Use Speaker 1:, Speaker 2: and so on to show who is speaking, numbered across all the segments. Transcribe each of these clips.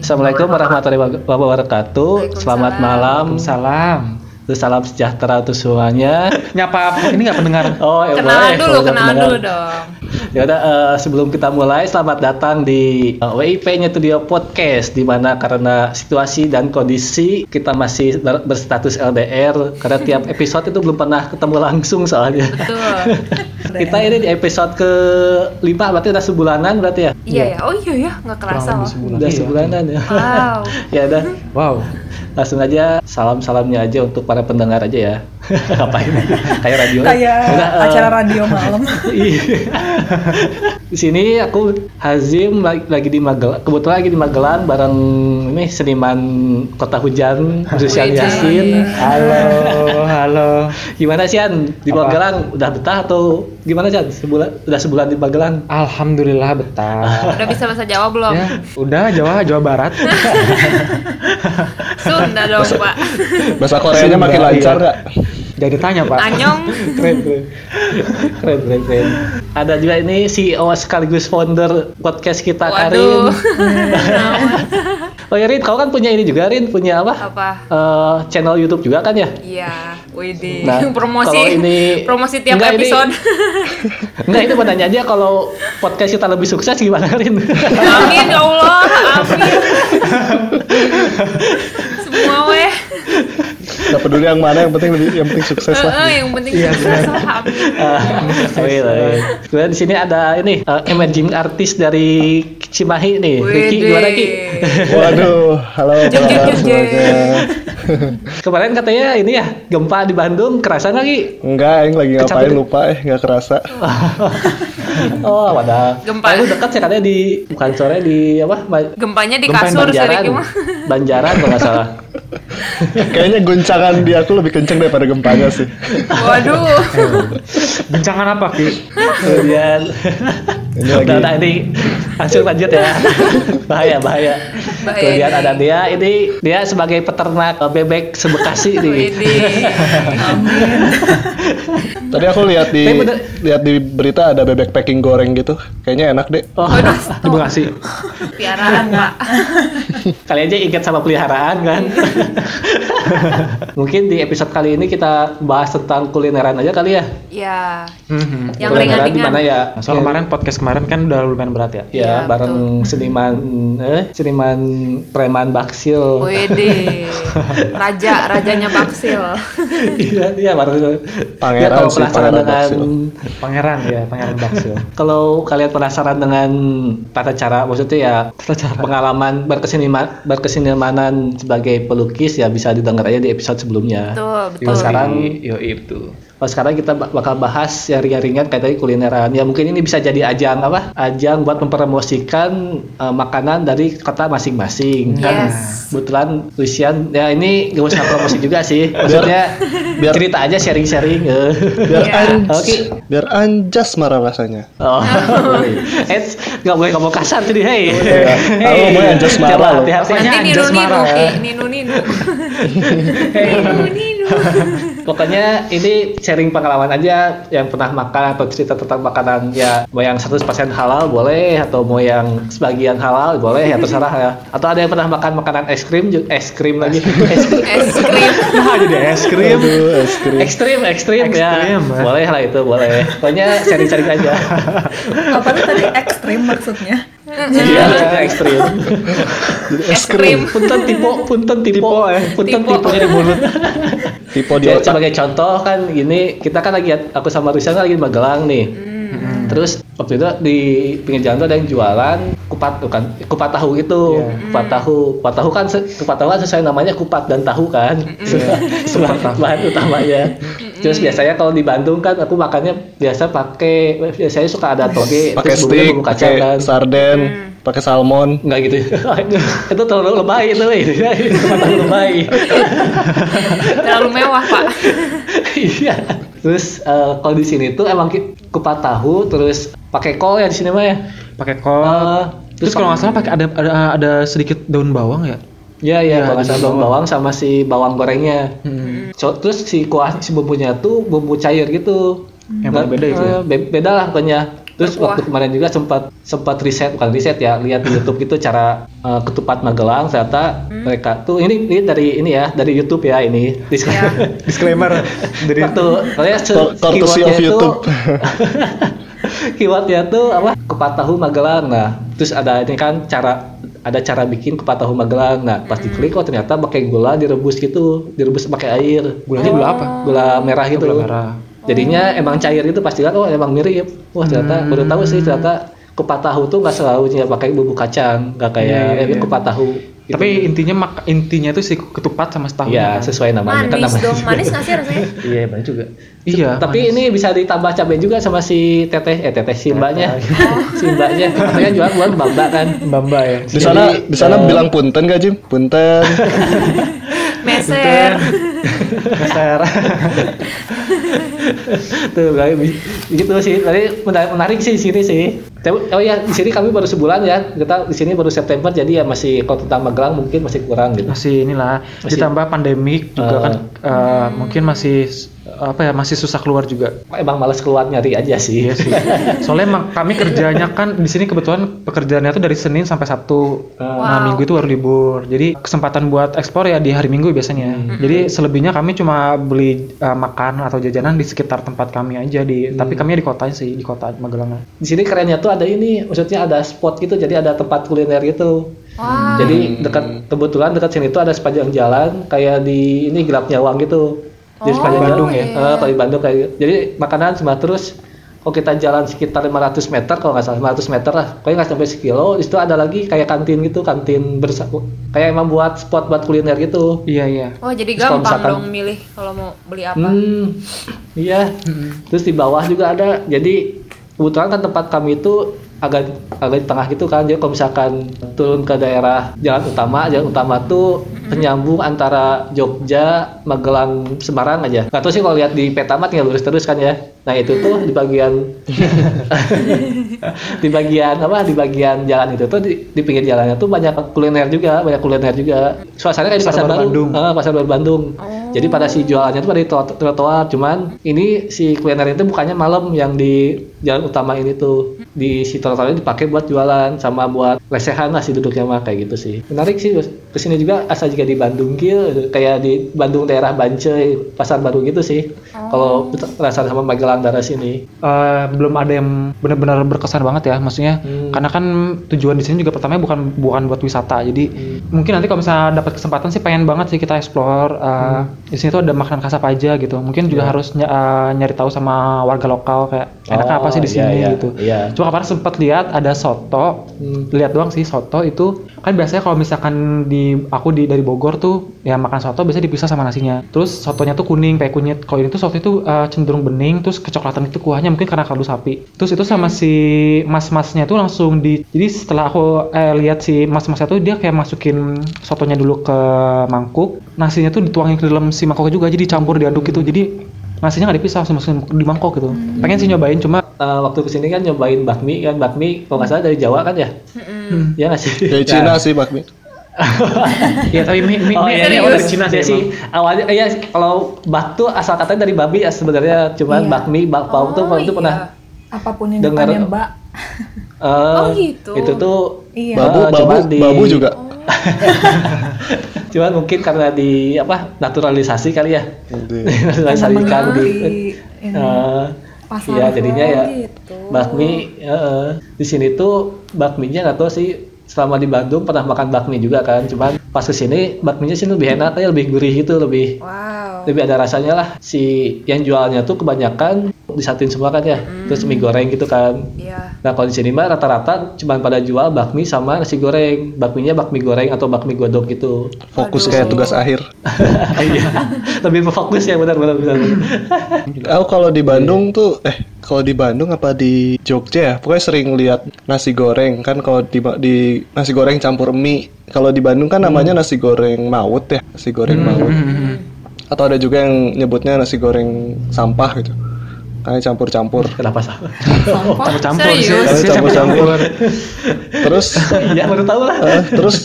Speaker 1: Assalamualaikum warahmatullahi wabarakatuh. Selamat malam.
Speaker 2: Salam.
Speaker 1: Terus salam sejahtera untuk semuanya.
Speaker 2: Nyapa ini nggak pendengar.
Speaker 1: Oh, ya
Speaker 3: Kenalan
Speaker 1: boleh,
Speaker 3: dulu,
Speaker 1: kalau
Speaker 3: kenalan
Speaker 1: pendengar.
Speaker 3: dulu dong.
Speaker 1: Ya udah eh, sebelum kita mulai selamat datang di eh, WIP-nya Studio Podcast di mana karena situasi dan kondisi kita masih ber- berstatus LDR karena tiap episode itu belum pernah ketemu langsung soalnya.
Speaker 3: Betul.
Speaker 1: kita ini di episode ke 5 berarti udah sebulanan berarti ya?
Speaker 3: Iya ya. Oh iya ya, nggak kerasa
Speaker 2: Kurang lebih
Speaker 3: loh.
Speaker 2: sebulan.
Speaker 1: Udah
Speaker 2: Iya.
Speaker 1: sebulanan ya.
Speaker 3: Wow. Hmm.
Speaker 1: ya udah
Speaker 2: Wow.
Speaker 1: langsung aja salam-salamnya aja untuk para pendengar aja ya. Ngapain? Kayak radio.
Speaker 4: kayak
Speaker 1: Udah, eh,
Speaker 4: acara radio malam
Speaker 1: Iya. di sini aku Hazim lagi, lagi di Magelang, kebetulan lagi di Magelang bareng ini seniman Kota Hujan, Rusian
Speaker 3: Wih,
Speaker 1: Yasin.
Speaker 2: Halo, halo.
Speaker 1: Gimana Sian? Di
Speaker 2: Apa?
Speaker 1: Magelang udah betah atau gimana Sian? Sebulan udah sebulan di Magelang.
Speaker 2: Alhamdulillah betah.
Speaker 3: Udah bisa bahasa Jawa belum?
Speaker 2: Ya, udah Jawa, Jawa Barat.
Speaker 3: Sunda dong, Pak.
Speaker 5: Bahasa Koreanya makin
Speaker 2: Sunda,
Speaker 5: lancar
Speaker 2: iya.
Speaker 5: nggak?
Speaker 2: Jadi tanya Pak.
Speaker 3: Anyong.
Speaker 1: Keren, keren. Keren, keren, keren. Ada juga ini CEO sekaligus founder podcast kita
Speaker 3: Waduh.
Speaker 1: Karin. Oh ya Rin, kau kan punya ini juga Rin, punya apa?
Speaker 3: Apa?
Speaker 1: Eh, channel YouTube juga kan ya?
Speaker 3: Iya, Widih.
Speaker 1: Nah, kalau
Speaker 3: promosi
Speaker 1: ini-
Speaker 3: promosi tiap
Speaker 1: Enggak, ini-
Speaker 3: episode.
Speaker 1: Enggak, itu pertanyaan aja kalau podcast kita lebih sukses gimana Rin?
Speaker 3: amin ya Allah, amin. Semua weh.
Speaker 5: Gak peduli yang mana, yang penting lebih, yang penting sukses
Speaker 3: Eh, eh,
Speaker 5: lah.
Speaker 3: yang penting
Speaker 2: Iya,
Speaker 3: sukses lah, amin.
Speaker 1: Eh, Ah, Amin, amin. Kemudian di sini ada ini eh, emerging artist dari Cimahi nih. Ricky
Speaker 3: Widih.
Speaker 1: gimana Ki?
Speaker 5: Waduh, halo apa
Speaker 3: Jeng, jeng,
Speaker 5: kabar
Speaker 3: jeng,
Speaker 5: semuanya?
Speaker 1: Kemarin katanya ini ya gempa di Bandung kerasa nggak Ki?
Speaker 5: Enggak, yang lagi ngapain
Speaker 1: Kecapit.
Speaker 5: lupa eh, nggak kerasa.
Speaker 1: Oh, padahal.
Speaker 3: Gempa.
Speaker 1: Aku dekat sih katanya di bukan sore di apa? Ba-
Speaker 3: Gempanya di
Speaker 1: Gempa
Speaker 3: kasur sih
Speaker 1: Banjaran.
Speaker 3: Riki mah.
Speaker 1: Banjaran kalau nggak salah.
Speaker 5: Kayaknya guncangan di aku lebih kenceng daripada gempanya sih.
Speaker 3: Waduh.
Speaker 2: Bencangan apa Ki?
Speaker 1: Kemudian
Speaker 5: Ini
Speaker 1: udah
Speaker 5: lagi.
Speaker 1: udah, ini langsung lanjut ya. bahaya bahaya.
Speaker 3: Bahaya
Speaker 1: Kemudian
Speaker 3: ini.
Speaker 1: ada dia ini dia sebagai peternak eh, bebek
Speaker 3: Oh,
Speaker 1: sebekasi nih.
Speaker 5: Tadi aku lihat di
Speaker 1: Tapi bener-
Speaker 5: lihat di berita ada bebek packing goreng gitu. Kayaknya enak deh.
Speaker 1: Oh, di Bekasi.
Speaker 3: Piaraan pak.
Speaker 1: Kali aja ingat sama peliharaan kan. Mungkin di episode kali ini kita bahas tentang kulineran aja kali ya.
Speaker 3: Ya,
Speaker 2: Mhm. Nah,
Speaker 3: yang
Speaker 1: Kulineran di mana
Speaker 3: ringan-ringan.
Speaker 1: ya?
Speaker 2: Soal kemarin podcast kemarin kan udah lumayan berat ya.
Speaker 3: Iya,
Speaker 1: Ya, bareng seniman eh seniman preman Baksil.
Speaker 3: Wede, raja, rajanya Baksil.
Speaker 1: Iya, iya bareng.
Speaker 5: Pangeran
Speaker 1: kalau
Speaker 5: sih,
Speaker 1: penasaran
Speaker 5: pangeran
Speaker 1: dengan
Speaker 5: Baksil.
Speaker 2: Pangeran ya, Pangeran Baksil.
Speaker 1: kalau kalian penasaran dengan tata cara maksudnya ya tata cara pengalaman berkeseniman berkesinemanan sebagai pelukis ya bisa didengar aja di episode sebelumnya.
Speaker 3: Betul,
Speaker 1: Kalau
Speaker 3: betul.
Speaker 1: sekarang
Speaker 2: yo itu.
Speaker 1: kalau sekarang kita bak- bakal bahas yang ringan-ringan kayak tadi kulineran. Ya mungkin ini bisa jadi ajang apa? Ajang buat mempromosikan eh, makanan dari kota masing-masing. Kan
Speaker 3: Yes.
Speaker 1: kebetulan Lucian ya ini gak usah promosi juga sih. Maksudnya
Speaker 5: biar-
Speaker 1: cerita aja sharing-sharing. eh.
Speaker 5: Biar
Speaker 3: Iya.
Speaker 5: anj-
Speaker 1: Oke.
Speaker 5: biar anjas marah rasanya.
Speaker 1: Oh, eh, nggak boleh ngomong kasar jadi hey.
Speaker 5: ya. Halo, mau anjas marah
Speaker 1: coba
Speaker 5: lo.
Speaker 1: hati-hati.
Speaker 3: Nanti
Speaker 2: Pokoknya
Speaker 3: Ninu
Speaker 2: Anjas
Speaker 3: Ninu,
Speaker 2: marah ya.
Speaker 3: eh, Ninu Ninu. Ninu Ninu.
Speaker 1: Pokoknya ini sharing pengalaman aja yang pernah makan atau cerita tentang makanan ya mau yang 100% halal boleh atau mau yang sebagian halal boleh ya terserah ya. Atau ada yang pernah makan makanan es krim ju- es krim lagi. Es krim.
Speaker 3: Es krim.
Speaker 2: Nah, jadi es krim.
Speaker 5: Aduh, es krim. eh.
Speaker 1: Ekstrim, ekstrim, ya.
Speaker 2: Ekstrim, ya.
Speaker 1: Boleh lah itu, boleh. Pokoknya sharing-sharing aja.
Speaker 4: apa tuh tadi ekstrim maksudnya
Speaker 3: Nah.
Speaker 1: Iya, ekstrim.
Speaker 3: Es krim.
Speaker 1: Punten tipe, punten tipe, punten
Speaker 3: Tipo.
Speaker 1: tipe di mulut.
Speaker 5: Tipe di
Speaker 1: Ya,
Speaker 5: otak.
Speaker 1: sebagai contoh kan gini, kita kan lagi aku sama Risa kan lagi di Magelang nih. Terus waktu itu di pinggir jalan tuh ada yang jualan kupat bukan kupat tahu itu,
Speaker 2: Iya.
Speaker 1: kupat tahu. Kupat tahu kan se- kupat tahu kan sesuai namanya kupat dan tahu kan.
Speaker 5: Iya.
Speaker 1: Sebahan bahan utamanya. Terus biasanya kalau di Bandung kan aku makannya biasa pakai biasanya suka ada toge
Speaker 5: Pakai
Speaker 1: terus bumbunya
Speaker 5: steak,
Speaker 1: bumbu kacang
Speaker 5: pakai
Speaker 1: kan.
Speaker 5: sarden,
Speaker 3: Hmm.
Speaker 5: pakai salmon.
Speaker 1: Enggak gitu. itu terlalu lebay itu, weh.
Speaker 2: Iya,
Speaker 1: kupat tahu lebay.
Speaker 3: Terlalu mewah pak.
Speaker 1: Iya. Terus eh, kalau di sini tuh emang ki- kupat tahu terus pakai kol ya di sini mah ya.
Speaker 2: Pakai kol.
Speaker 1: Eh,
Speaker 2: Oh. Terus kalau nggak salah pakai ada ada ada sedikit daun bawang ya.
Speaker 1: Iya iya
Speaker 2: Iya,
Speaker 1: kalau nggak
Speaker 2: ada
Speaker 1: salah daun bawang sama si bawang gorengnya.
Speaker 2: Hmm.
Speaker 1: So- terus si kuah si bumbunya tuh bumbu cair gitu.
Speaker 2: Yang paling beda itu ya?
Speaker 1: eh, be- beda lah pokoknya. Terus
Speaker 3: Berkuah.
Speaker 1: waktu kemarin juga sempat sempat riset bukan riset ya lihat di YouTube gitu cara eh, ketupat Magelang ternyata mereka tuh ini ini dari ini ya dari YouTube ya ini
Speaker 3: Ya.
Speaker 2: Disclaimer
Speaker 1: dari waktu saya
Speaker 5: Cor- courtesy of YouTube.
Speaker 1: keywordnya tuh apa kupat tahu Magelang nah terus ada ini kan cara ada cara bikin kupat tahu Magelang nah pas diklik oh ternyata pakai gula direbus gitu direbus pakai air
Speaker 2: Gulanya gula apa?
Speaker 1: gula merah gitu
Speaker 2: Gula merah.
Speaker 1: jadinya emang cair itu pasti kan oh emang mirip wah
Speaker 2: Hmm.
Speaker 1: ternyata baru tahu sih ternyata kupat tahu tuh nggak selalu hanya pakai bumbu kacang nggak kayak
Speaker 2: Iya, iya,
Speaker 1: ini
Speaker 2: iya.
Speaker 1: kupat tahu gitu.
Speaker 2: Tapi intinya mak intinya itu si ketupat sama setahu.
Speaker 1: ya sesuai namanya kan
Speaker 3: Manis
Speaker 1: namanya
Speaker 3: dong, manis nggak sih rasanya?
Speaker 1: iya benar juga
Speaker 2: Iya.
Speaker 1: tapi ini bisa ditambah cabai juga sama si teteh eh teteh si mbaknya si mbaknya katanya jual buat mbak mbak kan
Speaker 2: Bamba ya.
Speaker 5: Di sana
Speaker 1: Jadi,
Speaker 5: di sana
Speaker 1: eh,
Speaker 5: bilang punten gak Jim? Punten.
Speaker 3: Meser.
Speaker 1: tuh kayak bi- gitu sih tadi menar- menarik sih di sini sih Tapi- oh ya di sini kami baru sebulan ya kita di sini baru September jadi ya masih kalau tentang Magelang mungkin masih kurang gitu
Speaker 2: masih inilah
Speaker 1: Masih-
Speaker 2: ditambah pandemik juga
Speaker 1: Eh.
Speaker 2: kan eh, mungkin masih apa ya masih susah keluar juga.
Speaker 1: emang males keluar nyari aja sih
Speaker 2: Iya sih. Soalnya emang kami kerjanya kan di sini kebetulan pekerjaannya tuh dari Senin sampai Sabtu.
Speaker 1: Ah.
Speaker 2: Nah,
Speaker 3: Wow.
Speaker 2: Minggu itu baru libur. Jadi kesempatan buat ekspor ya di hari Minggu biasanya.
Speaker 1: Hmm.
Speaker 2: Jadi selebihnya kami cuma beli eh, makan atau jajanan di sekitar tempat kami aja di
Speaker 1: Hmm.
Speaker 2: tapi kami di kota sih, di kota Magelang.
Speaker 1: di sini kerennya tuh ada ini maksudnya ada spot gitu jadi ada tempat kuliner gitu
Speaker 3: Wah.
Speaker 1: Jadi dekat kebetulan dekat sini itu ada sepanjang jalan kayak di ini gelap nyawang gitu. Jadi
Speaker 3: Oh,
Speaker 1: sepanjang
Speaker 2: Bandung
Speaker 1: jalan,
Speaker 2: ya?
Speaker 1: Eh, kalau di Bandung kayak gitu. Jadi makanan cuma terus kalau kita jalan sekitar 500 meter kalau nggak salah 500 meter lah, pokoknya nggak sampai sekilo. Di situ ada lagi kayak kantin gitu, kantin bersaku kayak emang buat spot buat kuliner gitu.
Speaker 2: Iya, iya.
Speaker 3: Oh jadi
Speaker 1: Terus kalau
Speaker 3: gampang
Speaker 1: misalkan-
Speaker 3: dong milih kalau mau beli apa.
Speaker 1: Hmm, iya. Terus di bawah juga ada. Jadi kebetulan kan tempat kami itu agak agak di tengah gitu kan. Jadi kalau misalkan turun ke daerah jalan utama, jalan utama tuh penyambung antara Jogja, Magelang, Semarang aja. Gak tau sih kalau lihat di peta map tinggal lurus terus kan ya. Nah itu tuh di bagian di bagian apa di bagian jalan itu tuh di, di pinggir jalannya tuh banyak kuliner juga banyak kuliner juga suasananya kayak di
Speaker 2: Pasar
Speaker 1: pasar
Speaker 2: Baru
Speaker 1: baru
Speaker 2: Bandung.
Speaker 1: Eh, pasar baru Bandung jadi pada si jualannya tuh pada di troto- trotoar cuman ini si kuliner itu bukannya malam yang di jalan utama ini tuh di si trotoarnya dipakai buat jualan sama buat lesehan lah si duduknya mah kayak gitu sih menarik sih Bos. kesini juga asal jika di Bandung Gil kayak di Bandung daerah Bancai pasar baru gitu sih kalau perasaan sama Magelang daerah sini
Speaker 2: Eh, belum ada yang benar-benar berkesan banget ya maksudnya
Speaker 1: Hmm.
Speaker 2: karena kan tujuan di sini juga pertamanya bukan bukan buat wisata jadi
Speaker 1: Hmm.
Speaker 2: mungkin nanti kalau misalnya dapat kesempatan sih pengen banget sih kita explore eh,
Speaker 1: Hmm.
Speaker 2: di sini tuh ada makanan khas apa aja gitu mungkin
Speaker 1: Iya.
Speaker 2: juga harus ny- eh, nyari tahu sama warga lokal kayak enaknya apa sih di
Speaker 1: iya,
Speaker 2: sini
Speaker 1: iya,
Speaker 2: gitu
Speaker 1: iya.
Speaker 2: cuma kemarin sempat lihat ada soto
Speaker 1: Hmm.
Speaker 2: lihat doang sih soto itu kan biasanya kalau misalkan di aku di dari Bogor tuh ya makan soto biasanya dipisah sama nasinya terus sotonya tuh kuning kayak kunyit kalau ini tuh soto itu eh, cenderung bening terus kecoklatan itu kuahnya mungkin karena kaldu sapi terus itu sama si mas-masnya tuh langsung di jadi setelah aku eh, lihat si mas-masnya tuh dia kayak masukin sotonya dulu ke mangkuk nasinya tuh dituangin ke dalam si mangkuknya juga jadi dicampur diaduk gitu jadi nasinya nggak dipisah langsung masukin di mangkok gitu pengen sih nyobain cuma
Speaker 1: Eh, waktu kesini kan nyobain bakmi kan bakmi kalau nggak salah dari Jawa kan ya ya nggak sih
Speaker 5: Dari Cina sih bakmi.
Speaker 2: ya tapi mie, mie,
Speaker 1: Oh,
Speaker 2: mie-
Speaker 1: iya,
Speaker 2: mie
Speaker 1: iya,
Speaker 2: dari
Speaker 1: iya.
Speaker 2: Cina
Speaker 1: Iya
Speaker 2: sih
Speaker 1: sih. Awalnya iya sih, kalau bak tuh asal katanya dari babi ya sebenarnya cuman
Speaker 4: Iya.
Speaker 1: bakmi bakpao tuh waktu itu
Speaker 3: iya.
Speaker 1: pernah
Speaker 4: Apapun yang
Speaker 1: Dengar-
Speaker 4: depannya Mbak.
Speaker 1: eh,
Speaker 3: Oh, gitu.
Speaker 1: itu tuh
Speaker 4: Iya.
Speaker 1: eh,
Speaker 5: Babu babu
Speaker 1: cuman di-
Speaker 5: babu juga.
Speaker 1: Cuman mungkin karena di apa naturalisasi kali ya. naturalisasi
Speaker 4: Teman-teman
Speaker 1: kan di
Speaker 4: di-
Speaker 1: eh,
Speaker 4: ini, Iya. pasar.
Speaker 1: Iya jadinya ya
Speaker 4: Oh, gitu.
Speaker 1: bakmi eh, eh. di sini tuh bakminya nggak tahu sih selama di Bandung pernah makan bakmi juga kan cuman pas kesini bakminya sih lebih enak ya lebih gurih gitu lebih
Speaker 3: Wow.
Speaker 1: lebih ada rasanya lah si yang jualnya tuh kebanyakan disatuin semua kan ya
Speaker 4: Hmm.
Speaker 1: terus mie goreng gitu kan
Speaker 3: Iya.
Speaker 1: nah kalau di sini mah rata-rata cuma pada jual bakmi sama nasi goreng bakminya bakmi goreng atau bakmi godok gitu
Speaker 5: Fokus
Speaker 3: Aduh.
Speaker 5: kayak tugas akhir.
Speaker 1: Iya. lebih fokus ya benar-benar benar.
Speaker 5: Aku kalau di Bandung tuh eh kalau di Bandung apa di Jogja ya? Pokoknya sering lihat nasi goreng kan kalau di, di nasi goreng campur mie. Kalau di Bandung kan namanya nasi goreng mawut ya, nasi goreng mawut. Atau ada juga yang nyebutnya nasi goreng sampah gitu. Kayak campur-campur.
Speaker 1: kenapa sama
Speaker 4: Sampah.
Speaker 2: campur
Speaker 3: Serius?
Speaker 2: sih
Speaker 5: Tapi
Speaker 2: Saya
Speaker 5: campur-campur.
Speaker 2: campur-campur.
Speaker 5: Terus
Speaker 1: ya baru tahu lah
Speaker 5: eh, terus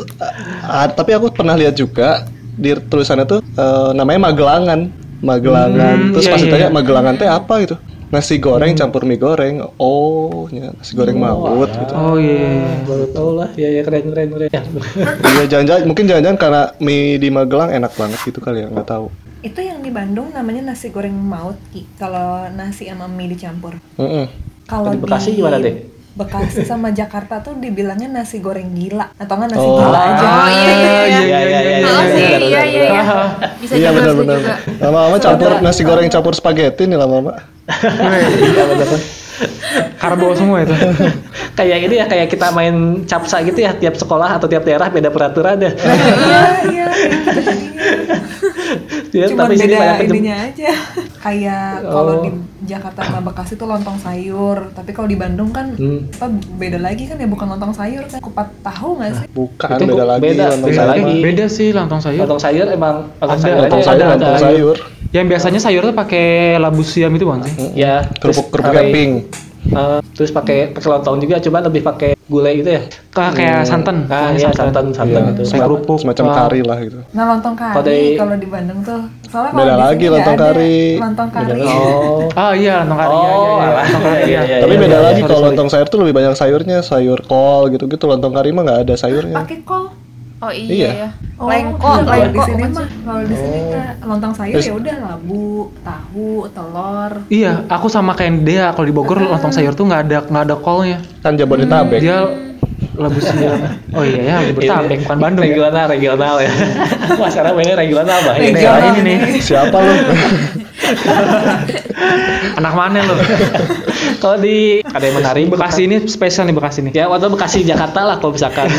Speaker 5: ah, tapi aku pernah lihat juga di tulisannya tuh eh, namanya Magelangan. Magelangan.
Speaker 2: Hmm,
Speaker 5: terus
Speaker 2: iya,
Speaker 5: pas
Speaker 2: iya,
Speaker 5: ditanya
Speaker 2: iya. Hmm.
Speaker 5: Magelangan teh apa gitu. nasi goreng campur mie goreng. Oh, ya, nasi goreng mawut gitu.
Speaker 2: Oh iya.
Speaker 1: baru tau lah ya ya keren keren keren ya,
Speaker 5: Iya, jangan-jangan mungkin jangan-jangan karena mie di Magelang enak banget gitu kali ya, nggak tahu.
Speaker 4: Itu yang di Bandung namanya nasi goreng maut, Ki. Kalau nasi sama mie dicampur.
Speaker 5: Mm-mm.
Speaker 4: Kalau
Speaker 1: Di Bekasi gimana, Dek?
Speaker 4: Bekasi sama Jakarta tuh dibilangnya nasi goreng gila atau enggak nasi
Speaker 5: Oh.
Speaker 4: gila aja.
Speaker 3: Oh iya iya iya.
Speaker 1: iya iya iya
Speaker 3: Oh sih,
Speaker 1: iya,
Speaker 3: iya iya iya. Bisa
Speaker 5: Iya
Speaker 3: juga bisa
Speaker 5: benar-benar.
Speaker 3: juga.
Speaker 5: Lama-lama campur nasi goreng campur spaghetti nih lama-lama.
Speaker 2: Karbo semua itu.
Speaker 1: kayak ini ya kayak kita main capsa gitu ya tiap sekolah atau tiap daerah beda peraturan ya
Speaker 4: Iya iya.
Speaker 1: Ya,
Speaker 4: itu jadinya.
Speaker 5: Iya,
Speaker 4: Cuma
Speaker 1: di sini
Speaker 4: beda
Speaker 1: banyak-
Speaker 4: ininya aja. Kayak kalau
Speaker 5: Oh.
Speaker 4: di Jakarta sama Bekasi tuh lontong sayur, tapi kalau di Bandung kan
Speaker 1: Hmm.
Speaker 4: apa beda lagi kan ya bukan lontong sayur kan kupat tahu nggak sih?
Speaker 5: Bukan
Speaker 1: Itu
Speaker 5: beda
Speaker 1: bu-
Speaker 5: lagi
Speaker 1: beda,
Speaker 5: lontong
Speaker 1: beda
Speaker 5: sayur.
Speaker 1: lagi.
Speaker 2: Eh, beda sih lontong sayur.
Speaker 1: lontong sayur emang lontong
Speaker 2: Ada,
Speaker 1: sayur
Speaker 5: Lontong
Speaker 1: aja
Speaker 5: sayur,
Speaker 1: ada,
Speaker 5: lontong
Speaker 1: ada.
Speaker 5: sayur.
Speaker 2: Yang biasanya sayur tuh pakai labu siam itu bukan sih?
Speaker 1: ya terus
Speaker 5: Kerupuk kerupuk
Speaker 1: pakai-
Speaker 5: keping.
Speaker 1: eh, terus pakai pakai lontong juga cuman lebih pakai gulai gitu ya
Speaker 2: Ka- kayak santan.
Speaker 1: ah
Speaker 2: Pokoknya
Speaker 1: iya santan santan
Speaker 5: Iya,
Speaker 1: gitu
Speaker 2: Pakai
Speaker 5: semacam-
Speaker 2: kerupuk.
Speaker 5: Semacam
Speaker 2: Wah.
Speaker 5: kari lah gitu.
Speaker 4: Nah lontong
Speaker 1: Kalau
Speaker 4: kari
Speaker 1: dari-
Speaker 4: kalau di Bandung tuh soalnya
Speaker 5: Beda
Speaker 4: kalau di sini
Speaker 5: lagi
Speaker 4: nggak
Speaker 5: lontong
Speaker 4: ada
Speaker 5: kari.
Speaker 4: Lontong kari.
Speaker 1: oh
Speaker 2: Ah iya lontong kari. iya,
Speaker 1: Oh,
Speaker 2: iya, iya,
Speaker 1: alah.
Speaker 2: lontong kari,
Speaker 1: Iya, iya,
Speaker 5: Tapi
Speaker 1: iya,
Speaker 5: beda
Speaker 1: iya,
Speaker 5: lagi
Speaker 2: ya, Sorry,
Speaker 5: kalau
Speaker 2: sorry.
Speaker 5: lontong sayur tuh lebih banyak sayurnya, sayur kol gitu-gitu. Lontong kari mah nggak ada sayurnya.
Speaker 4: Pakai kol.
Speaker 3: Oh
Speaker 5: Iya.
Speaker 3: iya ya.
Speaker 4: Oh,
Speaker 3: Lengkok,
Speaker 4: kalau di
Speaker 3: lengkok.
Speaker 4: sini
Speaker 3: bukan
Speaker 4: mah
Speaker 3: sih?
Speaker 4: kalau di sini
Speaker 5: Oh.
Speaker 4: nggak. lontong sayur
Speaker 5: Terus-
Speaker 4: ya udah labu, tahu, telur.
Speaker 2: Iya, aku sama kayak dia kalau di Bogor
Speaker 1: Hmm.
Speaker 2: lontong sayur tuh nggak ada nggak ada kolnya.
Speaker 5: Kan Jabodetabek.
Speaker 2: Dia labu siam. Oh iya ya, Jabodetabek bukan Bandung. ya.
Speaker 1: regional regional ya wah sekarang mainnya regional bah ya
Speaker 4: Regional.
Speaker 2: Daerah ini nih.
Speaker 5: Siapa lu?
Speaker 2: Anak mana lo?
Speaker 1: kalau di ada yang menarik
Speaker 2: Bekasi ini spesial nih Bekasi
Speaker 1: ya
Speaker 2: nih.
Speaker 1: atau Bekasi Jakarta lah kalau misalkan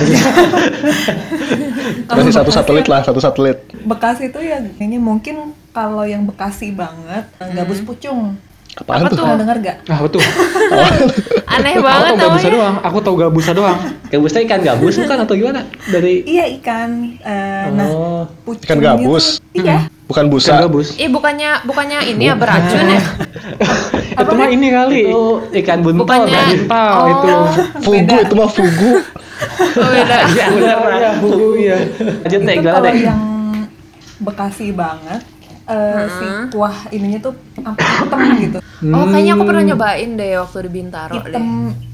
Speaker 4: Kalau
Speaker 5: Masih satu
Speaker 4: Bekasi
Speaker 5: satelit lah, satu satelit.
Speaker 4: Bekasi tuh ya kayaknya mungkin kalau yang Bekasi banget gabus pucung.
Speaker 5: Apaan
Speaker 3: Apa
Speaker 5: tuh?
Speaker 3: tuh?
Speaker 4: Pernah dengar gak?
Speaker 2: Ah betul.
Speaker 3: Aneh
Speaker 2: Aku
Speaker 3: banget
Speaker 2: tahu gabusa
Speaker 3: namanya.
Speaker 2: doang. Aku tahu gabusa doang.
Speaker 1: gabusnya ikan gabus bukan atau gimana dari
Speaker 4: Iya ikan. Eh, Nah
Speaker 1: oh
Speaker 4: pucung
Speaker 5: Ikan gabus?
Speaker 4: Itu, iya.
Speaker 5: Bukan
Speaker 2: Bukan
Speaker 1: Kan
Speaker 5: busa.
Speaker 2: gabus.
Speaker 3: Ih bukannya bukannya ini ya beracun ya?
Speaker 2: itu mah ini kali.
Speaker 1: itu ikan buntel
Speaker 3: Bukannya
Speaker 1: kan?
Speaker 2: Kental
Speaker 3: Oh.
Speaker 2: itu.
Speaker 5: Fugu
Speaker 4: Beda.
Speaker 5: itu mah fugu.
Speaker 3: Oh, beda.
Speaker 1: Iya, benar
Speaker 2: Iya, buku iya.
Speaker 3: Ya,
Speaker 1: lanjut deh
Speaker 4: Itu
Speaker 1: gimana
Speaker 4: kalau
Speaker 1: deh
Speaker 4: yang Bekasi banget. eh, si kuah ininya tuh sampai hitam gitu.
Speaker 3: Oh kayaknya aku
Speaker 1: Hmm.
Speaker 3: pernah nyobain deh waktu di Bintaro deh.
Speaker 4: Hitam,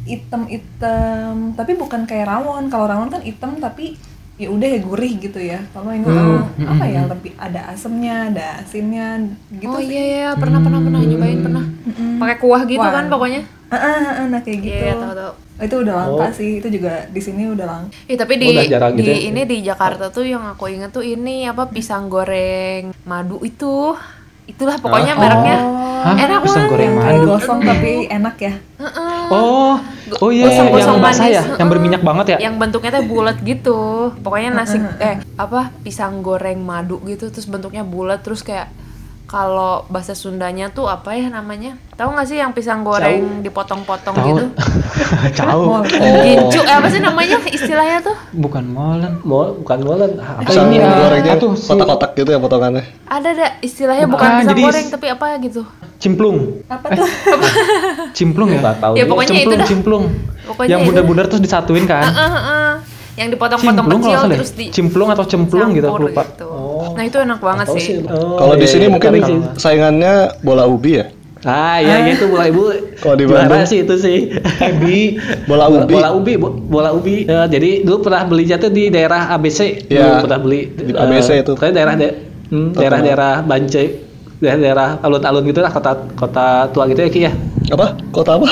Speaker 4: hitam, hitam. Tapi bukan kayak rawon. Kalau rawon kan hitam tapi ya udah ya gurih gitu ya. Kalau ini eh, apa ya lebih ada asemnya, ada asinnya gitu.
Speaker 3: oh
Speaker 4: sih.
Speaker 3: iya iya pernah pernah pernah
Speaker 1: Hmm.
Speaker 3: nyobain pernah. Pakai kuah gitu
Speaker 4: Kuah.
Speaker 3: kan pokoknya.
Speaker 4: Ah, ah, ah, nah kayak gitu.
Speaker 3: Iya tahu tahu.
Speaker 4: Itu udah langka sih. Itu juga di sini udah langka.
Speaker 3: Ih, tapi di,
Speaker 1: Udah jarang
Speaker 3: di
Speaker 1: gitu ya.
Speaker 3: ini di Jakarta tuh yang aku inget tuh ini apa pisang goreng madu itu.
Speaker 1: Ah.
Speaker 3: Itulah pokoknya mereknya.
Speaker 1: Oh.
Speaker 2: Hah?
Speaker 3: Enak
Speaker 2: Pisang
Speaker 3: banget.
Speaker 2: goreng
Speaker 4: Kayak
Speaker 2: madu.
Speaker 4: gosong Oh. tapi enak ya.
Speaker 3: Heeh.
Speaker 2: Oh, oh iya,
Speaker 3: Gosong-gosong
Speaker 2: yang basah
Speaker 3: manis,
Speaker 2: ya, yang
Speaker 3: heeh.
Speaker 2: berminyak banget ya.
Speaker 3: Yang bentuknya tuh bulat gitu. Pokoknya nasi eh apa pisang goreng madu gitu terus bentuknya bulat terus kayak kalau bahasa Sundanya tuh apa ya namanya? Tahu nggak sih yang pisang goreng dipotong-potong
Speaker 2: Tahu. Oh.
Speaker 3: gitu?
Speaker 2: Jauh.
Speaker 4: Mall.
Speaker 3: Gincu, eh, apa sih namanya istilahnya tuh?
Speaker 2: Bukan molen.
Speaker 1: Mol, bukan molen Ah, apa
Speaker 5: Pisang
Speaker 2: ini, ah,
Speaker 5: gorengnya
Speaker 2: atuh, si-
Speaker 5: kotak-kotak gitu ya potongannya.
Speaker 3: Ada ada istilahnya bukan,
Speaker 2: Bukan,
Speaker 3: pisang
Speaker 2: jadi-
Speaker 3: goreng tapi apa gitu.
Speaker 2: Cimplung. Eh,
Speaker 4: Apa tuh?
Speaker 2: Cimplung ya?
Speaker 1: nggak tahu
Speaker 3: Ya,
Speaker 1: deh.
Speaker 3: pokoknya itu
Speaker 2: cimplung,
Speaker 3: dah.
Speaker 2: cimplung.
Speaker 3: Pokoknya
Speaker 2: yang
Speaker 3: itu.
Speaker 2: bundar-bundar terus disatuin kan?
Speaker 3: Heeh, heeh. Yang dipotong-potong
Speaker 2: Cimplung
Speaker 3: kecil
Speaker 2: kalau nggak
Speaker 3: terus
Speaker 2: salah
Speaker 3: di
Speaker 2: ya? Cimplung atau cemplung gitu aku
Speaker 3: campur
Speaker 2: lupa.
Speaker 3: gitu.
Speaker 1: Oh.
Speaker 3: Nah, itu enak banget
Speaker 1: Tahu
Speaker 3: sih.
Speaker 1: sih. Oh,
Speaker 5: Kalau di
Speaker 1: iya,
Speaker 5: sini
Speaker 1: iya,
Speaker 5: mungkin
Speaker 1: menarik sih.
Speaker 5: saingannya bola ubi ya.
Speaker 1: Ah iya iya, itu bola ibu.
Speaker 5: Kalau di
Speaker 1: Juara
Speaker 5: Bandung.
Speaker 1: sih itu sih. Ubi.
Speaker 5: Bola ubi.
Speaker 1: Eh, Bola ubi, bo- bola ubi. Eh, jadi dulu pernah belinya tuh di daerah ABC. Dulu
Speaker 5: Iya,
Speaker 1: pernah beli
Speaker 5: di
Speaker 1: eh,
Speaker 5: ABC itu.
Speaker 1: Pokoknya daerah da- hmm, daerah-daerah Bancai, daerah-daerah alun-alun gitu lah kota kota tua gitu ya Ki ya.
Speaker 5: Apa? Kota apa?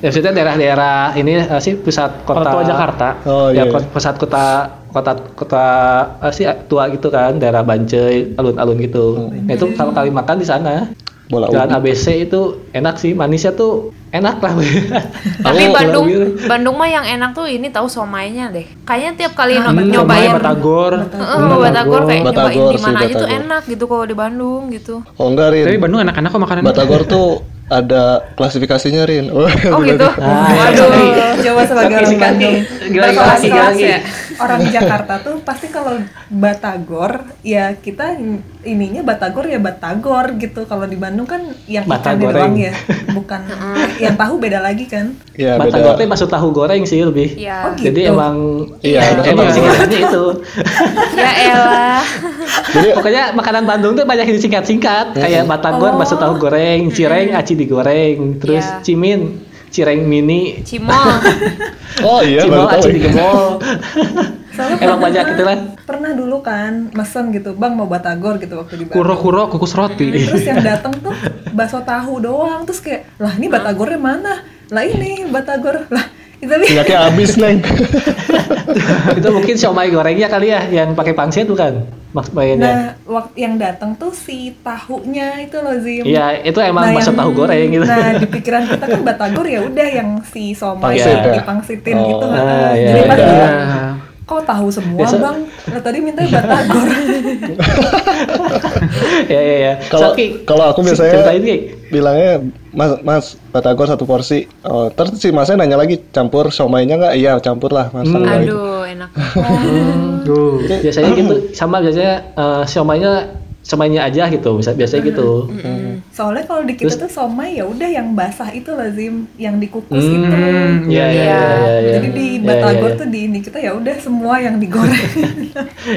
Speaker 1: Ya maksudnya daerah-daerah ini eh, sih pusat kota
Speaker 2: Kota tua Jakarta.
Speaker 5: Oh
Speaker 1: ya
Speaker 5: iya.
Speaker 1: kot- pusat kota kota kota eh, sih tua gitu kan daerah Bancai alun-alun gitu. Nah, itu kalau kali makan di sana
Speaker 5: Bola
Speaker 1: Jalan
Speaker 5: ubi.
Speaker 1: ABC itu enak sih, manisnya tuh enak lah.
Speaker 3: Tapi
Speaker 1: Aku-
Speaker 3: Bandung
Speaker 1: Aku-
Speaker 3: Bandung mah yang enak tuh ini tahu somainya deh. Kayaknya tiap kali no-
Speaker 2: Hmm,
Speaker 3: Nah, nyobain
Speaker 2: batagor. Hmm,
Speaker 3: Heeh, Batagor, kayak
Speaker 5: Batagor
Speaker 3: nyobain di
Speaker 5: sih,
Speaker 3: mana aja tuh
Speaker 5: Batagor.
Speaker 3: enak gitu kalau di Bandung gitu.
Speaker 5: Oh enggak, Rin.
Speaker 2: Tapi Bandung anak-anak kok makanan.
Speaker 5: Batagor tuh ada klasifikasinya, Rin.
Speaker 3: Oh gitu.
Speaker 4: iya,
Speaker 3: Waduh.
Speaker 4: Waduh, coba sebagai
Speaker 1: Kaki,
Speaker 4: orang
Speaker 1: kaki.
Speaker 4: Bandung.
Speaker 1: Gila, gila, gila,
Speaker 4: Berkelas-kelas
Speaker 1: gila.
Speaker 4: ya. Orang Jakarta tuh pasti kalau Batagor ya kita ininya Batagor ya Batagor gitu. Kalau di Bandung kan yang ikan
Speaker 1: Batagoreng.
Speaker 4: doang ya, bukan yang tahu beda lagi kan.
Speaker 5: Ya,
Speaker 1: Batagor tuh
Speaker 5: beda.
Speaker 1: masuk tahu goreng sih lebih.
Speaker 3: Ya.
Speaker 4: Oh, gitu.
Speaker 1: Jadi emang
Speaker 5: Iya,
Speaker 1: emang
Speaker 5: batagor.
Speaker 1: sih kayaknya itu.
Speaker 3: Ya elah.
Speaker 5: Jadi Hmm.
Speaker 1: Pokoknya makanan Bandung tuh banyak yang disingkat-singkat kayak batagor, bakso tahu goreng, cireng, aci digoreng, terus
Speaker 3: Oh. Hmm. Iya.
Speaker 1: cimin, cireng mini,
Speaker 3: Cimol.
Speaker 5: oh iya baru
Speaker 1: cimol,
Speaker 5: tahu.
Speaker 1: aci
Speaker 5: ya.
Speaker 1: digemol.
Speaker 4: Soalnya
Speaker 1: Emang banyak gitu lah.
Speaker 4: Pernah dulu kan mesen gitu, Bang mau batagor gitu waktu di Bandung.
Speaker 2: Kuro-kuro kukus roti.
Speaker 4: Terus yang datang tuh bakso tahu doang. Terus kayak, "Lah, ini batagornya mana?" "Lah, ini batagor." Lah, itu tapi
Speaker 5: Minyaknya habis neng.
Speaker 1: Itu mungkin siomay gorengnya kali ya yang pakai pangsit bukan? Mas mainnya.
Speaker 4: Nah, waktu yang datang tuh si tahunya itu loh Zim. Nah,
Speaker 1: Iya, itu emang bakso
Speaker 4: yang-
Speaker 1: tahu goreng gitu.
Speaker 4: Nah, di pikiran kita kan batagor ya udah yang si somai
Speaker 5: Pangsit ya?
Speaker 4: dipangsitin
Speaker 5: Oh.
Speaker 4: gitu.
Speaker 1: Ah,
Speaker 4: heeh.
Speaker 1: iya,
Speaker 4: Jadi pas
Speaker 5: iya.
Speaker 4: bilang,
Speaker 2: Nah,
Speaker 4: kok tahu semua,
Speaker 1: Biasa-
Speaker 4: Bang? Lah tadi minta batagor.
Speaker 3: Nah.
Speaker 1: ya ya ya.
Speaker 5: Kalau
Speaker 1: Soki,
Speaker 5: kalau aku
Speaker 1: cerita
Speaker 5: biasanya
Speaker 1: ini Ki.
Speaker 5: bilangnya mas mas batagor satu porsi. Oh, terus si masnya nanya lagi campur somainya nggak? Iya campur lah mas. Sama gitu.
Speaker 3: Hmm. Aduh, enak.
Speaker 2: tuh.
Speaker 1: biasanya gitu sama biasanya eh, siomaynya siomaynya aja gitu bisa biasanya gitu
Speaker 4: Soalnya kalau di kita tuh somai ya udah yang basah itu loh Zim, yang dikukus itu.
Speaker 2: Hmm,
Speaker 1: ya ya ya ya
Speaker 4: Jadi di batagor
Speaker 1: iya.
Speaker 4: tuh di ini kita ya udah semua yang digoreng.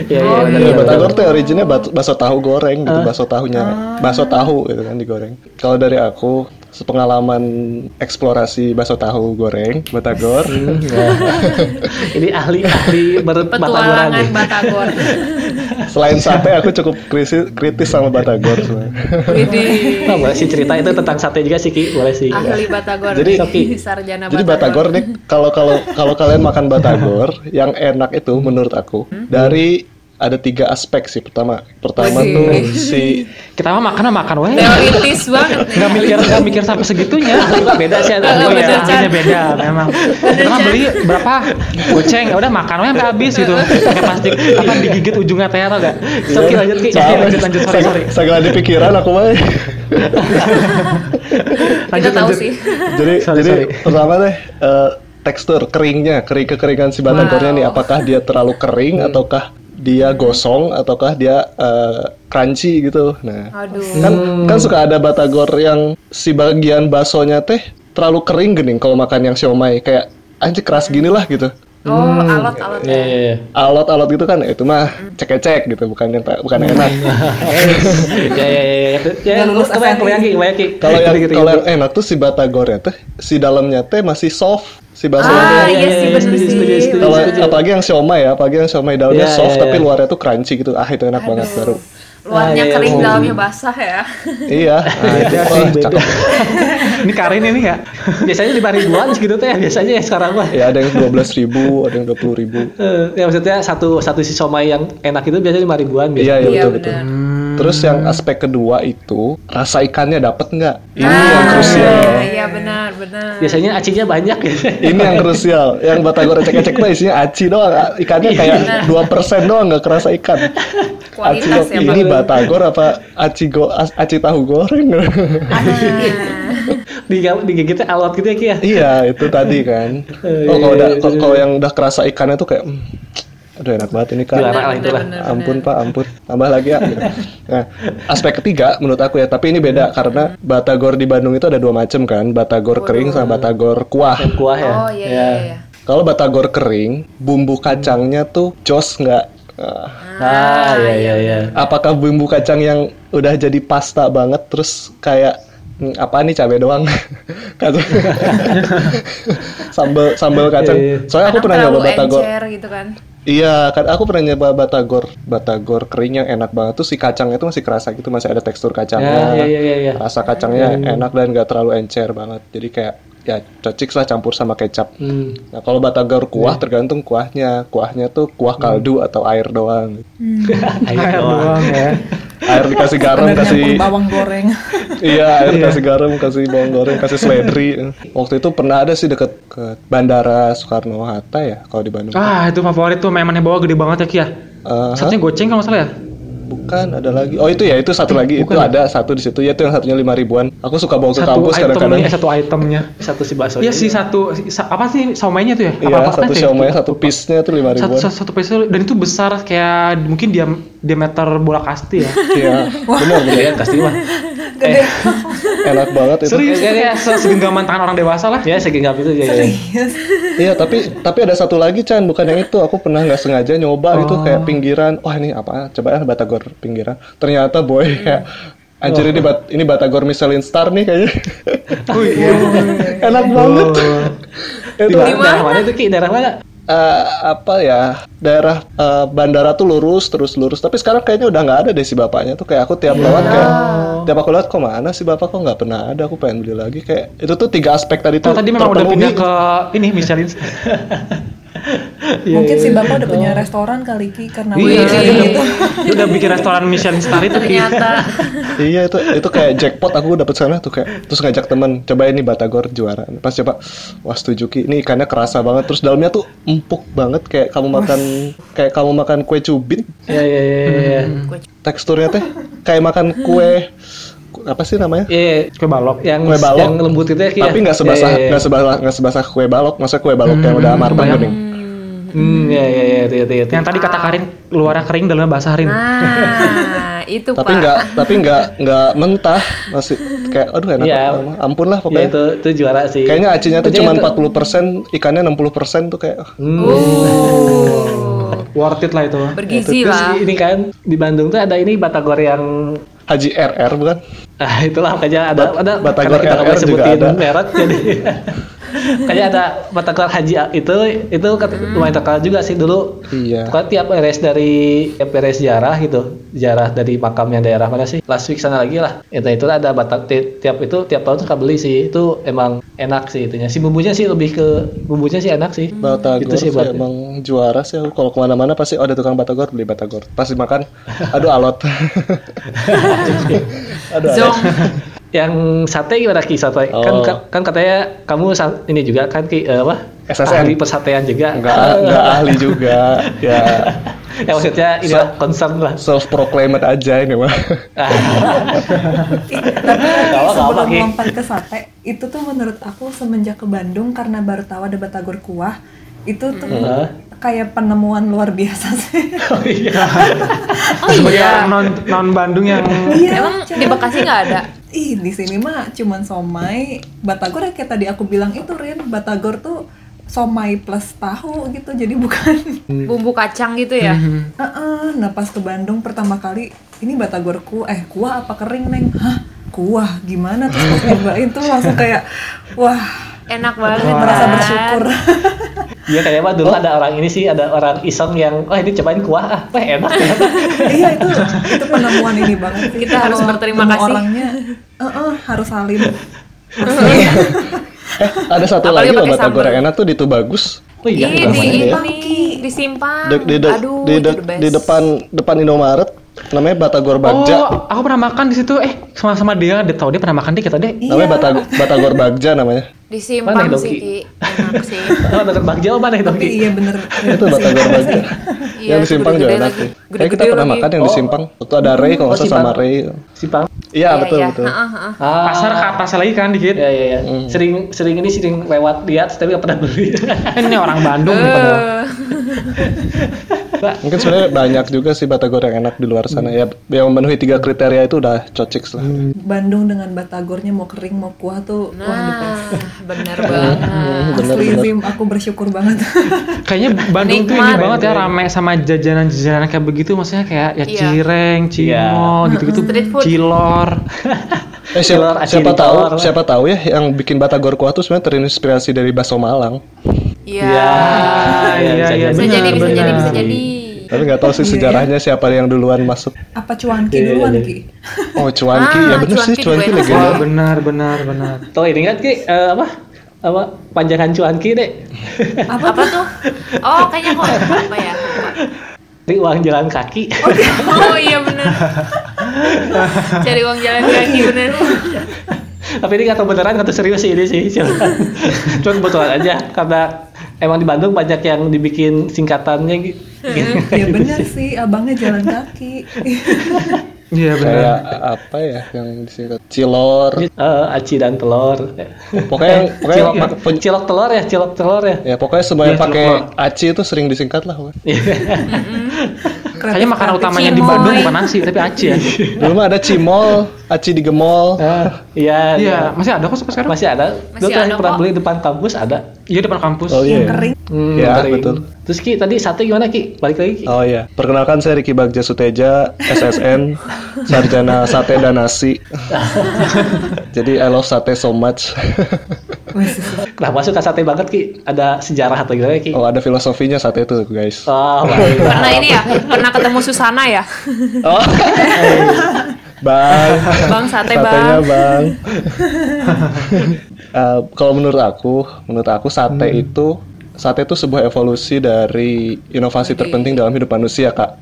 Speaker 1: ya ya
Speaker 3: Oh,
Speaker 1: benar,
Speaker 5: Iya,
Speaker 1: benar,
Speaker 5: batagor
Speaker 1: benar.
Speaker 5: tuh originnya bat- bakso tahu goreng gitu, bakso tahunya,
Speaker 3: Ah.
Speaker 5: bakso tahu gitu kan digoreng. Kalau dari aku, sepengalaman eksplorasi bakso tahu goreng, batagor.
Speaker 1: Hmm. Iya. ini ahli ahli ber- batagoran
Speaker 3: Petualangan
Speaker 1: nih
Speaker 3: Batagor.
Speaker 5: Selain sate, aku cukup krisis, kritis sama batagor. sebenarnya.
Speaker 3: Widih.
Speaker 1: Oh, boleh sih cerita itu tentang sate juga sih Ki boleh sih Iya.
Speaker 3: Ahli Batagor.
Speaker 5: Jadi-
Speaker 1: Nah,
Speaker 3: sarjana
Speaker 5: Jadi batagor nih, kalau kalau kalau kalian makan batagor, yang enak itu menurut aku
Speaker 1: Hmm?
Speaker 5: dari ada tiga aspek sih. Pertama, pertama
Speaker 3: Wih.
Speaker 5: tuh si
Speaker 2: Kita mah makan mah makan weh.
Speaker 3: Teoritis banget nih.
Speaker 2: Nggak mikir nggak mikir sampai segitunya.
Speaker 1: Iya, beda sih
Speaker 2: Iya,
Speaker 1: ada
Speaker 3: Bener,
Speaker 1: ahlinya.
Speaker 3: Chan.
Speaker 2: Harganya beda memang. Kita beli berapa? Goceng, ya udah makan weh sampai habis gitu. Pakai plastik, apa digigit ujungnya teh atau enggak?
Speaker 1: Soki
Speaker 5: Iya,
Speaker 1: lanjut Ki
Speaker 2: iya,
Speaker 5: Soalnya-
Speaker 1: lanjut lanjut sorry
Speaker 5: sag-
Speaker 1: sorry
Speaker 5: segala di pikiran aku mah.
Speaker 3: Kita tahu sih.
Speaker 5: jadi
Speaker 1: Sorry,
Speaker 5: jadi
Speaker 1: sorry.
Speaker 5: pertama deh eh, tekstur keringnya kering kekeringan si batagornya
Speaker 3: Wow.
Speaker 5: nih apakah dia terlalu kering
Speaker 1: Hmm.
Speaker 5: ataukah dia gosong ataukah dia eh, crunchy gitu
Speaker 1: Ah,
Speaker 5: nah
Speaker 3: Aduh.
Speaker 5: kan
Speaker 1: Hmm.
Speaker 5: kan suka ada batagor yang si bagian baksonya teh terlalu kering gening kalau makan yang siomay kayak anjir keras gini lah gitu
Speaker 3: Oh, alot-alot.
Speaker 1: ya ya ya.
Speaker 5: alot-alot gitu kan itu mah cek-cek gitu bukan yang bukan yang enak
Speaker 1: Hmm. Ah, eh. ya ya
Speaker 5: Iya,
Speaker 1: ya ya ya
Speaker 4: Nggak lulus
Speaker 1: kebayang
Speaker 4: SNI.
Speaker 1: kebayang Ki kebayang Ki
Speaker 5: kalau yang
Speaker 1: Gitu, gitu,
Speaker 5: kalau yang
Speaker 1: gitu.
Speaker 5: enak tuh si batagornya teh si dalamnya teh masih soft si baksonya teh
Speaker 3: Ah, iya
Speaker 1: Iya,
Speaker 3: sih
Speaker 1: iya,
Speaker 3: bener
Speaker 1: setuju, setuju,
Speaker 3: sih.
Speaker 1: setuju.
Speaker 5: Kalau
Speaker 3: Bener.
Speaker 5: apalagi yang siomay ya, apalagi yang siomay daunnya
Speaker 1: Iya,
Speaker 5: soft
Speaker 1: iya,
Speaker 5: tapi
Speaker 1: iya.
Speaker 5: luarnya tuh crunchy gitu. Ah, itu enak banget baru.
Speaker 1: Ah,
Speaker 3: Luarnya
Speaker 1: iya,
Speaker 3: kering,
Speaker 1: iya.
Speaker 3: dalamnya basah ya.
Speaker 5: iya, ah, itu
Speaker 2: Beda
Speaker 5: wah,
Speaker 2: sih, beda.
Speaker 5: cakep.
Speaker 2: Ini Karin ini enggak?
Speaker 1: biasanya lima ribuan segitu tuh ya biasanya ya sekarang mah
Speaker 5: Ya ada yang 12.000 ada yang 20.000
Speaker 1: Eh, ya maksudnya satu satu si somai yang enak itu biasanya lima ribuan
Speaker 5: Iya,
Speaker 1: biasanya.
Speaker 5: iya
Speaker 3: Iya,
Speaker 5: betul betul.
Speaker 3: benar.
Speaker 5: Terus yang aspek kedua itu rasa ikannya dapat nggak? Ini yang
Speaker 3: Ah,
Speaker 5: krusial.
Speaker 3: Iya, benar, benar.
Speaker 1: Biasanya acinya banyak ya.
Speaker 5: Ini yang krusial. Yang batagor ecek-ecek tuh isinya aci doang.
Speaker 3: Iya.
Speaker 5: Ikannya kayak 2% doang nggak kerasa ikan. Aci
Speaker 3: Kualitas
Speaker 5: doang.
Speaker 3: ya,
Speaker 5: ini batagor apa aci go aci tahu goreng?
Speaker 1: Diga- Digigitnya alot gitu ya Ki ya.
Speaker 5: Iya itu tadi kan.
Speaker 1: Eh,
Speaker 5: Oh kalau
Speaker 1: iya,
Speaker 5: udah
Speaker 1: iya,
Speaker 5: kalau
Speaker 1: iya.
Speaker 5: kalau yang udah kerasa ikannya tuh kayak, "Hmm, aduh enak banget ini kan.
Speaker 1: Dilarang lah itulah.
Speaker 5: Ampun pak, ampun. Tambah lagi ya. gitu. Nah, aspek ketiga menurut aku ya, tapi ini
Speaker 1: Hmm.
Speaker 5: beda karena batagor di Bandung itu ada dua macam kan, batagor kering sama batagor kuah.
Speaker 1: Yang kuah ya.
Speaker 3: Oh, iya, iya, iya.
Speaker 5: Kalau batagor kering, bumbu kacangnya tuh jos nggak? Eh,
Speaker 1: Ah, iya iya iya.
Speaker 5: Apakah bumbu kacang yang udah jadi pasta banget terus kayak "Hmm, apa nih cabai doang Kacang. sambal
Speaker 1: Iya,
Speaker 5: sambal kacang soalnya aku
Speaker 3: Kadang
Speaker 5: pernah nyoba
Speaker 3: terlalu
Speaker 5: batagor
Speaker 3: encer gitu kan.
Speaker 5: iya kan aku pernah nyoba batagor batagor kering yang enak banget tuh si kacangnya tuh masih kerasa gitu masih ada tekstur kacangnya
Speaker 1: Ya, iya, iya, iya.
Speaker 5: rasa kacangnya enak dan gak terlalu encer banget jadi kayak ya cocik lah campur sama kecap
Speaker 1: Hmm.
Speaker 5: Nah kalau batagor kuah
Speaker 2: Iya.
Speaker 5: tergantung kuahnya, kuahnya tuh kuah kaldu atau air doang.
Speaker 1: Air doang.
Speaker 2: Hmm. Doang ya.
Speaker 5: Air dikasih garam,
Speaker 4: Dan
Speaker 5: kasih
Speaker 4: nyampur bawang goreng.
Speaker 5: Iya, air kasih garam, kasih bawang goreng, kasih seledri. Waktu itu pernah ada sih deket ke Bandara Soekarno Hatta ya, kalau di Bandung.
Speaker 2: Ah, itu favorit tuh memannya bawa gede banget ya Ki ya.
Speaker 5: Eh,
Speaker 2: Satunya Eh, goceng kalau nggak salah ya.
Speaker 5: bukan ada lagi. Oh itu ya, itu satu lagi. itu ada satu di situ. Ya itu yang satunya lima ribuan. Aku suka bawa ke
Speaker 2: Satu
Speaker 5: kampus
Speaker 2: item
Speaker 5: kadang-kadang.
Speaker 2: nih, eh, satu itemnya.
Speaker 1: Satu si bakso.
Speaker 2: Iya sih satu si- sa- apa sih saumainya tuh ya?
Speaker 5: Iya,
Speaker 2: Apa-apa
Speaker 5: satu
Speaker 2: kan sih?
Speaker 5: siomay, satu piece-nya tuh lima
Speaker 2: satu
Speaker 5: ribuan.
Speaker 2: satu, satu peso dan itu besar kayak mungkin dia diameter bola kasti ya.
Speaker 5: Iya, benar benar.
Speaker 1: Iya, pasti mah.
Speaker 4: Gede.
Speaker 5: enak banget itu
Speaker 2: Ya, ya, se- segenggaman tangan orang dewasa lah.
Speaker 1: ya segenggam itu ya, ya.
Speaker 4: Serius.
Speaker 5: Iya tapi tapi ada satu lagi Chan bukan yang itu aku pernah nggak sengaja nyoba
Speaker 2: Oh.
Speaker 5: gitu kayak pinggiran wah ini apa coba ya batagor pinggiran ternyata boy
Speaker 2: Hmm.
Speaker 5: kayak anjir ini bat ini batagor Michelin star nih kayaknya
Speaker 2: Oh, iya.
Speaker 5: enak banget
Speaker 1: Di
Speaker 5: itu
Speaker 1: daerah mana itu ki daerah mana
Speaker 5: eh, apa ya daerah eh, bandara tuh lurus terus lurus tapi sekarang kayaknya udah nggak ada deh si bapaknya tuh kayak aku tiap
Speaker 2: Iya.
Speaker 5: lewat kayak tiap aku lewat kok mana si bapak kok nggak pernah ada aku pengen beli lagi kayak itu tuh tiga aspek tadi tuh
Speaker 2: Tuh, tadi memang udah
Speaker 5: terpenuhi.
Speaker 2: pindah ke ini Michelin.
Speaker 4: Mungkin si bapak udah punya restoran kali Ki karena
Speaker 2: Iya,
Speaker 4: udah-
Speaker 2: dia udah, dia udah bikin restoran Michelin star itu. Ki.
Speaker 3: gitu? ternyata
Speaker 5: iya itu itu kayak jackpot aku dapet sana tuh kayak terus ngajak temen coba ini batagor juara pas coba wah setuju ki ini ikannya kerasa banget terus dalamnya tuh empuk banget kayak kamu makan kayak kamu makan kue cubit
Speaker 1: ya ya ya ya, ya
Speaker 5: teksturnya teh kayak makan kue ku- apa sih namanya
Speaker 1: ya ya.
Speaker 2: Kue balok.
Speaker 1: yang
Speaker 5: Kue balok.
Speaker 1: yang lembut itu ya ki ya?
Speaker 5: tapi nggak sebasah
Speaker 1: Ya,
Speaker 5: nggak
Speaker 1: ya, ya.
Speaker 5: sebasah nggak sebasah kue balok masa kue balok kayak udah martabak kuning
Speaker 1: hmm ya ya ya itu itu itu
Speaker 2: Yang tadi kata Karin luarnya kering dalamnya basahin.
Speaker 3: Ah. nah itu pak
Speaker 5: tapi nggak tapi nggak nggak mentah masih kayak aduh enak
Speaker 1: Iya.
Speaker 5: banget. ampun lah
Speaker 1: ya
Speaker 5: pokoknya
Speaker 1: itu itu juara sih
Speaker 5: kayaknya acinya tuh
Speaker 1: Pokoknya
Speaker 5: cuma
Speaker 1: itu-
Speaker 5: 40% ikannya 60% tuh kayak ah,
Speaker 3: Uh,
Speaker 2: Worth it lah itu.
Speaker 3: bergizi
Speaker 1: Terus
Speaker 3: lah
Speaker 1: ini kan di Bandung tuh ada ini batagor yang
Speaker 5: Haji RR bukan?
Speaker 1: ah itulah makanya ada
Speaker 5: Bat-
Speaker 1: ada
Speaker 5: Batagor
Speaker 1: karena kita nggak boleh
Speaker 5: RR juga
Speaker 1: sebutin
Speaker 5: ada.
Speaker 1: merek jadi kayaknya ada batagor haji itu itu kat- lumayan terkenal juga sih dulu
Speaker 5: Iya.
Speaker 1: Pokoknya tiap beres dari tiap beres ziarah gitu ziarah dari makamnya daerah mana sih last week sana lagi lah itu itu ada batak ti- tiap itu tiap tahun suka beli sih itu emang enak sih itunya si bumbunya sih lebih ke bumbunya sih enak sih
Speaker 3: Hmm.
Speaker 5: Batagor
Speaker 1: Itu sih
Speaker 5: sih
Speaker 1: bat-
Speaker 5: emang juara sih aku kalau kemana-mana pasti oh, ada tukang Batagor beli Batagor pasti makan aduh alot aduh alot
Speaker 3: zong
Speaker 1: yang sate gimana ki sate kan
Speaker 5: Oh.
Speaker 1: kan katanya kamu sa- ini juga kan ki eh, apa
Speaker 5: SSN.
Speaker 1: ahli persatean juga
Speaker 5: nggak nggak ahli juga ya
Speaker 1: ya maksudnya ini lah, concern lah
Speaker 5: self proclaimed aja ini mah
Speaker 4: Tapi
Speaker 1: apa,
Speaker 4: sebelum
Speaker 1: Ki.
Speaker 4: lompat ke sate, itu tuh menurut aku semenjak ke Bandung karena baru tahu ada batagor kuah, itu tuh
Speaker 1: Heeh.
Speaker 4: kayak penemuan luar biasa sih.
Speaker 1: oh iya
Speaker 3: oh iya
Speaker 2: non non Bandung yang
Speaker 3: emang
Speaker 4: Chan.
Speaker 3: di Bekasi nggak ada
Speaker 4: Ih, di sini mah cuman somai. Batagor ya kayak tadi aku bilang itu, Rin. Batagor tuh somai plus tahu gitu. Jadi bukan
Speaker 3: bumbu kacang gitu ya
Speaker 5: Mhm.
Speaker 4: Heeh, nah pas ke Bandung pertama kali ini batagor ku eh kuah apa kering neng? Hah, kuah gimana terus pas nyobain tuh langsung kayak wah
Speaker 3: enak banget
Speaker 4: merasa
Speaker 3: kan?
Speaker 4: bersyukur.
Speaker 5: Oh,
Speaker 1: Iya kayak apa dulu ada orang ini sih ada orang iseng yang wah ini cobain kuah ah wah enak ternyata."
Speaker 4: iya itu itu penemuan ini banget. sih.
Speaker 3: Kita harus
Speaker 4: Kalau
Speaker 3: berterima
Speaker 4: ketemu
Speaker 3: kasih.
Speaker 4: Orangnya heeh, harus salim.
Speaker 5: eh ada satu
Speaker 3: Apalagi
Speaker 5: lagi loh
Speaker 3: pakai
Speaker 5: Batagor
Speaker 3: sambal.
Speaker 5: yang enak tuh di Tubagus
Speaker 1: oh iya
Speaker 3: Ih, di
Speaker 5: namanya ya.
Speaker 3: ini disimpan
Speaker 5: di, di, de-
Speaker 3: Hmm, aduh
Speaker 5: di,
Speaker 3: itu
Speaker 5: de-
Speaker 3: the best.
Speaker 5: di depan depan Indomaret namanya Batagor Bagja
Speaker 2: Oh, aku pernah makan di situ. Eh, sama sama dia, dia tahu dia pernah makan dikit tadi.
Speaker 4: Iya,
Speaker 5: namanya
Speaker 3: iya.
Speaker 5: Batag- Batagor Bagja namanya
Speaker 3: disimpan
Speaker 1: Mana, Doki?
Speaker 3: sih Ki. enak sih
Speaker 1: oh ada Bang Jawa mana itu
Speaker 4: Tapi
Speaker 1: Ki?
Speaker 4: iya bener.
Speaker 5: itu batagor bagja
Speaker 3: Iya,
Speaker 5: yang di Simpang juga
Speaker 3: gede-gede lagi.
Speaker 5: enak sih kayak kita
Speaker 3: Gede-gede
Speaker 5: pernah
Speaker 3: lagi.
Speaker 5: makan yang
Speaker 1: Oh.
Speaker 5: di Simpang itu ada Ray kalau
Speaker 1: Oh,
Speaker 5: nggak salah sama
Speaker 1: Simpang.
Speaker 5: Ray
Speaker 1: Simpang
Speaker 5: Hmm, iya
Speaker 3: Iya,
Speaker 5: betul
Speaker 3: iya.
Speaker 5: betul
Speaker 3: Heeh, heeh.
Speaker 1: ah,
Speaker 2: Pasar ke pasar lagi kan dikit.
Speaker 3: Eh.
Speaker 1: ya ya ya
Speaker 5: Hmm.
Speaker 1: sering sering ini sering lewat lihat tapi nggak pernah beli
Speaker 2: Eh, Ini orang Bandung nih padahal.
Speaker 5: mungkin sebenarnya banyak juga sih batagor yang enak di luar sana ya yang memenuhi tiga kriteria itu udah cocik lah
Speaker 4: Bandung dengan batagornya mau kering mau kuah tuh wah the
Speaker 3: nah
Speaker 4: best.
Speaker 3: bener banget
Speaker 5: bener
Speaker 4: Asli
Speaker 5: bener
Speaker 4: Zim, aku bersyukur banget.
Speaker 2: Kayaknya Bandung tuh ini
Speaker 3: Nikmat.
Speaker 2: banget ya rame sama jajanan-jajanan kayak begitu maksudnya kayak ya
Speaker 3: Iya.
Speaker 2: cireng, cimol,
Speaker 5: Iya.
Speaker 2: gitu-gitu,
Speaker 3: Street food.
Speaker 2: cilor.
Speaker 5: eh
Speaker 1: Cilor,
Speaker 5: siapa,
Speaker 1: aci
Speaker 5: siapa
Speaker 1: di
Speaker 5: tahu
Speaker 1: telur.
Speaker 5: siapa tahu ya yang bikin batagor kuah tuh sebenarnya terinspirasi dari bakso Malang
Speaker 3: iya
Speaker 2: Ah,
Speaker 1: Iya,
Speaker 2: iya
Speaker 1: Ya, bisa
Speaker 2: iya
Speaker 1: jadi.
Speaker 3: bisa
Speaker 2: benar,
Speaker 3: jadi bisa jadi bisa
Speaker 2: benar.
Speaker 3: jadi
Speaker 5: tapi nggak tahu sih sejarahnya siapa yang duluan masuk
Speaker 4: Apa cuanki
Speaker 5: Iya,
Speaker 4: duluan ki?
Speaker 5: oh cuanki ya
Speaker 3: Ah,
Speaker 5: bener sih
Speaker 3: cuanki
Speaker 5: cuanki
Speaker 3: juga enak.
Speaker 5: legenda
Speaker 2: Wah, Iya, benar benar benar.
Speaker 1: tuh ini kan Ki eh, apa apa panjangan cuan Ki deh
Speaker 4: Apa,
Speaker 3: apa tuh
Speaker 4: tuh?
Speaker 3: oh kayaknya kok apa ya Lupa.
Speaker 1: di uang jalan kaki
Speaker 3: oh iya bener cari uang jalan kaki bener
Speaker 1: tapi ini nggak tahu beneran nggak tahu serius sih ini sih silakan cuma kebetulan aja karena emang di Bandung banyak yang dibikin singkatannya gitu
Speaker 2: Hmm,
Speaker 4: Ya bener sih, abangnya jalan kaki.
Speaker 2: Iya benar.
Speaker 5: kayak apa ya yang disingkat cilor
Speaker 1: Eh, aci dan telur Eh,
Speaker 5: pokoknya yang- pokoknya
Speaker 1: cilok,
Speaker 5: mak- pen-
Speaker 1: cilok telur ya cilok telur ya
Speaker 5: Ya pokoknya semua yang
Speaker 2: Iya,
Speaker 5: pakai
Speaker 2: celok.
Speaker 5: aci itu sering disingkat lah. Wan.
Speaker 2: Kayaknya makanan
Speaker 4: Kreatif-kreatif.
Speaker 2: utamanya di
Speaker 3: Cimoy.
Speaker 2: Bandung bukan nasi tapi aci ya.
Speaker 5: Dulu mah ada cimol, aci digemol.
Speaker 1: Eh, iya, iya.
Speaker 2: Iya, masih ada kok sampai sekarang.
Speaker 1: Masih ada.
Speaker 3: Masih
Speaker 1: Dulu terakhir
Speaker 3: ada
Speaker 1: pernah
Speaker 3: kok.
Speaker 1: beli depan kampus ada.
Speaker 2: Iya depan kampus.
Speaker 5: Oh
Speaker 4: yang
Speaker 5: iya.
Speaker 4: kering
Speaker 1: Hmm,
Speaker 5: Iya,
Speaker 1: kering.
Speaker 5: betul.
Speaker 1: Terus Ki, tadi sate gimana Ki? Balik lagi Ki.
Speaker 5: Oh iya, perkenalkan saya Riki Bagja Suteja, SSN, sarjana sate dan nasi. Jadi I love sate so much.
Speaker 1: Kenapa suka sate banget Ki? Ada sejarah atau gimana Ki?
Speaker 5: Oh ada filosofinya sate itu guys.
Speaker 1: Oh,
Speaker 3: Karena ini ya, pernah ketemu Susana ya.
Speaker 5: Oh. bang,
Speaker 3: Bang sate
Speaker 5: satenya
Speaker 3: bang.
Speaker 5: bang. Eh, kalau menurut aku, menurut aku sate
Speaker 2: Hmm.
Speaker 5: itu sate itu sebuah evolusi dari inovasi terpenting dalam hidup manusia kak.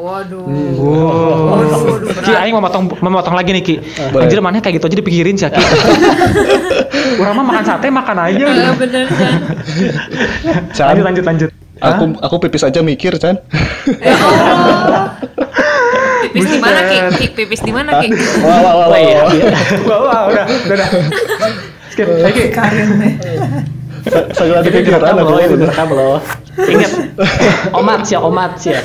Speaker 3: Waduh.
Speaker 2: Wow.
Speaker 3: Waduh, waduh,
Speaker 2: Oh. Ki,
Speaker 3: berat.
Speaker 2: Aing mau motong, mau motong lagi nih Ki.
Speaker 5: Boleh.
Speaker 2: Anjir mana kayak gitu aja dipikirin sih Ki. Orang mah makan sate makan aja. udah.
Speaker 3: Eh, Bener kan?
Speaker 5: Chan,
Speaker 2: Lanjut lanjut lanjut.
Speaker 5: aku aku pipis aja mikir Chan.
Speaker 3: Ya Allah. Pipis di mana Ki? Ki, Pipis di mana Ki?
Speaker 1: Oh,
Speaker 3: Oh,
Speaker 5: Wah wah wah. wah,
Speaker 1: iya.
Speaker 3: iya.
Speaker 2: Wah,
Speaker 5: wah.
Speaker 2: wah, udah, udah, udah. Skip. Ayo, Ki.
Speaker 4: karen deh.
Speaker 5: Sa-
Speaker 1: Ini
Speaker 5: Segala dipikiran
Speaker 1: direkam
Speaker 5: aku
Speaker 1: loh, ini
Speaker 5: ini.
Speaker 1: direkam loh. Ingat, omat ya, omat ya.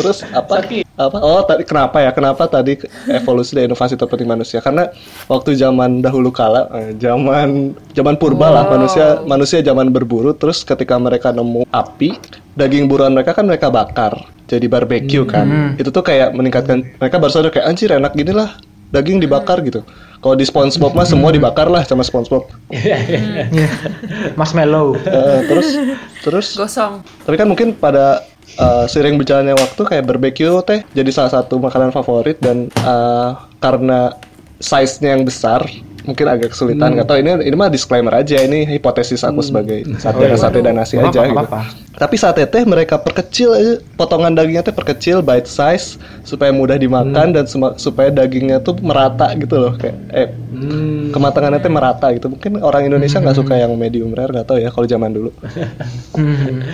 Speaker 5: Terus apa?
Speaker 1: Saki.
Speaker 5: Apa? Oh, tadi kenapa ya? Kenapa tadi ke- evolusi dan inovasi terpenting manusia? Karena waktu zaman dahulu kala, eh, zaman zaman purba lah, manusia manusia zaman berburu. Terus ketika mereka nemu api, daging buruan mereka kan mereka bakar jadi barbeque kan.
Speaker 1: Hmm.
Speaker 5: Itu tuh kayak meningkatkan mereka baru sadar kayak anjir enak gini lah daging dibakar gitu. Kalau di SpongeBob mah semua dibakar lah sama SpongeBob.
Speaker 2: Marshmallow.
Speaker 5: Eh, terus terus
Speaker 3: Gosong.
Speaker 5: tapi kan mungkin pada uh, sering berjalannya waktu kayak barbeque teh jadi salah satu makanan favorit dan uh, karena size-nya yang besar mungkin agak kesulitan
Speaker 2: Hmm.
Speaker 5: nggak tahu ini ini mah disclaimer aja ini hipotesis aku sebagai sate sate dan nasi
Speaker 2: Nggak
Speaker 5: aja
Speaker 2: Hmm. Oh, iya. apa-apa,
Speaker 5: gitu.
Speaker 2: nggak apa-apa.
Speaker 5: Tapi sate teh mereka perkecil aja potongan dagingnya teh perkecil bite size supaya mudah
Speaker 2: Hmm.
Speaker 5: dimakan dan sema- supaya dagingnya tuh merata gitu loh kayak eh,
Speaker 1: Hmm.
Speaker 2: Hmm.
Speaker 5: kematangannya teh merata gitu. Mungkin orang Indonesia nggak suka yang medium rare nggak tahu ya kalau zaman dulu.
Speaker 2: Hmm.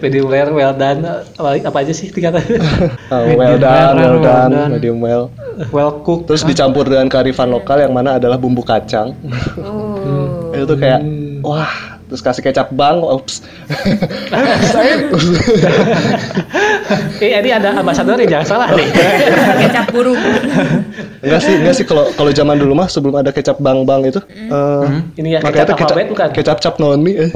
Speaker 1: Medium rare, well done, apa, apa aja sih tingkatan?
Speaker 5: Uh,
Speaker 2: Medium
Speaker 5: well done,
Speaker 2: rare,
Speaker 5: well
Speaker 2: well
Speaker 5: done,
Speaker 2: done.
Speaker 5: medium well.
Speaker 2: Well cooked.
Speaker 5: Terus dicampur dengan kearifan lokal yang mana adalah bumbu kacang.
Speaker 3: Uh.
Speaker 5: Itu tuh kayak wah, terus kasih kecap bang, ups.
Speaker 1: Eh, ini ada ambasador ya, jangan salah nih.
Speaker 3: Kecap burung.
Speaker 5: Enggak sih, enggak sih kalau kalau zaman dulu mah sebelum ada kecap bang bang itu. eh,
Speaker 1: Ini ya,
Speaker 5: makanya
Speaker 1: kecap
Speaker 5: tuh
Speaker 1: alfabet bukan?
Speaker 5: Kecap cap noni. eh.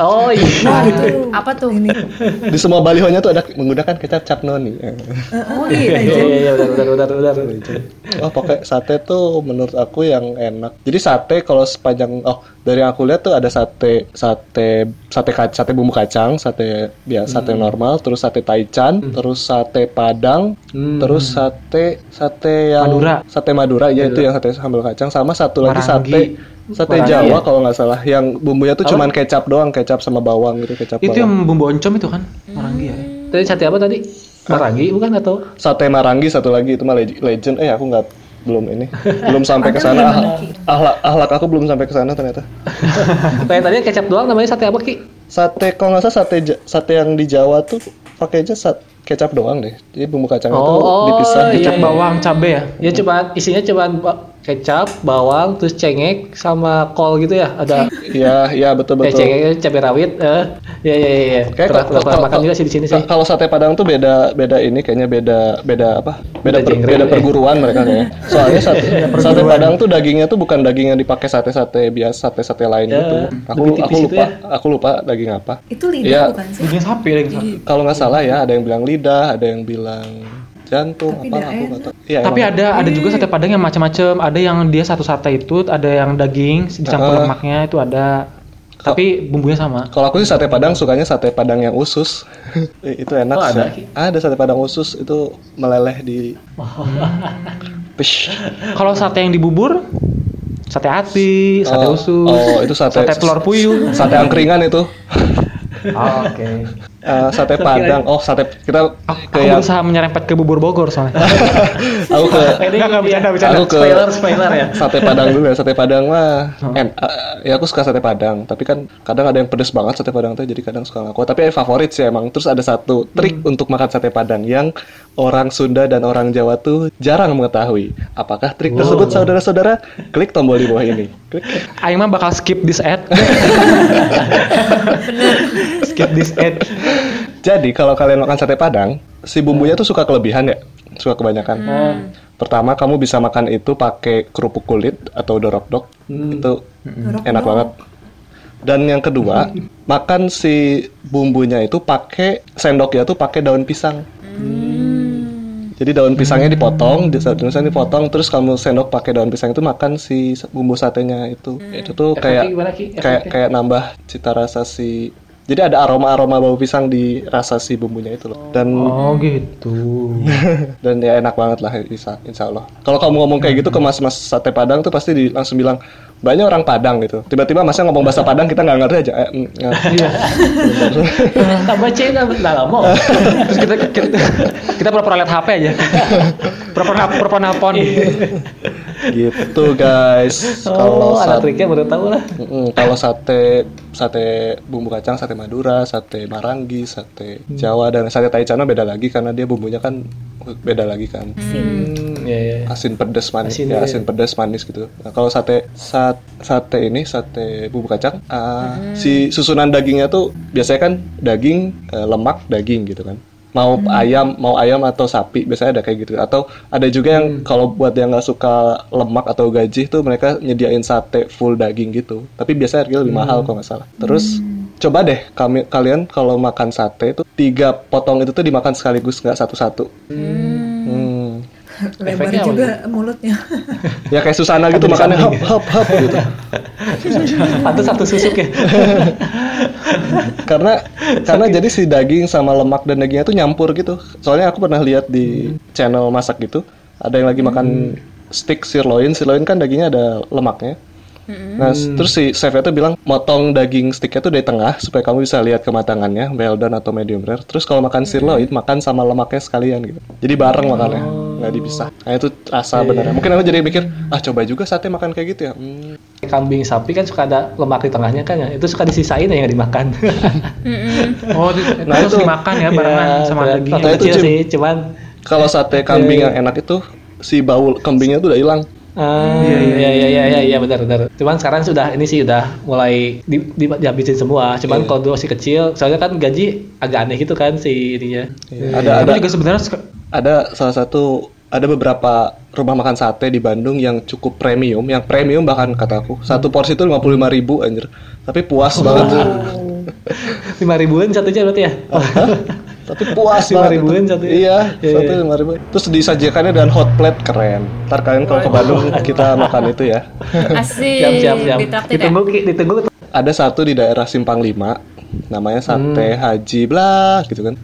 Speaker 1: Oh iya.
Speaker 3: Apa tuh?
Speaker 5: Di semua balihonya tuh ada menggunakan kecap cap noni. Eh.
Speaker 3: Oh gitu.
Speaker 1: Iya, iya, iya, benar, benar, benar, benar.
Speaker 5: Oh, pakai sate tuh menurut aku yang enak. Jadi sate kalau sepanjang oh dari yang aku lihat tuh ada sate sate sate ka- sate bumbu kacang, sate
Speaker 2: Hmm.
Speaker 5: biasa, sate normal, terus sate taichan, terus sate padang, terus sate sate yang
Speaker 2: Hmm. Madura.
Speaker 5: sate Madura, ya itu yang sate sambal kacang sama satu lagi sate
Speaker 2: Marangi.
Speaker 5: sate
Speaker 2: Marangi,
Speaker 5: Jawa
Speaker 2: ya?
Speaker 5: kalau nggak salah yang bumbunya tuh cuman kecap doang, kecap sama bawang gitu, kecap
Speaker 2: Itu
Speaker 5: bawang.
Speaker 2: yang bumbu oncom itu kan? Orang dia.
Speaker 1: Tadi sate apa tadi? Marangi bukan atau?
Speaker 5: Sate Marangi satu lagi itu mah leg- legend. Eh aku nggak belum ini belum sampai ke sana
Speaker 4: Padahal
Speaker 5: Ah- ahlak ahlak aku belum sampai ke sana ternyata
Speaker 1: Kayak tadi kecap doang namanya sate apa Ki?
Speaker 5: sate kalau nggak salah sate Ja- sate yang di Jawa tuh pakai aja sat- kecap doang deh jadi bumbu kacang itu
Speaker 1: Oh, iya,
Speaker 5: dipisah
Speaker 2: Kecap
Speaker 1: iya.
Speaker 2: bawang cabe ya?
Speaker 1: Ya cuma isinya cuma kecap, bawang, terus cengek sama kol gitu ya. Ada
Speaker 5: iya iya betul
Speaker 1: eh,
Speaker 5: betul
Speaker 1: cengeknya cabai rawit. Eh, ya ya ya. ya.
Speaker 5: Kayak
Speaker 1: Pernah
Speaker 5: kalau-
Speaker 1: pernah
Speaker 5: kalau-
Speaker 1: makan juga sih di sini sih.
Speaker 5: Ka- kalau sate Padang tuh beda beda ini kayaknya beda beda apa
Speaker 1: Beda
Speaker 5: beda per-
Speaker 1: genre,
Speaker 5: beda
Speaker 1: eh.
Speaker 5: perguruan mereka kayaknya soalnya sate, sate Padang tuh dagingnya tuh bukan daging yang dipakai sate sate biasa sate sate lain
Speaker 1: Ya,
Speaker 5: gitu aku
Speaker 1: lebih
Speaker 5: aku
Speaker 1: tipis itu
Speaker 5: lupa
Speaker 1: ya.
Speaker 5: aku lupa daging apa
Speaker 4: itu lidah
Speaker 5: Iya.
Speaker 4: bukan sih
Speaker 2: Bikin sapi lagi sapi.
Speaker 5: kalau nggak salah ya ada yang bilang lidah ada yang bilang jantung apa aku nggak tahu Iya,
Speaker 2: Tapi
Speaker 5: emang.
Speaker 2: ada ada juga sate padang yang macam-macam. Ada yang dia satu sate itu, ada yang daging dicampur
Speaker 5: Ah.
Speaker 2: lemaknya itu ada.
Speaker 5: Kok-
Speaker 2: Tapi bumbunya sama.
Speaker 5: Kalau aku sih sate Padang sukanya sate Padang yang usus. Eh, itu enak
Speaker 1: Oh, ada?
Speaker 5: sih. Ada sate Padang usus itu meleleh di Pish.
Speaker 2: Kalau sate yang dibubur, sate hati, sate
Speaker 5: Oh,
Speaker 2: usus,
Speaker 5: oh, itu sate-
Speaker 2: telur puyuh. Ah,
Speaker 5: Sate angkringan itu.
Speaker 2: Oke.
Speaker 5: Eh, sate Padang. Oh, sate kita
Speaker 2: Aku
Speaker 5: ke yang
Speaker 2: berusaha menyerempet ke bubur Bogor soalnya. Iya.
Speaker 5: aku ke
Speaker 1: Ini bercanda
Speaker 5: aku ke Iya.
Speaker 1: Spoiler spoiler ya.
Speaker 5: sate Padang dulu ya. Sate Padang mah en- eh, ya aku suka sate Padang, tapi kan kadang ada yang pedes banget sate Padang tuh jadi kadang suka ngaku. Tapi yang favorit sih emang. Terus ada satu trik untuk makan sate Padang yang orang Sunda dan orang Jawa tuh jarang mengetahui. Apakah trik tersebut saudara-saudara? Klik tombol di bawah ini. Klik.
Speaker 2: Aing mah bakal skip this ad. skip this ad
Speaker 5: Jadi kalau kalian makan sate padang, si bumbunya tuh suka kelebihan ya, suka kebanyakan. Pertama kamu bisa makan itu pakai kerupuk kulit atau dorok dok, itu enak banget. Dan yang kedua, makan si bumbunya itu pakai sendoknya tuh pakai daun pisang. Jadi daun pisangnya dipotong, di daun pisang dipotong, terus kamu sendok pakai daun pisang itu makan si bumbu satenya itu. Itu tuh
Speaker 1: Efeknya
Speaker 5: kayak
Speaker 1: gimana, Ki? Efeknya?
Speaker 5: kayak kayak nambah cita rasa si jadi ada aroma-aroma bau pisang di rasa si bumbunya itu loh. Dan
Speaker 2: oh gitu
Speaker 5: dan ya enak banget lah insya, insya Allah. Kalau kamu ngomong kayak gitu
Speaker 1: Hmm.
Speaker 5: ke mas-mas sate Padang tuh pasti di, langsung bilang banyak orang Padang gitu. Tiba-tiba masnya ngomong bahasa Padang kita nggak ngerti aja. Eh, mm, nggak.
Speaker 1: tambah C tambah dalam mau
Speaker 2: terus kita kita, kita pura-pura lihat HP aja pura-pura nap- pura-pura nelpon
Speaker 5: gitu guys.
Speaker 1: Iya. oh
Speaker 5: Kalau
Speaker 1: ada
Speaker 5: sate
Speaker 1: triknya baru tahu lah
Speaker 5: Mm-mm. kalau sate sate bumbu kacang, sate Madura, sate Marangi, sate
Speaker 1: Hmm.
Speaker 5: Jawa dan sate Taichan beda lagi karena dia bumbunya kan beda lagi kan.
Speaker 1: hmm, ya, ya.
Speaker 5: asin pedas manis
Speaker 1: Asin,
Speaker 5: ya,
Speaker 1: iya.
Speaker 5: asin pedas manis gitu nah, kalau sate sat, sate ini sate bumbu kacang ah, si susunan dagingnya tuh biasanya kan daging eh, lemak daging gitu kan mau ayam mau ayam atau sapi biasanya ada kayak gitu atau ada juga
Speaker 1: Mm.
Speaker 5: yang kalau buat yang nggak suka lemak atau gaji tuh mereka nyediain sate full daging gitu tapi biasanya
Speaker 1: Mm.
Speaker 5: harganya lebih mahal kalau nggak salah terus coba deh kami kalian kalau makan sate itu tiga potong itu tuh dimakan sekaligus nggak satu-satu
Speaker 1: Mm.
Speaker 5: Hmm
Speaker 4: lebar
Speaker 1: Efeknya apa
Speaker 4: juga mulutnya
Speaker 5: ya kayak Susana gitu makannya hop hop hop gitu
Speaker 1: pantas satu susuk ya
Speaker 5: karena karena jadi si daging sama lemak dan dagingnya tuh nyampur gitu soalnya aku pernah lihat di channel masak gitu ada yang lagi makan steak sirloin sirloin kan dagingnya ada lemaknya nah s- terus si chefnya tuh bilang motong daging steaknya tuh dari tengah supaya kamu bisa lihat kematangannya well done atau medium rare terus kalau makan sirloin makan sama lemaknya sekalian gitu jadi bareng makannya nggak dipisah nah itu rasa beneran mungkin aku jadi mikir ah coba juga sate makan kayak gitu ya Hmm.
Speaker 1: kambing sapi kan suka ada lemak di tengahnya kan ya itu suka disisain ya nggak dimakan
Speaker 2: oh itu, itu
Speaker 5: Nah,
Speaker 2: terus
Speaker 5: itu.
Speaker 2: dimakan ya barengan
Speaker 1: Ya,
Speaker 2: sama
Speaker 1: ternyata
Speaker 2: dagingnya
Speaker 5: Nah, itu,
Speaker 1: kecil
Speaker 5: Jim.
Speaker 1: sih cuman
Speaker 5: Kalau
Speaker 1: Eh,
Speaker 5: sate kambing yang enak itu si bau kambingnya tuh udah hilang.
Speaker 1: ah, iya iya iya iya iya iya, benar benar cuman sekarang sudah ini sih udah mulai di, di, dihabisin semua cuman kalau dulu masih kecil soalnya kan gaji agak aneh gitu kan si ininya
Speaker 5: Ada
Speaker 2: tapi
Speaker 5: ada
Speaker 2: juga sebenarnya suka-
Speaker 5: ada salah satu ada beberapa rumah makan sate di Bandung yang cukup premium, yang premium bahkan kataku satu
Speaker 1: Hmm.
Speaker 5: porsi itu 55.000 ribu anjir. Tapi puas
Speaker 1: Oh.
Speaker 5: banget.
Speaker 1: lima ribuan satunya berarti ya
Speaker 5: Hah? Tapi puas
Speaker 1: Lima
Speaker 5: banget.
Speaker 1: ribuan
Speaker 5: itu.
Speaker 1: satu ya?
Speaker 5: Iya,
Speaker 1: Iya,
Speaker 5: satu
Speaker 1: iya.
Speaker 5: lima ribu. Terus disajikannya dengan hot plate keren. Ntar kalian kalau ke Bandung kita makan itu ya.
Speaker 1: siap
Speaker 3: Asik,
Speaker 1: siap siap
Speaker 3: ditraktir ya?
Speaker 1: ditunggu Ki, ditunggu
Speaker 5: ada satu di daerah Simpang 5 namanya sate Haji blah gitu kan.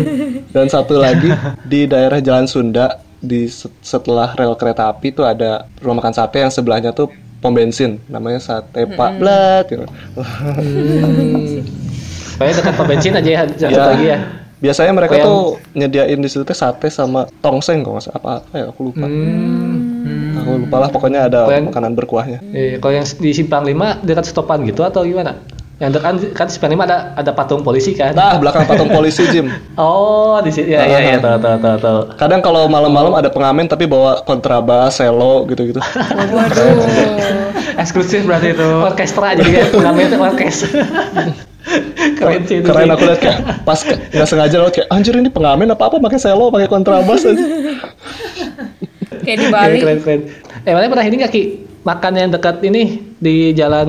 Speaker 5: Dan satu lagi di daerah Jalan Sunda di se- setelah rel kereta api tuh ada rumah makan sate yang sebelahnya tuh pom bensin namanya sate Pak Blah gitu.
Speaker 1: Pokoknya dekat pom bensin aja ya satu
Speaker 5: Ya,
Speaker 1: lagi ya
Speaker 5: Biasanya mereka
Speaker 1: Kayak-
Speaker 5: tuh nyediain di situ tuh sate sama tongseng kok apa apa ya aku lupa. Aku lupa lah pokoknya ada
Speaker 1: Kayak-
Speaker 5: makanan berkuahnya.
Speaker 1: Iya, kalau yang di simpang 5 dekat stopan gitu atau gimana? Yang dekat kan simpang 5 ada ada patung polisi kan?
Speaker 5: Nah, belakang patung polisi Jim.
Speaker 1: Oh, di sini ya ya ya tahu tahu tahu tahu.
Speaker 5: Kadang kalau malam-malam ada pengamen tapi bawa kontrabas, selo gitu-gitu.
Speaker 2: eksklusif berarti itu
Speaker 1: Orkestra jadi kan namanya itu orkes. Keren sih itu. sih.
Speaker 5: keren aku lihat kayak pas ke- nggak sengaja lewat kayak anjir ini pengamen apa apa pakai selo pakai kontrabas aja
Speaker 3: Kayak di
Speaker 1: Iya,
Speaker 3: Bali.
Speaker 1: keren keren. Eh, mana pernah ini nggak Ki? Makan yang dekat ini di jalan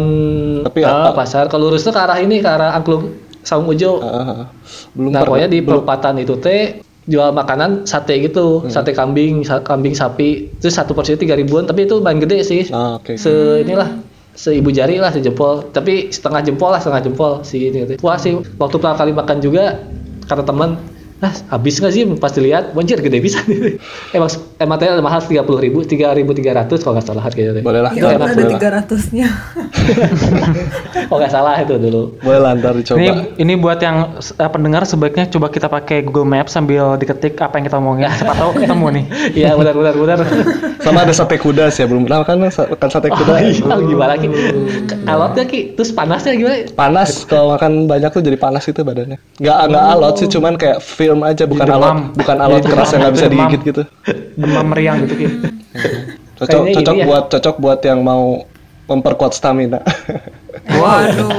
Speaker 5: Tapi
Speaker 1: eh,
Speaker 5: apa?
Speaker 1: pasar kalau lurus tuh ke arah ini ke arah Angklung Saung Ujo.
Speaker 5: Ah, belum Hmm.
Speaker 1: nah,
Speaker 5: pernah
Speaker 1: pokoknya di perempatan itu teh jual makanan sate gitu, sate kambing, sa- kambing sapi. Terus satu porsi tiga ribuan, tapi itu bahan gede sih.
Speaker 5: ah oke
Speaker 1: Se inilah seibu jari lah sejempol tapi setengah jempol lah setengah jempol si ini tuh. wah sih waktu pertama kali makan juga kata teman nah habis nggak sih pas dilihat banjir gede bisa emang emang tadi ada mahal tiga puluh ribu tiga ribu tiga ratus kalau nggak salah harganya tuh.
Speaker 5: boleh lah
Speaker 1: Itu enak,
Speaker 4: ya Allah, ada
Speaker 5: boleh lah
Speaker 4: 300 nya
Speaker 1: kalau nggak salah itu dulu
Speaker 5: boleh lah ntar dicoba
Speaker 2: ini ini buat yang eh, pendengar sebaiknya coba kita pakai Google Maps sambil diketik apa yang kita omongin siapa tahu ketemu nih
Speaker 1: iya benar benar benar
Speaker 5: sama ada sate kuda sih ya belum pernah kan makan sate kuda
Speaker 1: oh, iya, gimana ki alotnya ki terus panasnya gimana
Speaker 5: panas kalau makan banyak tuh jadi panas itu badannya nggak
Speaker 1: Oh.
Speaker 5: nggak alot sih cuman kayak film aja bukan
Speaker 2: Jadi
Speaker 5: alot
Speaker 2: demam.
Speaker 5: bukan alot
Speaker 2: Jadi
Speaker 5: keras yang
Speaker 2: demam,
Speaker 5: nggak bisa
Speaker 2: demam.
Speaker 5: digigit gitu
Speaker 2: demam meriang gitu Ki.
Speaker 5: cocok
Speaker 1: Kayaknya
Speaker 5: cocok
Speaker 1: ini ya.
Speaker 5: buat cocok buat yang mau memperkuat stamina
Speaker 3: Waduh.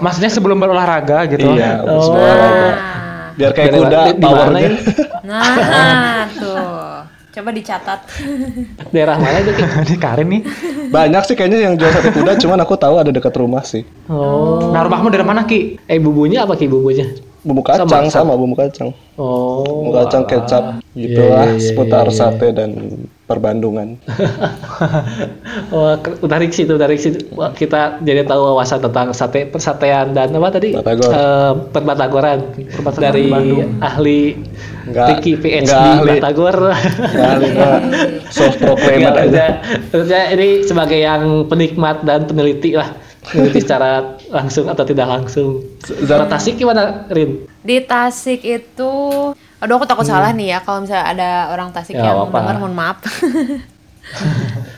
Speaker 2: Maksudnya sebelum berolahraga gitu.
Speaker 5: Iya,
Speaker 1: Oh.
Speaker 5: semua olahraga.
Speaker 3: Nah,
Speaker 5: Biar kayak
Speaker 1: Biar
Speaker 5: kuda
Speaker 1: di- di mana
Speaker 5: powernya.
Speaker 1: ini?
Speaker 3: nah tuh. Coba dicatat.
Speaker 1: Daerah mana itu? Ki?
Speaker 2: Eh, Ini Karin nih.
Speaker 5: Banyak sih kayaknya yang jual sate kuda, cuman aku tahu ada dekat rumah sih.
Speaker 1: Oh.
Speaker 2: Nah, rumahmu dari mana, Ki?
Speaker 1: Eh bumbunya apa ki bumbunya?
Speaker 5: Bumbu kacang
Speaker 1: Sama,
Speaker 5: sama, bumbu kacang.
Speaker 1: Oh.
Speaker 5: Bumbu kacang
Speaker 1: alah.
Speaker 5: kecap gitu
Speaker 1: Iya,
Speaker 5: lah
Speaker 1: iya, iya,
Speaker 5: seputar
Speaker 1: iya, iya.
Speaker 5: sate dan perbandungan.
Speaker 1: Wah, Oh, ke- menarik sih itu, menarik sih. Wah, Kita jadi tahu wawasan tentang sate persatean dan apa tadi?
Speaker 5: Batagor.
Speaker 1: Eh, perbatagoran. dari
Speaker 2: Bandung.
Speaker 1: ahli
Speaker 5: Nggak-
Speaker 1: Ricky PhD
Speaker 5: nggak ahli.
Speaker 1: Batagor.
Speaker 5: Nah, self proclaimed
Speaker 1: Nggak,
Speaker 5: aja.
Speaker 1: maksudnya- maksudnya ini sebagai yang penikmat dan peneliti lah. Peneliti secara langsung atau tidak langsung. Zat
Speaker 5: Zat-
Speaker 1: Tasik gimana, Rin?
Speaker 3: Di Tasik itu Aduh aku takut salah nih ya kalau misalnya ada orang Tasik
Speaker 1: Hmm. Ya,
Speaker 3: yang
Speaker 1: apa-apa.
Speaker 3: dengar mohon maaf.
Speaker 1: Ini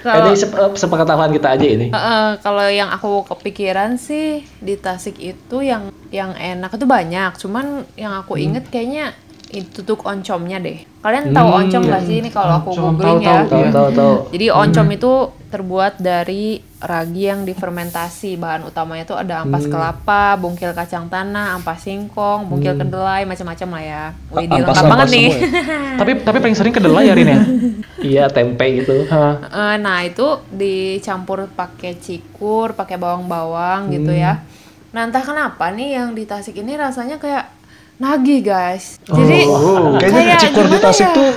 Speaker 3: Kalau
Speaker 1: sep- eh, sepengetahuan kita aja ini.
Speaker 3: Heeh, kalau yang aku kepikiran sih di Tasik itu yang yang enak itu banyak. Cuman yang aku
Speaker 1: Hmm.
Speaker 3: inget kayaknya itu tuh oncomnya deh. Kalian tahu
Speaker 1: Hmm,
Speaker 3: oncom nggak
Speaker 1: iya.
Speaker 3: sih ini kalau aku
Speaker 2: Oncom,
Speaker 3: googling
Speaker 2: tahu,
Speaker 3: ya?
Speaker 2: tahu,
Speaker 1: Tahu tahu tahu.
Speaker 3: Jadi
Speaker 5: Hmm.
Speaker 3: oncom itu terbuat dari ragi yang difermentasi. Bahan utamanya itu ada
Speaker 5: Hmm.
Speaker 3: ampas kelapa, bungkil kacang tanah, ampas singkong, bungkil kedelai, macam-macam lah ya. Wih,
Speaker 5: Hmm. Ampas-
Speaker 3: lengkap
Speaker 5: ampas
Speaker 3: banget nih.
Speaker 5: semua ya?
Speaker 2: Tapi tapi paling sering kedelai ya, Rin ya?
Speaker 1: Iya, tempe itu.
Speaker 2: Hah.
Speaker 3: Eh, nah itu dicampur pakai cikur, pakai bawang-bawang gitu ya.
Speaker 5: Hmm.
Speaker 3: Nah entah kenapa nih yang di Tasik ini rasanya kayak nagih guys. Jadi
Speaker 5: Oh, Kayaknya
Speaker 3: kayak
Speaker 5: cikur di
Speaker 3: gimana
Speaker 5: Tasik
Speaker 3: ya?
Speaker 5: tuh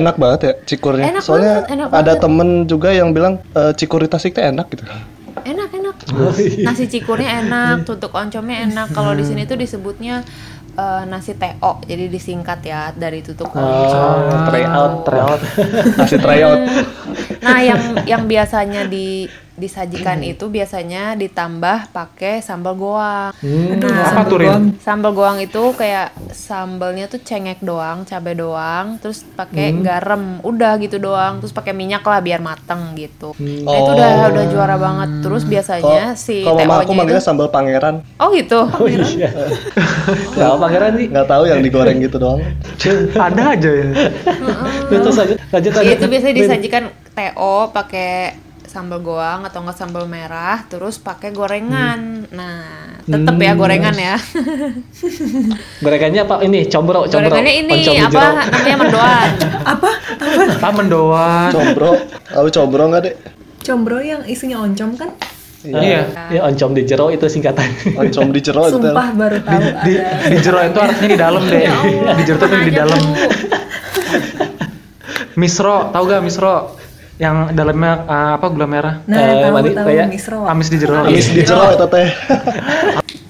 Speaker 5: enak banget ya cikurnya.
Speaker 3: Enak
Speaker 5: Soalnya
Speaker 3: banget, enak
Speaker 5: ada
Speaker 3: banget.
Speaker 5: temen juga yang bilang e, cikur di Tasik tuh enak gitu.
Speaker 3: enak enak. Nasi cikurnya enak, tutuk oncomnya enak. Kalau di sini tuh disebutnya eh, nasi TO, jadi disingkat ya dari tutuk oncom.
Speaker 1: Oh, tryout, tryout.
Speaker 5: Nasi tryout.
Speaker 3: Nah, yang yang biasanya di disajikan itu biasanya ditambah pakai sambal goang. Nah,
Speaker 2: Apa tuh, Rin?
Speaker 3: Sambal goang itu kayak sambalnya tuh cengek doang, cabai doang, terus pakai garam, udah gitu doang, terus pakai minyak lah biar mateng gitu. Nah, itu udah udah juara banget. Terus biasanya
Speaker 5: Kok-
Speaker 3: si
Speaker 5: Kalau mama aku
Speaker 3: TO-nya
Speaker 5: manggilnya
Speaker 3: itu
Speaker 5: sambal pangeran,
Speaker 3: Oh gitu.
Speaker 1: Iya. Gak apa pangeran nih.
Speaker 5: nggak tahu yang digoreng gitu doang.
Speaker 2: Ada aja ya.
Speaker 1: Terus lanjut lanjut lanjut.
Speaker 3: Iya, itu biasanya disajikan TO pakai sambal goang atau enggak sambal merah, terus pakai gorengan. Nah, tetep ya gorengan ya.
Speaker 1: Gorengannya apa ini? Combro, combro.
Speaker 3: Gorengannya ini
Speaker 1: Oncom
Speaker 3: apa
Speaker 1: hijau.
Speaker 3: namanya mendoan.
Speaker 2: Apa
Speaker 3: Ah.
Speaker 2: mendoan?
Speaker 5: Combro, kamu combro nggak dek?
Speaker 4: Combro yang isinya oncom kan?
Speaker 2: Iya.
Speaker 1: Ya, oncom di jero itu singkatan.
Speaker 5: Oncom di jero gitu.
Speaker 4: Sumpah baru tahu
Speaker 2: Di,
Speaker 4: ada.
Speaker 2: di jero itu artinya di dalam deh. Di jero itu artinya di dalam. Misro, tahu gak misro? Yang dalamnya eh, apa gula merah?
Speaker 4: Nah,
Speaker 1: Eh,
Speaker 4: tahu
Speaker 1: mani-
Speaker 4: tahu
Speaker 1: kayak
Speaker 4: misro.
Speaker 2: Amis di jero.
Speaker 5: Amis di jero itu teh.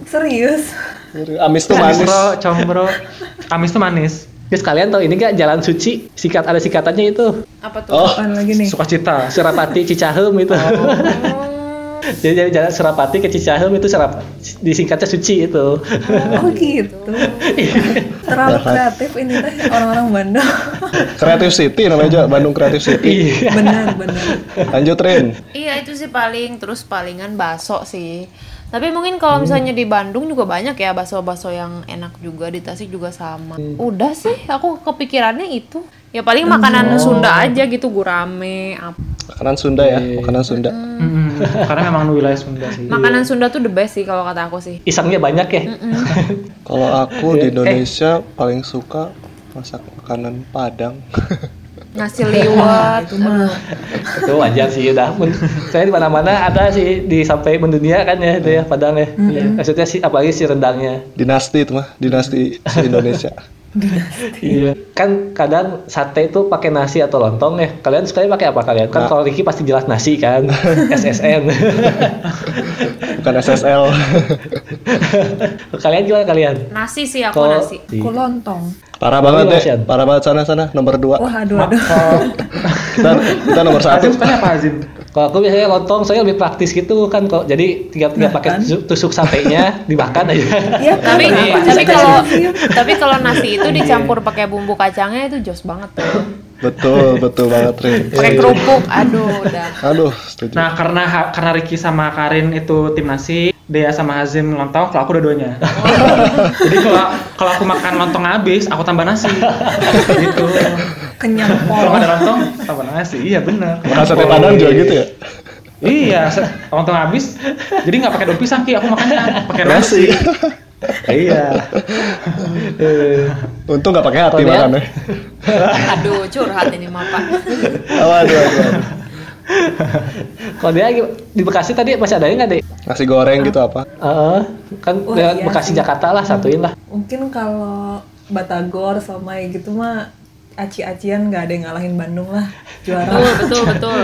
Speaker 4: Serius?
Speaker 5: Amis
Speaker 2: Iya.
Speaker 5: tuh manis.
Speaker 2: Misro, combro. Amis itu manis.
Speaker 1: Terus kalian tahu ini gak jalan suci? Sikat ada sikatannya itu.
Speaker 3: Apa tuh?
Speaker 5: Oh,
Speaker 3: Eh.
Speaker 4: Apaan lagi nih?
Speaker 2: Sukacita.
Speaker 1: Surapati Cicahem itu.
Speaker 3: Oh.
Speaker 1: Jadi dari jalan Surapati ke Cicahem itu Surap disingkatnya suci itu.
Speaker 4: Oh gitu. Terlalu kreatif ini teh orang-orang Bandung.
Speaker 5: Creative City namanya juga Bandung Creative City.
Speaker 1: Iya.
Speaker 4: Benar, benar.
Speaker 5: Lanjut Rin.
Speaker 3: Iya itu sih paling terus palingan bakso sih. Tapi mungkin kalau misalnya di Bandung juga banyak ya bakso-bakso yang enak juga di Tasik juga sama. Udah sih aku kepikirannya itu. Ya paling makanan Sunda aja gitu gurame. apa.
Speaker 5: Makanan Sunda ya, makanan Sunda.
Speaker 2: Mm-mm. Karena memang wilayah Sunda sih.
Speaker 3: Makanan Sunda tuh the best sih kalau kata aku sih.
Speaker 1: Isengnya banyak ya.
Speaker 5: Kalau aku di Indonesia paling suka masak makanan Padang.
Speaker 3: Nasi liwet. aduh.
Speaker 1: Itu wajar sih udah. Men- Saya di mana-mana ada sih di sampai mendunia kan ya itu ya Padang ya. Iya. Maksudnya si apalagi si rendangnya.
Speaker 5: Dinasti itu mah, dinasti Indonesia.
Speaker 1: Iya. Kan kadang sate itu pakai nasi atau lontong ya. Kalian sukanya pakai apa kalian? Kan
Speaker 5: Nah.
Speaker 1: kalau Ricky pasti jelas nasi kan. SSN.
Speaker 5: Bukan SSL.
Speaker 1: kalian gimana kalian?
Speaker 3: Nasi sih aku
Speaker 1: Kalau
Speaker 3: nasi.
Speaker 4: Aku lontong.
Speaker 5: Parah banget
Speaker 1: Iya,
Speaker 5: deh,
Speaker 1: Sian.
Speaker 5: parah banget sana sana nomor 2.
Speaker 4: Wah, aduh, aduh.
Speaker 5: Kita, kita nomor
Speaker 2: Azim
Speaker 5: 1.
Speaker 2: sukanya apa Azim?
Speaker 1: kalau aku biasanya lontong saya lebih praktis gitu kan kok. Jadi tiga-tiga pakai tusuk, tusuk satenya dimakan aja.
Speaker 4: Iya kan?
Speaker 3: Tapi
Speaker 4: kenapa?
Speaker 3: tapi kalau tapi kalau nasi itu dicampur pakai bumbu kacangnya itu jos banget tuh.
Speaker 5: Betul, betul banget Rin.
Speaker 3: Pakai kerupuk. Aduh udah.
Speaker 5: Aduh, setuju.
Speaker 2: Nah, karena ha- karena Ricky sama Karin itu tim nasi, Dea sama Hazim lontong, kalau aku dua-duanya. Jadi kalau kalau aku makan lontong habis, aku tambah nasi. gitu.
Speaker 4: kenyang
Speaker 2: Kalau nggak
Speaker 4: pol.
Speaker 2: ada lontong, tambah nasi. Iya benar.
Speaker 5: Makan sate Padang juga gitu ya.
Speaker 2: Iya, se- lontong habis. Jadi nggak pakai daun pisang ki, aku makannya pakai nasi.
Speaker 5: Nasi.
Speaker 1: iya
Speaker 5: Eh. Untung nggak pakai
Speaker 1: Kalau
Speaker 5: hati ya.
Speaker 1: dia-
Speaker 5: makannya.
Speaker 3: Aduh, curhat ini mah Pak.
Speaker 5: Aduh, aduh, aduh.
Speaker 1: kalau dia gim- di Bekasi tadi masih ada yang nggak deh
Speaker 5: Nasi goreng gitu apa?
Speaker 1: Heeh, kan
Speaker 4: Wah,
Speaker 1: lewat
Speaker 4: iya
Speaker 1: Bekasi
Speaker 4: sih.
Speaker 1: Jakarta lah satuin lah
Speaker 4: Mungkin kalau Batagor, Somai gitu mah aci-acian nggak ada yang ngalahin Bandung lah juara.
Speaker 3: Betul, betul, betul.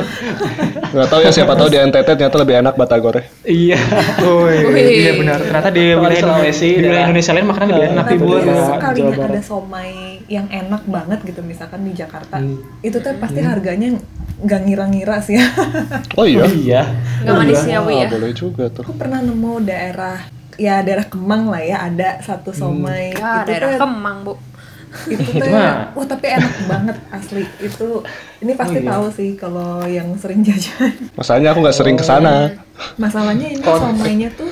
Speaker 5: Nggak tahu ya siapa tahu di NTT ternyata lebih enak batagornya.
Speaker 1: iya
Speaker 3: Wih.
Speaker 2: Wih, iya benar. Ternyata di
Speaker 1: Kalau di
Speaker 2: wilayah Indonesia,
Speaker 1: Sulawesi,
Speaker 2: di wilayah
Speaker 1: daerah-
Speaker 2: Indonesia lain makanan lebih
Speaker 1: Eh,
Speaker 2: enak Iya. di
Speaker 4: Nah, tapi
Speaker 1: Bogor,
Speaker 4: ya,
Speaker 1: Jawa-
Speaker 4: sekalinya
Speaker 1: Jawa
Speaker 4: ada
Speaker 1: Barat.
Speaker 4: somai yang enak banget gitu misalkan di Jakarta
Speaker 1: Hmm.
Speaker 4: itu teh pasti harganya nggak ngira-ngira sih
Speaker 5: Oh iya.
Speaker 1: Oh, iya
Speaker 3: Nggak manusiawi
Speaker 4: Iya,
Speaker 5: Ah,
Speaker 3: ya.
Speaker 5: boleh juga tuh.
Speaker 4: aku pernah nemu daerah ya daerah Kemang lah ya ada satu
Speaker 1: Hmm.
Speaker 4: somai
Speaker 3: Wah, Ya, Iya,
Speaker 4: itu kan
Speaker 3: daerah
Speaker 4: teh
Speaker 3: Kemang, Bu.
Speaker 4: itu
Speaker 2: Itu
Speaker 4: teh
Speaker 2: mah-
Speaker 4: wah tapi enak banget asli itu ini pasti
Speaker 2: iya.
Speaker 4: tahu sih kalau yang sering jajan
Speaker 5: Masalahnya aku nggak sering ke sana.
Speaker 4: masalahnya ini
Speaker 1: Kon-
Speaker 4: somainya tuh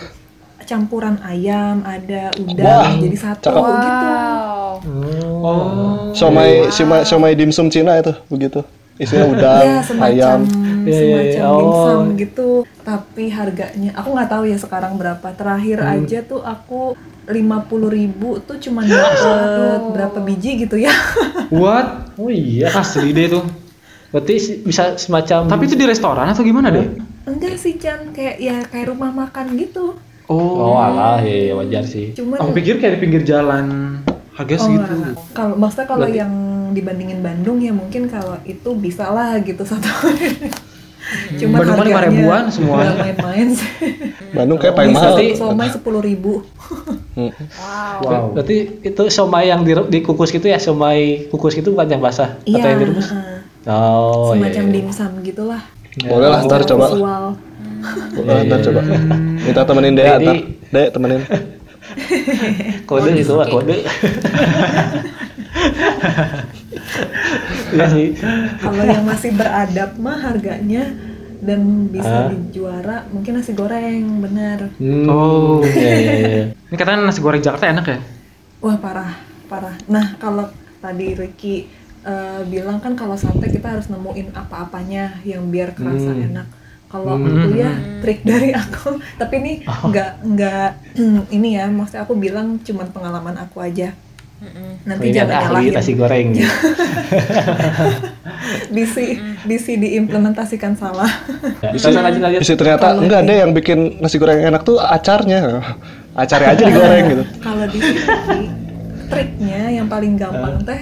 Speaker 4: campuran ayam ada udang
Speaker 5: Wah,
Speaker 4: jadi satu
Speaker 5: cakep.
Speaker 4: gitu
Speaker 3: Wow.
Speaker 1: Hmm,
Speaker 2: Oh.
Speaker 5: Somai, sima- somai dimsum Cina itu begitu. Isinya udang,
Speaker 4: Iya, semacam
Speaker 5: ayam.
Speaker 1: Iya, iya, iya.
Speaker 4: semacam
Speaker 1: Oh.
Speaker 4: dimsum gitu. Tapi harganya aku nggak tahu ya sekarang berapa. Terakhir aja tuh aku 50.000 tuh cuman dapet berapa biji gitu ya.
Speaker 2: What?
Speaker 1: oh iya
Speaker 2: Asli deh tuh.
Speaker 1: berarti si- bisa semacam
Speaker 2: Tapi itu di restoran atau gimana deh?
Speaker 4: Enggak sih Chan, kayak ya kayak rumah makan gitu.
Speaker 1: oh alah iya iya, wajar sih
Speaker 4: Cuman
Speaker 2: Aku pikir kayak di pinggir jalan gitu. harga
Speaker 4: Oh,
Speaker 2: Ya segitu.
Speaker 4: nggak, nggak. kalau maksudnya kalau
Speaker 1: Berarti-
Speaker 4: yang dibandingin Bandung ya mungkin kalau itu bisa lah gitu satu. Cuman
Speaker 2: Bandung mah lima
Speaker 4: harganya
Speaker 2: ribuan semua.
Speaker 4: nggak main-main sih.
Speaker 5: Bandung kayak paling mahal.
Speaker 1: Berarti-
Speaker 4: Iya, Somai 10.000.
Speaker 5: Hmm.
Speaker 3: Wow.
Speaker 2: Wow.
Speaker 1: berarti itu somai yang di, dikukus gitu ya somai kukus gitu bukan yang basah atau yang direbus
Speaker 4: heeh.
Speaker 1: oh iya,
Speaker 4: Iya. semacam
Speaker 1: iya.
Speaker 4: dimsum gitulah.
Speaker 5: Boleh lah ntar
Speaker 4: secara
Speaker 5: coba.
Speaker 4: visual.
Speaker 5: Boleh lah, ntar coba. Minta temenin Dea
Speaker 1: Jadi-
Speaker 5: ntar. Dea temenin.
Speaker 1: kode
Speaker 3: Kode,
Speaker 1: itu lah
Speaker 3: oke.
Speaker 1: kode iya sih
Speaker 4: Kalau yang masih beradab mah harganya dan
Speaker 1: Ah.
Speaker 4: bisa dijuara mungkin nasi goreng bener.
Speaker 1: Hmm,
Speaker 2: Oh.
Speaker 1: iya iya iya
Speaker 2: Ini katanya nasi goreng Jakarta enak ya?
Speaker 4: Wah parah parah. Nah kalau tadi Ricky eh, bilang kan kalau sate kita harus nemuin apa-apanya yang biar kerasa
Speaker 1: Hmm.
Speaker 4: enak. Kalau
Speaker 1: Hmm. Oh.
Speaker 4: itu ya trik dari aku, tapi ini nggak nggak ini ya, maksudnya aku bilang cuman pengalaman aku aja.
Speaker 3: Mm-mm.
Speaker 1: ini
Speaker 4: Nanti jangan
Speaker 1: ada ahli
Speaker 4: nyalahin.
Speaker 1: nasi goreng
Speaker 4: Bisi bisi diimplementasikan salah.
Speaker 1: bisa lanjut lanjut
Speaker 5: Isi Iya. ternyata
Speaker 4: Kalau-
Speaker 5: enggak ada yang bikin nasi goreng enak tuh acarnya. Acarnya aja digoreng gitu.
Speaker 4: Kalau di sini triknya yang paling
Speaker 1: Ah.
Speaker 4: gampang teh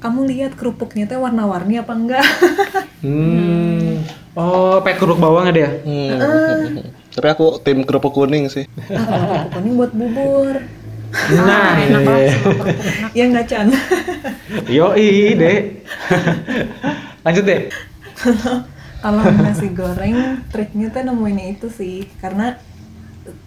Speaker 4: kamu lihat kerupuknya teh warna-warni apa enggak?
Speaker 1: hmm
Speaker 2: Oh, pakai kerupuk bawang ada ya?
Speaker 5: Hmm. Tapi aku tim kerupuk kuning sih.
Speaker 4: Nah, kalau kerupuk kuning buat bubur.
Speaker 3: Ah, enak banget semua kerupuk enak.
Speaker 4: Ya enggak, Chan.
Speaker 2: Yo deh. Lanjut deh.
Speaker 4: kalau nasi goreng triknya teh nemuinnya itu sih karena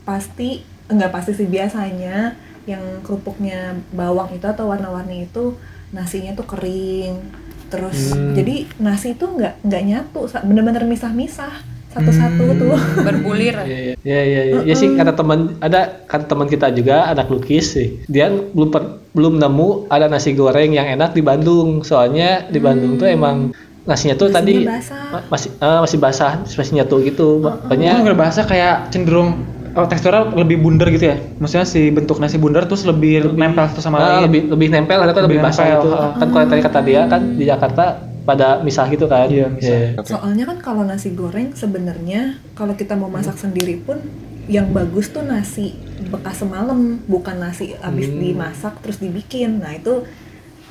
Speaker 4: pasti enggak pasti sih biasanya yang kerupuknya bawang itu atau warna-warni itu nasinya tuh kering terus jadi nasi itu enggak enggak nyatu sa- bener-bener misah-misah satu-satu tuh
Speaker 3: Berbulir.
Speaker 1: Iya, iya, iya, iya. Ya sih kata teman ada kata teman kita juga anak lukis sih. Dia belum per- belum nemu ada nasi goreng yang enak di Bandung. Soalnya di Bandung tuh emang nasinya tuh
Speaker 4: Nasinya
Speaker 1: tadi
Speaker 4: basah.
Speaker 1: ma- masih eh, masih basah, masih nyatu gitu.
Speaker 2: Ini
Speaker 1: Makanya
Speaker 2: Oh, nggak bahasa kayak cenderung oh, teksturnya lebih bundar gitu ya? Maksudnya si bentuk nasi bundar terus lebih, nempel satu sama
Speaker 1: ah,
Speaker 2: lain.
Speaker 1: lebih lebih nempel atau
Speaker 2: Lebih
Speaker 1: lebih basah
Speaker 2: nempel,
Speaker 1: gitu.
Speaker 2: ah.
Speaker 1: Kan kalau tadi kata dia kan di Jakarta pada misah gitu kan.
Speaker 2: Iya, misah.
Speaker 4: Soalnya kan kalau nasi goreng sebenarnya kalau kita mau masak sendiri pun yang bagus tuh nasi bekas semalam, bukan nasi habis dimasak terus dibikin. Nah, itu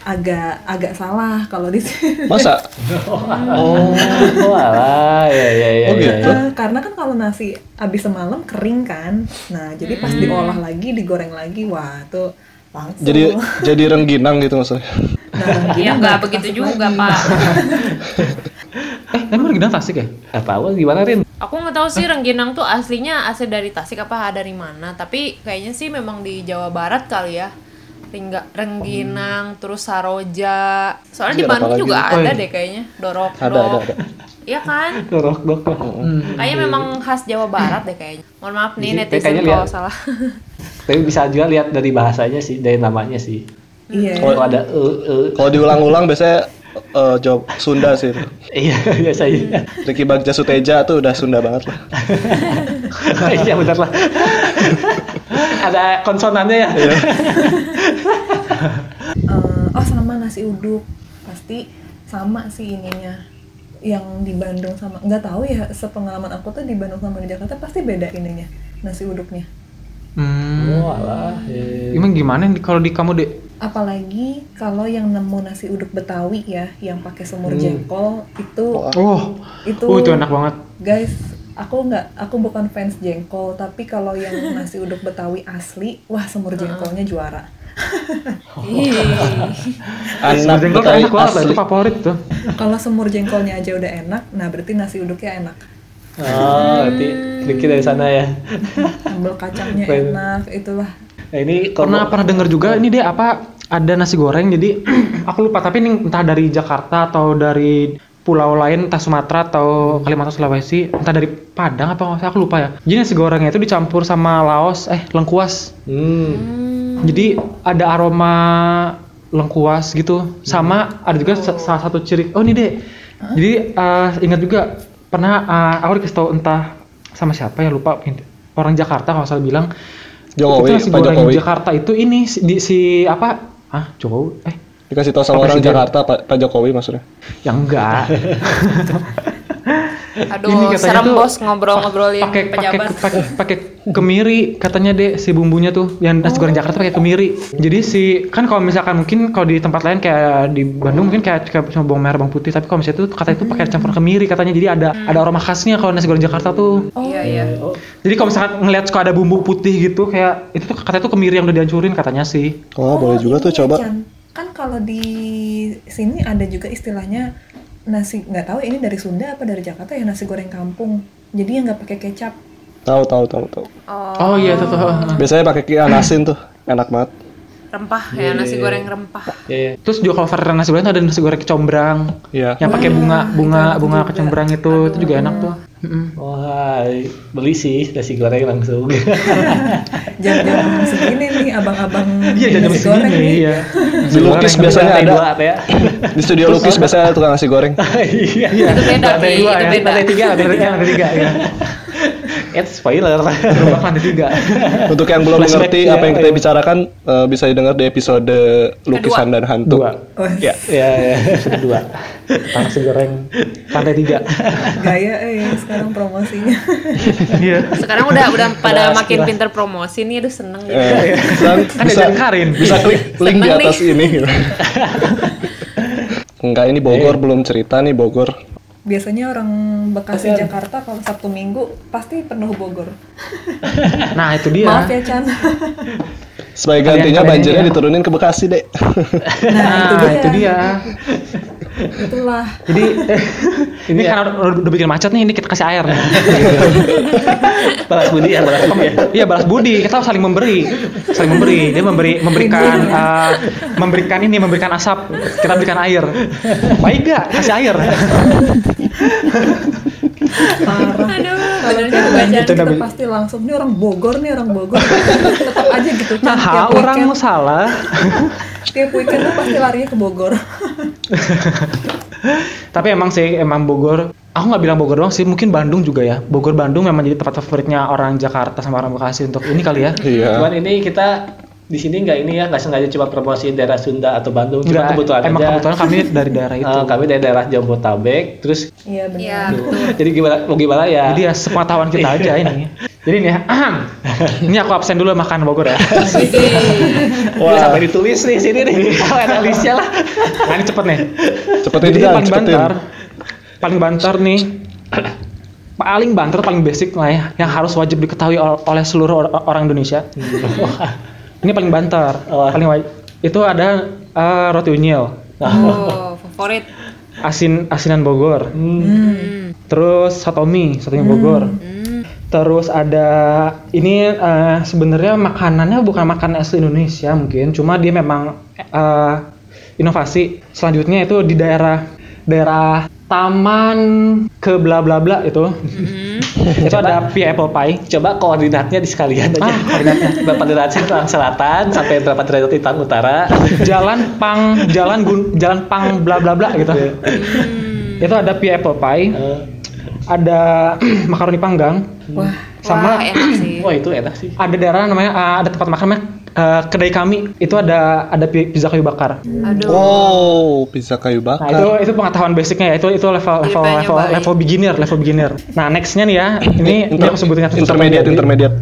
Speaker 4: agak agak salah kalau di sini.
Speaker 5: Masa? Oh.
Speaker 1: Oh, alah, ya, ya, ya.
Speaker 5: Oh, gitu.
Speaker 4: Eh, karena kan kalau nasi habis semalam kering kan. Nah, jadi pas diolah lagi, digoreng lagi, wah tuh langsung.
Speaker 5: Jadi jadi rengginang gitu maksudnya.
Speaker 3: Ya
Speaker 4: Nah, gini
Speaker 3: nggak
Speaker 4: masuk-
Speaker 3: begitu
Speaker 4: masuk
Speaker 3: juga,
Speaker 4: lagi.
Speaker 3: Pak.
Speaker 2: Eh, tapi Rengginang Tasik ya?
Speaker 1: Gak tahu gimana Rin?
Speaker 3: Aku nggak tahu sih Rengginang tuh aslinya asli dari Tasik apa dari mana, tapi kayaknya sih memang di Jawa Barat kali ya. Ringga, Rengginang, terus Saroja. Soalnya di
Speaker 5: Iya,
Speaker 3: Bandung
Speaker 5: apalagi?
Speaker 3: juga
Speaker 2: Oh,
Speaker 3: ada
Speaker 2: iya.
Speaker 3: deh kayaknya. Dorok,
Speaker 5: Ada, ada, ada.
Speaker 3: Iya kan?
Speaker 1: Dorok, dorok.
Speaker 3: Kayaknya memang khas Jawa Barat deh kayaknya. Mohon maaf nih
Speaker 1: Jadi,
Speaker 3: netizen
Speaker 1: kayaknya
Speaker 3: kalau
Speaker 1: lihat.
Speaker 3: salah.
Speaker 1: Tapi bisa juga lihat dari bahasanya sih, dari namanya sih.
Speaker 4: Iya.
Speaker 1: Kalau ada e, e,
Speaker 5: Kalau diulang-ulang biasanya eh, jawab Sunda sih. itu.
Speaker 1: Iya, iya saya.
Speaker 5: Ricky Bagja Suteja tuh udah Sunda banget lah.
Speaker 1: Iya benar lah. Ada konsonannya ya.
Speaker 2: Iya.
Speaker 4: Eh, oh sama nasi uduk pasti sama sih ininya yang di Bandung sama nggak tahu ya sepengalaman aku tuh di Bandung sama di Jakarta pasti beda ininya nasi uduknya
Speaker 2: Hmm.
Speaker 1: Wah lah. iya.
Speaker 2: Emang gimana nih kalau di kamu dek?
Speaker 4: apalagi kalau yang nemu nasi uduk Betawi ya yang pakai semur
Speaker 1: Hmm.
Speaker 4: jengkol itu
Speaker 2: Oh,
Speaker 4: itu
Speaker 2: oh, itu enak banget.
Speaker 4: guys aku nggak aku bukan fans jengkol tapi kalau yang nasi uduk Betawi asli wah semur jengkolnya juara
Speaker 3: Ih,
Speaker 5: Anak
Speaker 2: Jengkol tuh
Speaker 5: Betawi
Speaker 2: enak banget, lah,
Speaker 5: asli.
Speaker 2: itu favorit tuh.
Speaker 4: kalau semur jengkolnya aja udah enak nah berarti nasi uduknya enak
Speaker 1: Oh, berarti Ricky dari sana ya.
Speaker 4: sambal kacangnya
Speaker 1: Bener.
Speaker 4: enak itulah
Speaker 1: Nah, ini kalau
Speaker 2: Pernah pernah dengar juga ini deh apa ada nasi goreng jadi aku lupa tapi ini entah dari Jakarta atau dari pulau lain entah Sumatera atau Kalimantan Sulawesi entah dari Padang apa nggak usah, aku lupa ya. Jadi nasi gorengnya itu dicampur sama laos eh lengkuas.
Speaker 1: Hmm.
Speaker 2: Jadi ada aroma lengkuas gitu. Sama
Speaker 5: Hmm.
Speaker 2: ada juga sa- salah satu ciri. Oh ini deh. Jadi eh, ingat juga pernah eh, aku dikasih tahu entah sama siapa ya lupa orang Jakarta kalau nggak salah bilang
Speaker 5: Jokowi,
Speaker 2: itu nasi
Speaker 5: Pak
Speaker 2: goreng
Speaker 5: Jokowi.
Speaker 2: Jakarta itu ini si, di, si apa? Ah Jokowi? Eh
Speaker 5: Dikasih tahu
Speaker 2: Pak
Speaker 5: sama orang
Speaker 2: Presiden.
Speaker 5: Jakarta, Pak, Pak Jokowi maksudnya.
Speaker 2: yang enggak. Ini
Speaker 3: aduh,
Speaker 2: katanya
Speaker 3: serem
Speaker 2: tuh
Speaker 3: bos ngobrol-ngobrolin
Speaker 2: pakai pakai
Speaker 3: pejabat.
Speaker 2: pakai pakai kemiri katanya deh si bumbunya tuh yang nasi goreng Jakarta pakai kemiri jadi si kan kalau misalkan mungkin kalau di tempat lain kayak di Bandung mungkin kayak, kayak cuma bawang merah bawang putih tapi kalau misalnya itu katanya itu pakai campur kemiri katanya jadi ada ada aroma khasnya kalau nasi goreng Jakarta tuh
Speaker 3: Iya, iya.
Speaker 2: jadi kalau misalkan ngelihat suka ada bumbu putih gitu kayak itu tuh katanya tuh kemiri yang udah dihancurin katanya sih
Speaker 5: Oh, boleh juga
Speaker 4: ini
Speaker 5: tuh
Speaker 4: ya,
Speaker 5: coba.
Speaker 4: Chan. kan kalau di sini ada juga istilahnya nasi nggak tahu ini dari Sunda apa dari Jakarta ya nasi goreng kampung jadi yang nggak pakai kecap
Speaker 5: Tahu tahu tahu tahu.
Speaker 2: oh, iya tuh tuh
Speaker 5: Biasanya pakai kian asin tuh. Enak banget.
Speaker 3: Rempah ya, nasi goreng rempah.
Speaker 1: Iya, iya.
Speaker 2: Terus juga kalau varian nasi goreng tuh ada nasi goreng kecombrang
Speaker 5: Iya.
Speaker 2: yang pakai bunga bunga bunga Hmm. kecombrang itu itu juga enak tuh. Mm-mm.
Speaker 1: Wah, Oh, beli sih nasi goreng langsung.
Speaker 4: jam-jam segini nih abang-abang
Speaker 2: Iya jangan jam
Speaker 4: nasi
Speaker 2: segini
Speaker 4: goreng nih.
Speaker 2: iya.
Speaker 5: Di lukis biasanya
Speaker 1: Lantai
Speaker 5: ada.
Speaker 1: dua ada ya.
Speaker 5: Di studio lukis biasanya ada tukang nasi goreng.
Speaker 1: Iya.
Speaker 3: Itu beda,
Speaker 1: Lantai
Speaker 3: Pi,
Speaker 1: dua
Speaker 3: itu
Speaker 1: ya.
Speaker 3: beda.
Speaker 1: Lantai tiga, lantai tiga.
Speaker 2: lantai tiga ya.
Speaker 1: Eh, spoiler.
Speaker 2: Gerobak lantai tiga.
Speaker 5: Untuk yang belum
Speaker 1: Flashback
Speaker 5: mengerti
Speaker 1: ya,
Speaker 5: apa yang kita
Speaker 1: iya.
Speaker 5: bicarakan eh, bisa didengar di episode lukisan dan hantu.
Speaker 2: Dua.
Speaker 4: Wah,
Speaker 5: Ya.
Speaker 1: Iya, iya.
Speaker 2: Dua. Tanah nasi goreng lantai tiga.
Speaker 4: gaya eh sekarang promosinya
Speaker 2: Iya.
Speaker 3: Sekarang udah udah pada
Speaker 1: Keras,
Speaker 3: makin
Speaker 1: keras.
Speaker 3: pinter promosi nih, aduh seneng gitu.
Speaker 5: Eh, sekarang
Speaker 2: Kan
Speaker 5: bisa,
Speaker 2: diajarin Karin.
Speaker 5: bisa klik link di
Speaker 3: Seneng
Speaker 5: atas ini. gitu. Enggak, ini
Speaker 2: Iya.
Speaker 5: Bogor belum cerita nih Bogor.
Speaker 4: biasanya orang Bekasi Jakarta kalau Sabtu Minggu pasti penuh Bogor
Speaker 2: Nah itu dia.
Speaker 4: maaf ya Chan
Speaker 5: Sebagai
Speaker 2: Kalian-
Speaker 5: gantinya
Speaker 2: kalian
Speaker 5: banjirnya
Speaker 2: ini ya.
Speaker 5: diturunin ke Bekasi, Dek.
Speaker 2: Nah itu dia.
Speaker 4: itulah
Speaker 2: Jadi ini ya. karena udah, udah bikin macet nih ini kita kasih air nih.
Speaker 1: Balas budi ya, balas budi ya.
Speaker 2: Iya balas budi, kita harus saling memberi, saling memberi. Dia memberi, memberikan, eh, memberikan ini, memberikan asap. Kita berikan air. Baik gak? Kasih air.
Speaker 4: parah
Speaker 3: Aduh,
Speaker 4: kalau
Speaker 3: bener
Speaker 4: tiap
Speaker 3: juga,
Speaker 4: banjir
Speaker 3: Jan.
Speaker 4: kita pasti langsung ini orang Bogor nih orang Bogor tetap aja gitu Chan.
Speaker 2: Nah,
Speaker 4: Tiap
Speaker 2: orang
Speaker 4: weekend-
Speaker 2: salah.
Speaker 4: tiap weekend tuh pasti larinya ke Bogor
Speaker 2: Tapi emang sih, emang Bogor. Aku nggak bilang Bogor doang sih, mungkin Bandung juga ya. Bogor Bandung memang jadi tempat favoritnya orang Jakarta sama orang Bekasi untuk ini kali ya.
Speaker 5: Iya.
Speaker 1: Cuman ini kita di sini nggak ini ya, nggak sengaja cuma promosi daerah Sunda atau Bandung, cuma
Speaker 2: Nggak,
Speaker 1: kebetulan
Speaker 2: Iya, emang
Speaker 1: aja.
Speaker 2: kebetulan kami dari daerah itu.
Speaker 1: Eh, kami dari daerah Jabodetabek, terus
Speaker 4: iya benar
Speaker 3: Iya,
Speaker 1: jadi gimana mau gimana ya?
Speaker 2: Jadi ya sepengetahuan kita aja
Speaker 1: Iya.
Speaker 2: ini. Jadi nih, ini aku absen dulu makan Bogor ya.
Speaker 1: Wah.
Speaker 5: Wah,
Speaker 1: sampai ditulis nih sini nih. Kalau ada listnya lah.
Speaker 2: Nah, ini cepet nih.
Speaker 5: cepetin
Speaker 2: Jadi
Speaker 5: dia,
Speaker 2: paling
Speaker 5: cepetin.
Speaker 2: bantar, paling bantar nih, paling bantar paling basic lah ya, yang harus wajib diketahui ol- oleh seluruh or- orang Indonesia.
Speaker 5: Hmm.
Speaker 2: Ini paling bantar,
Speaker 1: Oh.
Speaker 2: paling wajib. Itu ada eh, roti unyil,
Speaker 3: Oh, favorit.
Speaker 2: asin asinan Bogor,
Speaker 3: Hmm.
Speaker 2: terus satomi, satomi Bogor.
Speaker 3: Hmm.
Speaker 2: Terus ada ini eh, sebenarnya makanannya bukan makanan asli Indonesia mungkin, cuma dia memang eh, inovasi. Selanjutnya itu di daerah daerah Taman ke bla bla bla itu.
Speaker 3: Hmm.
Speaker 2: itu ada pie apple pie
Speaker 1: Coba koordinatnya di sekalian aja.
Speaker 2: Ah, koordinatnya.
Speaker 1: berapa derajat Tangerang Selatan sampai berapa derajat di Tangerang Utara.
Speaker 2: jalan pang jalan gun jalan pang bla bla bla gitu
Speaker 3: Hmm.
Speaker 2: itu ada pie apple pie
Speaker 1: Eh,
Speaker 2: ada makaroni panggang
Speaker 4: Wah,
Speaker 2: sama
Speaker 3: Wah, enak sih.
Speaker 1: Wah itu enak sih.
Speaker 2: ada daerah namanya eh, ada tempat makan namanya eh, kedai kami itu ada ada pi- pizza kayu bakar
Speaker 3: Aduh.
Speaker 5: Wow, pizza kayu
Speaker 2: nah itu
Speaker 5: bakar.
Speaker 2: itu pengetahuan basicnya ya itu itu level level
Speaker 3: Beritanya
Speaker 2: level
Speaker 3: baik.
Speaker 2: level beginner level beginner nah nextnya nih ya ini ini aku sebutin kan, satu-satu.
Speaker 5: intermediate,
Speaker 2: Jadi,
Speaker 5: intermediate.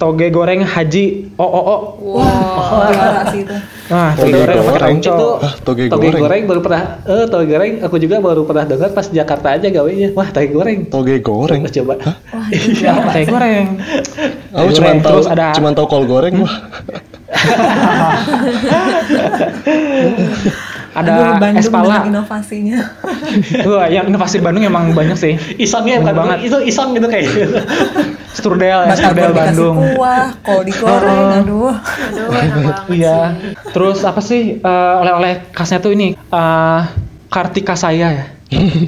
Speaker 2: toge goreng haji oo
Speaker 3: Wow.
Speaker 4: juara sih itu.
Speaker 2: nah
Speaker 5: Toge
Speaker 2: toge goreng pakai
Speaker 5: goreng.
Speaker 2: oncom.
Speaker 1: Itu
Speaker 5: Hah, toge
Speaker 1: toge,
Speaker 5: goreng.
Speaker 1: goreng. baru pernah eh toge goreng aku juga baru pernah dengar pas Jakarta aja gawenya. Wah, toge goreng.
Speaker 5: Toge goreng.
Speaker 1: Nah, coba.
Speaker 4: Wah, itu
Speaker 2: Nah, toge goreng
Speaker 5: Aku
Speaker 2: Toge
Speaker 5: cuma
Speaker 2: goreng.
Speaker 5: tahu
Speaker 2: Terus ada
Speaker 5: cuma tahu kol goreng wah.
Speaker 2: ada
Speaker 4: Aduh, Bandung
Speaker 2: es pala
Speaker 4: dengan inovasinya.
Speaker 2: Wah, yang inovasi Bandung emang banyak sih.
Speaker 1: Isangnya
Speaker 2: Bener
Speaker 1: bukan
Speaker 2: banget.
Speaker 1: itu isang gitu kayak.
Speaker 2: Strudel, ya,
Speaker 4: Batagor
Speaker 2: strudel
Speaker 4: dikasih
Speaker 2: Bandung.
Speaker 4: Kuah, kol digoreng,
Speaker 2: Oh.
Speaker 4: aduh.
Speaker 3: Aduh, enak banget
Speaker 2: Iya.
Speaker 3: sih.
Speaker 2: Terus apa sih eh, oleh-oleh khasnya tuh ini eh, Kartika saya ya.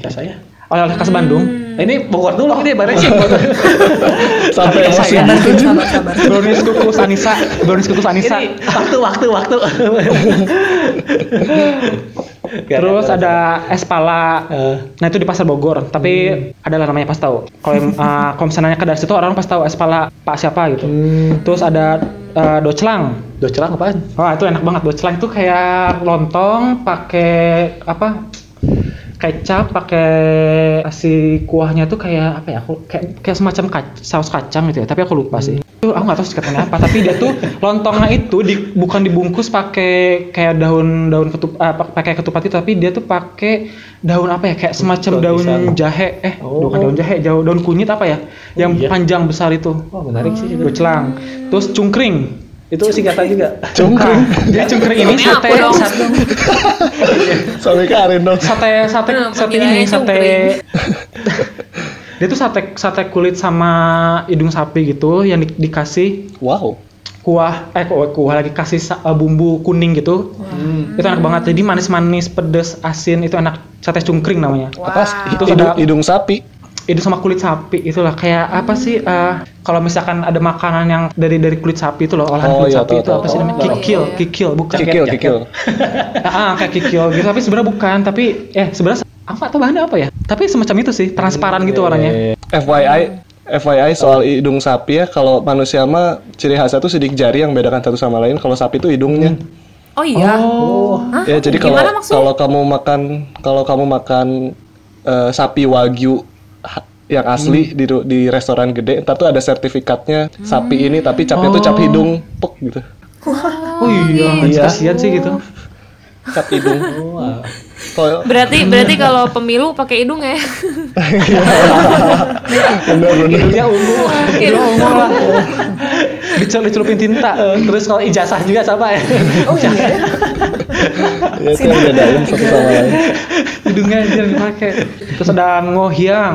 Speaker 1: Rasanya.
Speaker 2: Oleh-oleh khas Bandung.
Speaker 1: Nah, ini Bogor dulu ini bareng sih.
Speaker 5: Sampai
Speaker 2: Tapi
Speaker 5: emosi.
Speaker 2: saya-
Speaker 4: Sabar, Tim, sabar, sabar.
Speaker 2: Brownies kukus Anissa, brownies kukus Anissa.
Speaker 1: Ini waktu waktu waktu.
Speaker 2: Terus ada Hmm. es pala.
Speaker 1: Eh.
Speaker 2: Nah itu di pasar Bogor, tapi adalah namanya pas tahu. Kalau yang, eh, kalau misalnya ke dari situ orang pas tahu es pala Pak siapa gitu. Terus ada eh, docelang.
Speaker 1: docelang apaan?
Speaker 2: Wah itu enak banget docelang itu kayak lontong pakai apa kecap pakai si kuahnya tuh kayak apa ya aku kayak, kayak semacam kac- saus kacang gitu ya tapi aku lupa sih Itu
Speaker 1: Hmm.
Speaker 2: aku nggak tahu singkatannya apa tapi dia tuh lontongnya itu di- bukan dibungkus pakai kayak daun daun ketup eh, pa- pakai ketupat itu tapi dia tuh pakai daun apa ya kayak semacam
Speaker 1: Daun
Speaker 2: daun
Speaker 1: pisang.
Speaker 2: jahe eh
Speaker 1: Oh.
Speaker 2: bukan daun jahe jauh daun kunyit apa ya yang
Speaker 1: iya.
Speaker 2: panjang besar itu
Speaker 1: Wah, menarik sih itu.
Speaker 2: docelang terus cungkring
Speaker 1: Itu singkatan juga.
Speaker 5: Cungkring
Speaker 2: Bukan. Jadi cungkring ini
Speaker 3: Ini
Speaker 2: sate
Speaker 3: aku Ah. dong.
Speaker 2: sate
Speaker 5: sampai ke Arendong.
Speaker 2: sate sate,
Speaker 3: Kenapa
Speaker 2: sate
Speaker 3: bilangnya
Speaker 2: ini sate
Speaker 3: cungkring?
Speaker 2: dia tuh sate sate kulit sama hidung sapi gitu yang di- dikasih
Speaker 5: Wow.
Speaker 2: kuah eh kuah, kuah lagi kasih sa- eh, bumbu kuning gitu
Speaker 3: Hmm.
Speaker 2: itu enak banget jadi manis-manis pedes asin itu enak sate cungkring namanya
Speaker 5: Apa?
Speaker 2: Itu
Speaker 5: hidung,
Speaker 2: ada-
Speaker 5: hidung sapi.
Speaker 2: itu sama kulit sapi itulah kayak apa sih eh, kalau misalkan ada makanan yang dari dari kulit sapi itu loh olahan
Speaker 5: Oh,
Speaker 2: kulit
Speaker 5: iya,
Speaker 2: sapi
Speaker 5: tahu,
Speaker 2: itu
Speaker 5: tahu,
Speaker 2: apa sih
Speaker 5: tahu.
Speaker 2: namanya
Speaker 3: Oh,
Speaker 2: kikil
Speaker 3: iya.
Speaker 2: kikil bukan
Speaker 5: Kikil,
Speaker 1: jaket.
Speaker 5: kikil.
Speaker 2: ah kayak kikil gitu tapi sebenarnya bukan tapi eh sebenarnya apa tuh bahannya apa ya tapi semacam itu sih transparan gitu warnanya
Speaker 5: iya. FYI FYI soal hidung sapi ya, kalau manusia mah ciri khasnya tuh sidik jari yang bedakan satu sama lain. Kalau sapi tuh hidungnya.
Speaker 3: Oh iya.
Speaker 2: oh
Speaker 3: Hah?
Speaker 5: Ya jadi kalau
Speaker 3: Ah, Gimana maksudnya?
Speaker 5: kalau kamu makan kalau kamu makan eh, sapi wagyu ha- yang asli di ru- di restoran gede, ntar tuh ada sertifikatnya sapi ini tapi capnya tuh cap
Speaker 2: Oh.
Speaker 5: hidung, pok gitu.
Speaker 2: oh iya
Speaker 1: gitu.
Speaker 2: kasihan sih gitu
Speaker 5: Cap hidung. Kalau
Speaker 3: Berarti berarti kalau pemilu pakai hidung ya.
Speaker 5: bener-bener
Speaker 1: Hidungnya ungu.
Speaker 2: ya Allah
Speaker 1: Iya.
Speaker 2: lah dicelup celupin tinta
Speaker 1: Eh, Terus kalau ijazah juga sama ya.
Speaker 4: Oh iya,
Speaker 5: ya itu yang bedain satu sama lain.
Speaker 2: hidungnya aja yang dipakai terus ada ngohiang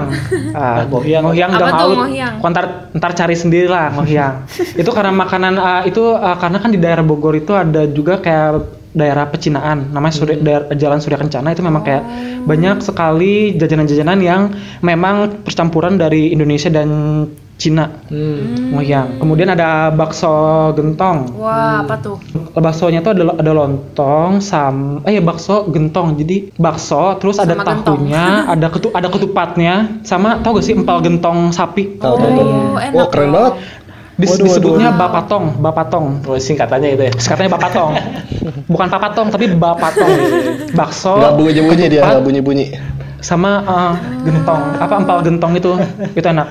Speaker 2: ah ngohiang ngohiang
Speaker 3: Apa
Speaker 2: gak
Speaker 3: tuh
Speaker 2: mau
Speaker 3: ngohiang?
Speaker 2: Kau ntar ntar cari sendiri lah ngohiang itu karena makanan ah, itu ah, karena kan di daerah Bogor itu ada juga kayak daerah pecinaan namanya Surya- daer- Jalan Surya Kencana itu memang kayak
Speaker 3: Oh.
Speaker 2: banyak sekali jajanan-jajanan yang memang percampuran dari Indonesia dan Cina ngohiang Oh iya, kemudian ada bakso gentong
Speaker 3: Wah, apa tuh?
Speaker 2: baksonya tuh ada ada lontong sama eh ya bakso gentong jadi bakso terus ada
Speaker 3: Sama
Speaker 2: tahunya ada ketu ada ketupatnya sama tau gak sih empal gentong sapi
Speaker 5: Tahu, tahu, tahu.
Speaker 3: Oh, enak.
Speaker 5: Wah, keren
Speaker 3: dong.
Speaker 5: banget.
Speaker 2: Dis-
Speaker 5: Waduh,
Speaker 2: disebutnya bapatong bapatong
Speaker 1: Oh, singkatannya itu ya.
Speaker 2: katanya bapatong bukan papatong tapi bapatong
Speaker 1: Iya,
Speaker 2: bakso
Speaker 5: Nggak bunyi-bunyi
Speaker 2: ketupat,
Speaker 5: dia, nggak bunyi-bunyi.
Speaker 2: sama eh, gentong apa empal gentong itu itu enak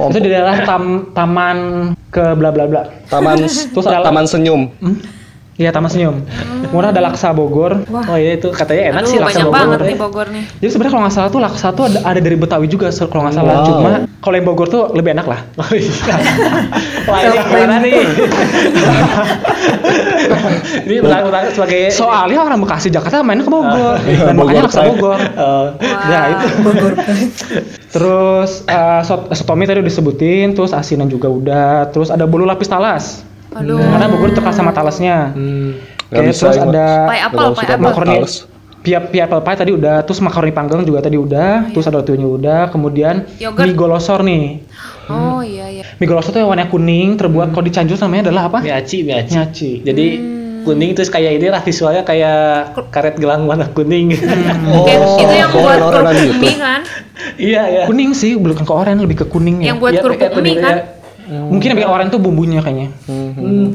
Speaker 5: Wah,
Speaker 2: itu di daerah tam- taman ke bla bla bla
Speaker 5: Taman s-
Speaker 2: Terus ada-
Speaker 5: taman senyum.
Speaker 2: Hmm? Iya, Taman Senyum. Kemudian ada Laksa Bogor.
Speaker 1: Oh iya itu katanya enak
Speaker 3: Hmm. Aduh,
Speaker 1: sih laksa
Speaker 3: banyak
Speaker 1: Bogor.
Speaker 3: banget
Speaker 1: ya.
Speaker 3: nih Bogor nih.
Speaker 2: Jadi sebenarnya kalau nggak salah tuh laksa tuh ada, ada dari Betawi juga se- kalau nggak salah.
Speaker 5: Wow.
Speaker 2: Cuma kalau yang Bogor tuh lebih enak lah.
Speaker 1: Oh iya. Wah ini gimana nih? ini menang-menang sebagai
Speaker 2: Soalnya orang Bekasi Jakarta mainnya ke Bogor,
Speaker 5: iya,
Speaker 2: dan
Speaker 5: Bogor
Speaker 2: makanya laksa
Speaker 5: Pride. Ah.
Speaker 2: Bogor.
Speaker 1: Eh,
Speaker 2: Ya itu.
Speaker 4: Bogor.
Speaker 2: Terus eh, sot- sotomi tadi udah disebutin, terus asinan juga udah, terus ada bolu lapis talas.
Speaker 3: Aduh.
Speaker 2: Karena Iya. Bogor terkenal sama talasnya.
Speaker 5: Nggak
Speaker 2: Oke,
Speaker 1: hmm,
Speaker 5: bisa,
Speaker 2: terus
Speaker 5: Ima.
Speaker 2: ada
Speaker 3: Pai apel,
Speaker 5: Kalau
Speaker 3: pai
Speaker 5: suka
Speaker 3: apel.
Speaker 5: makan
Speaker 2: makaroni
Speaker 5: talas.
Speaker 2: tiap tiap apple pie tadi udah, terus makaroni panggang juga tadi udah, terus ada rotinya udah, kemudian
Speaker 3: Iya. Yogurt.
Speaker 2: mie golosor nih.
Speaker 3: Oh iya iya.
Speaker 2: Mie golosor tuh yang warnanya kuning,
Speaker 3: Hmm.
Speaker 2: terbuat kalau di Cianjur namanya adalah apa?
Speaker 1: miaci miaci
Speaker 2: Nyaci.
Speaker 1: jadi
Speaker 2: Hmm.
Speaker 1: kuning terus kayak ini lah visualnya kayak karet gelang warna kuning
Speaker 2: Hmm.
Speaker 3: Kayak itu yang
Speaker 5: oh,
Speaker 3: buat
Speaker 5: orang-orang
Speaker 3: kerupuk
Speaker 5: gitu.
Speaker 3: mie kan?
Speaker 1: iya iya
Speaker 2: Kuning sih, bukan ke oranye, lebih ke kuning ya.
Speaker 3: Yang buat
Speaker 1: Iya,
Speaker 3: kerupuk
Speaker 1: kayak kuning,
Speaker 3: mie kan?
Speaker 1: iya.
Speaker 2: Mungkin yang bikin oranye tuh bumbunya kayaknya.
Speaker 1: Hmm.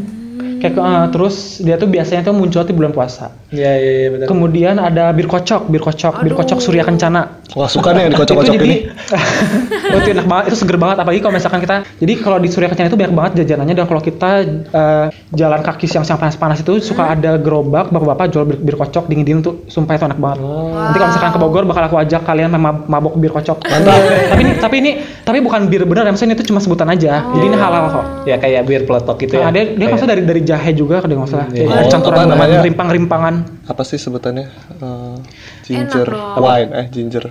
Speaker 2: Kayak ke- eh, terus dia tuh biasanya tuh muncul di bulan puasa.
Speaker 1: iya iya iya, benar
Speaker 2: Kemudian ada bir kocok, bir kocok, bir kocok
Speaker 3: Aduh.
Speaker 2: Surya Kencana.
Speaker 5: Wah suka nih yang dikocok-kocok
Speaker 2: itu jadi
Speaker 5: ini.
Speaker 2: Oh, itu enak banget, itu seger banget apalagi kalau misalkan kita. Jadi kalau di Surya Kencana itu banyak banget jajanannya dan kalau kita eh, jalan kaki siang-siang panas-panas itu suka ada gerobak bapak-bapak jual bir, bir kocok dingin-dingin tuh sumpah itu enak banget. Nanti kalau misalkan ke Bogor bakal aku ajak kalian main mab- mabok bir kocok. tapi ini tapi ini tapi bukan bir bener ya, maksudnya itu cuma sebutan aja. Jadi ini halal kok.
Speaker 1: ya kayak bir peletok gitu ya
Speaker 2: Nah, dia dia
Speaker 1: Kayak-
Speaker 2: maksudnya dari dari jahe juga kalau dia nggak salah.
Speaker 1: iya.
Speaker 2: Jadi
Speaker 5: Oh,
Speaker 2: ada campuran
Speaker 5: apa namanya?
Speaker 2: rimpang-rimpangan.
Speaker 5: Apa sih sebutannya? Eh, ginger
Speaker 3: Enak loh.
Speaker 5: wine eh ginger.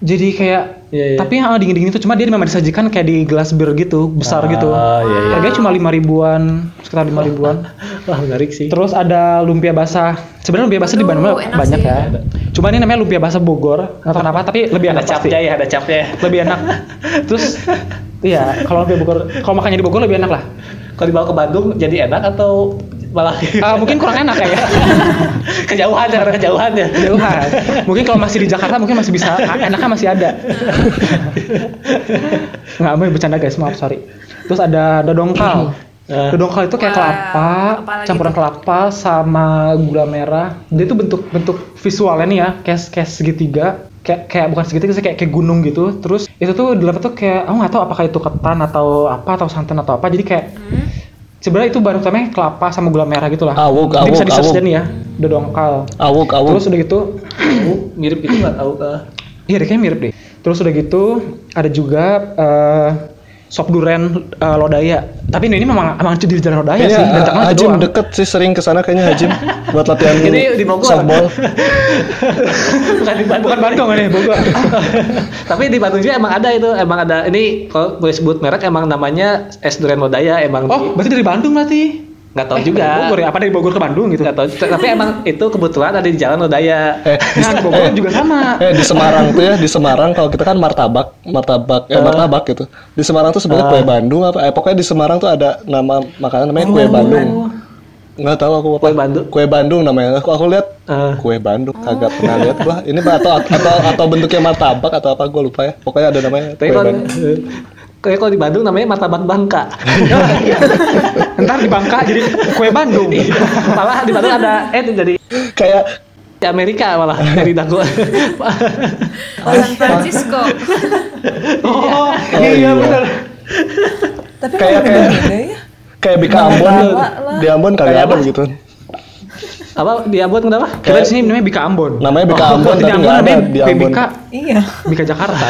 Speaker 2: Jadi kayak
Speaker 1: Iya, iya.
Speaker 2: tapi yang dingin-dingin itu cuma dia memang disajikan kayak di gelas bir gitu, besar gitu.
Speaker 1: Ah, iya, iya.
Speaker 2: Harganya cuma 5 ribuan, sekitar 5 ribuan.
Speaker 1: wah menarik sih
Speaker 2: Terus ada lumpia basah. Sebenarnya lumpia basah di
Speaker 3: Aduh,
Speaker 2: Bandung
Speaker 3: enak
Speaker 2: banyak
Speaker 3: sih.
Speaker 1: Iya,
Speaker 2: ya. Cuma ini namanya lumpia basah Bogor. Nggak tahu kenapa tapi lebih
Speaker 1: ada
Speaker 2: enak pasti.
Speaker 1: capnya ya ada capnya ya.
Speaker 2: Lebih enak. Terus iya, kalau lumpia Bogor, kalau makannya di Bogor lebih enak lah.
Speaker 1: kalau dibawa ke Bandung jadi enak atau malah
Speaker 2: Eh, mungkin kurang enak ya.
Speaker 1: kejauhan ya karena kejauhan ya
Speaker 2: Jauhan. Mungkin kalau masih di Jakarta mungkin masih bisa enaknya masih ada. Nggak mau bercanda guys, maaf sorry. Terus ada dodongkal.
Speaker 1: Eh.
Speaker 2: Dodongkal itu kayak
Speaker 3: Wah,
Speaker 2: kelapa,
Speaker 3: apalagi
Speaker 2: campuran
Speaker 3: tuh?
Speaker 2: kelapa sama gula merah. Dia itu bentuk-bentuk visualnya nih ya, kayak kayak segitiga, kayak kayak bukan segitiga sih kayak kayak gunung gitu. Terus itu tuh di dalamnya tuh kayak aku nggak tahu apakah itu ketan atau apa atau santan atau apa. Jadi kayak
Speaker 3: Hmm?
Speaker 2: sebenarnya itu bahan utamanya kelapa sama gula merah gitu lah.
Speaker 5: Awuk,
Speaker 2: Jadi bisa
Speaker 5: awuk,
Speaker 2: di search
Speaker 5: awuk.
Speaker 2: deh nih ya, dodongkal.
Speaker 5: Awuk
Speaker 2: Terus
Speaker 5: awuk.
Speaker 2: udah gitu,
Speaker 1: Tahu, mirip itu nggak tahu eh.
Speaker 2: iya deh, kayaknya mirip deh. Terus udah gitu ada juga eh, sop duren eh, lodaya. Tapi ini, ini memang emang di jalan lodaya
Speaker 5: Kayaknya
Speaker 2: ah, ya sih. Dan terkenal
Speaker 5: Ha-
Speaker 2: itu
Speaker 5: Hajim
Speaker 2: doang.
Speaker 5: deket sih sering kesana kayaknya Hajim buat latihan
Speaker 1: Ini di Bogor.
Speaker 5: softball.
Speaker 1: bukan di Bandung
Speaker 2: Bukan Bandung ini, Bogor. Ah,
Speaker 1: tapi di Bandung juga emang ada itu emang ada ini kalau boleh sebut merek emang namanya es durian lodaya emang di-
Speaker 2: oh, berarti dari Bandung berarti?
Speaker 1: nggak tahu
Speaker 2: Eh,
Speaker 1: juga
Speaker 2: dari Bogor ya? Apa dari Bogor ke Bandung gitu?
Speaker 1: nggak tahu tapi emang itu kebetulan ada di jalan lodaya
Speaker 5: Eh, di,
Speaker 2: Nah, di Bogor juga sama.
Speaker 5: eh, di Semarang tuh ya, di Semarang kalau kita kan martabak, martabak,
Speaker 2: Ah.
Speaker 5: eh, martabak gitu. Di Semarang tuh sebenarnya kue Bandung apa? Eh, pokoknya di Semarang tuh ada nama makanan namanya
Speaker 2: Oh.
Speaker 5: kue Bandung. Nggak tahu aku apa.
Speaker 1: Kue Bandung?
Speaker 5: Kue Bandung namanya. Aku, aku lihat
Speaker 1: Eh.
Speaker 5: kue Bandung kagak pernah lihat gua. Ini mah atau atau atau bentuknya martabak atau apa gua lupa ya. Pokoknya ada namanya
Speaker 1: tapi
Speaker 5: kue
Speaker 1: kalau
Speaker 5: Bandung.
Speaker 1: eh, kayak kalau di Bandung namanya martabak bangka
Speaker 2: Oh, iya. Ntar di Bangka jadi kue Bandung.
Speaker 1: malah di Bandung ada eh jadi
Speaker 5: Kayak
Speaker 1: di Amerika malah dari Dago
Speaker 3: Oh, San Francisco.
Speaker 2: oh,
Speaker 5: Oh,
Speaker 2: iya,
Speaker 5: iya.
Speaker 2: benar.
Speaker 4: Tapi
Speaker 5: Kayak-
Speaker 4: kayak
Speaker 5: kayak-
Speaker 4: beda ya.
Speaker 5: kayak di Ambon. Di Ambon kagak ada gitu.
Speaker 1: apa di Ambon kenapa
Speaker 2: Kita di sini namanya Bika Ambon.
Speaker 5: Namanya Bika
Speaker 2: Oh,
Speaker 5: Ambon,
Speaker 2: di
Speaker 5: tapi nggak
Speaker 2: namanya
Speaker 5: ada di
Speaker 2: kue
Speaker 5: Ambon.
Speaker 2: Bika,
Speaker 4: Iya.
Speaker 2: Bika Jakarta.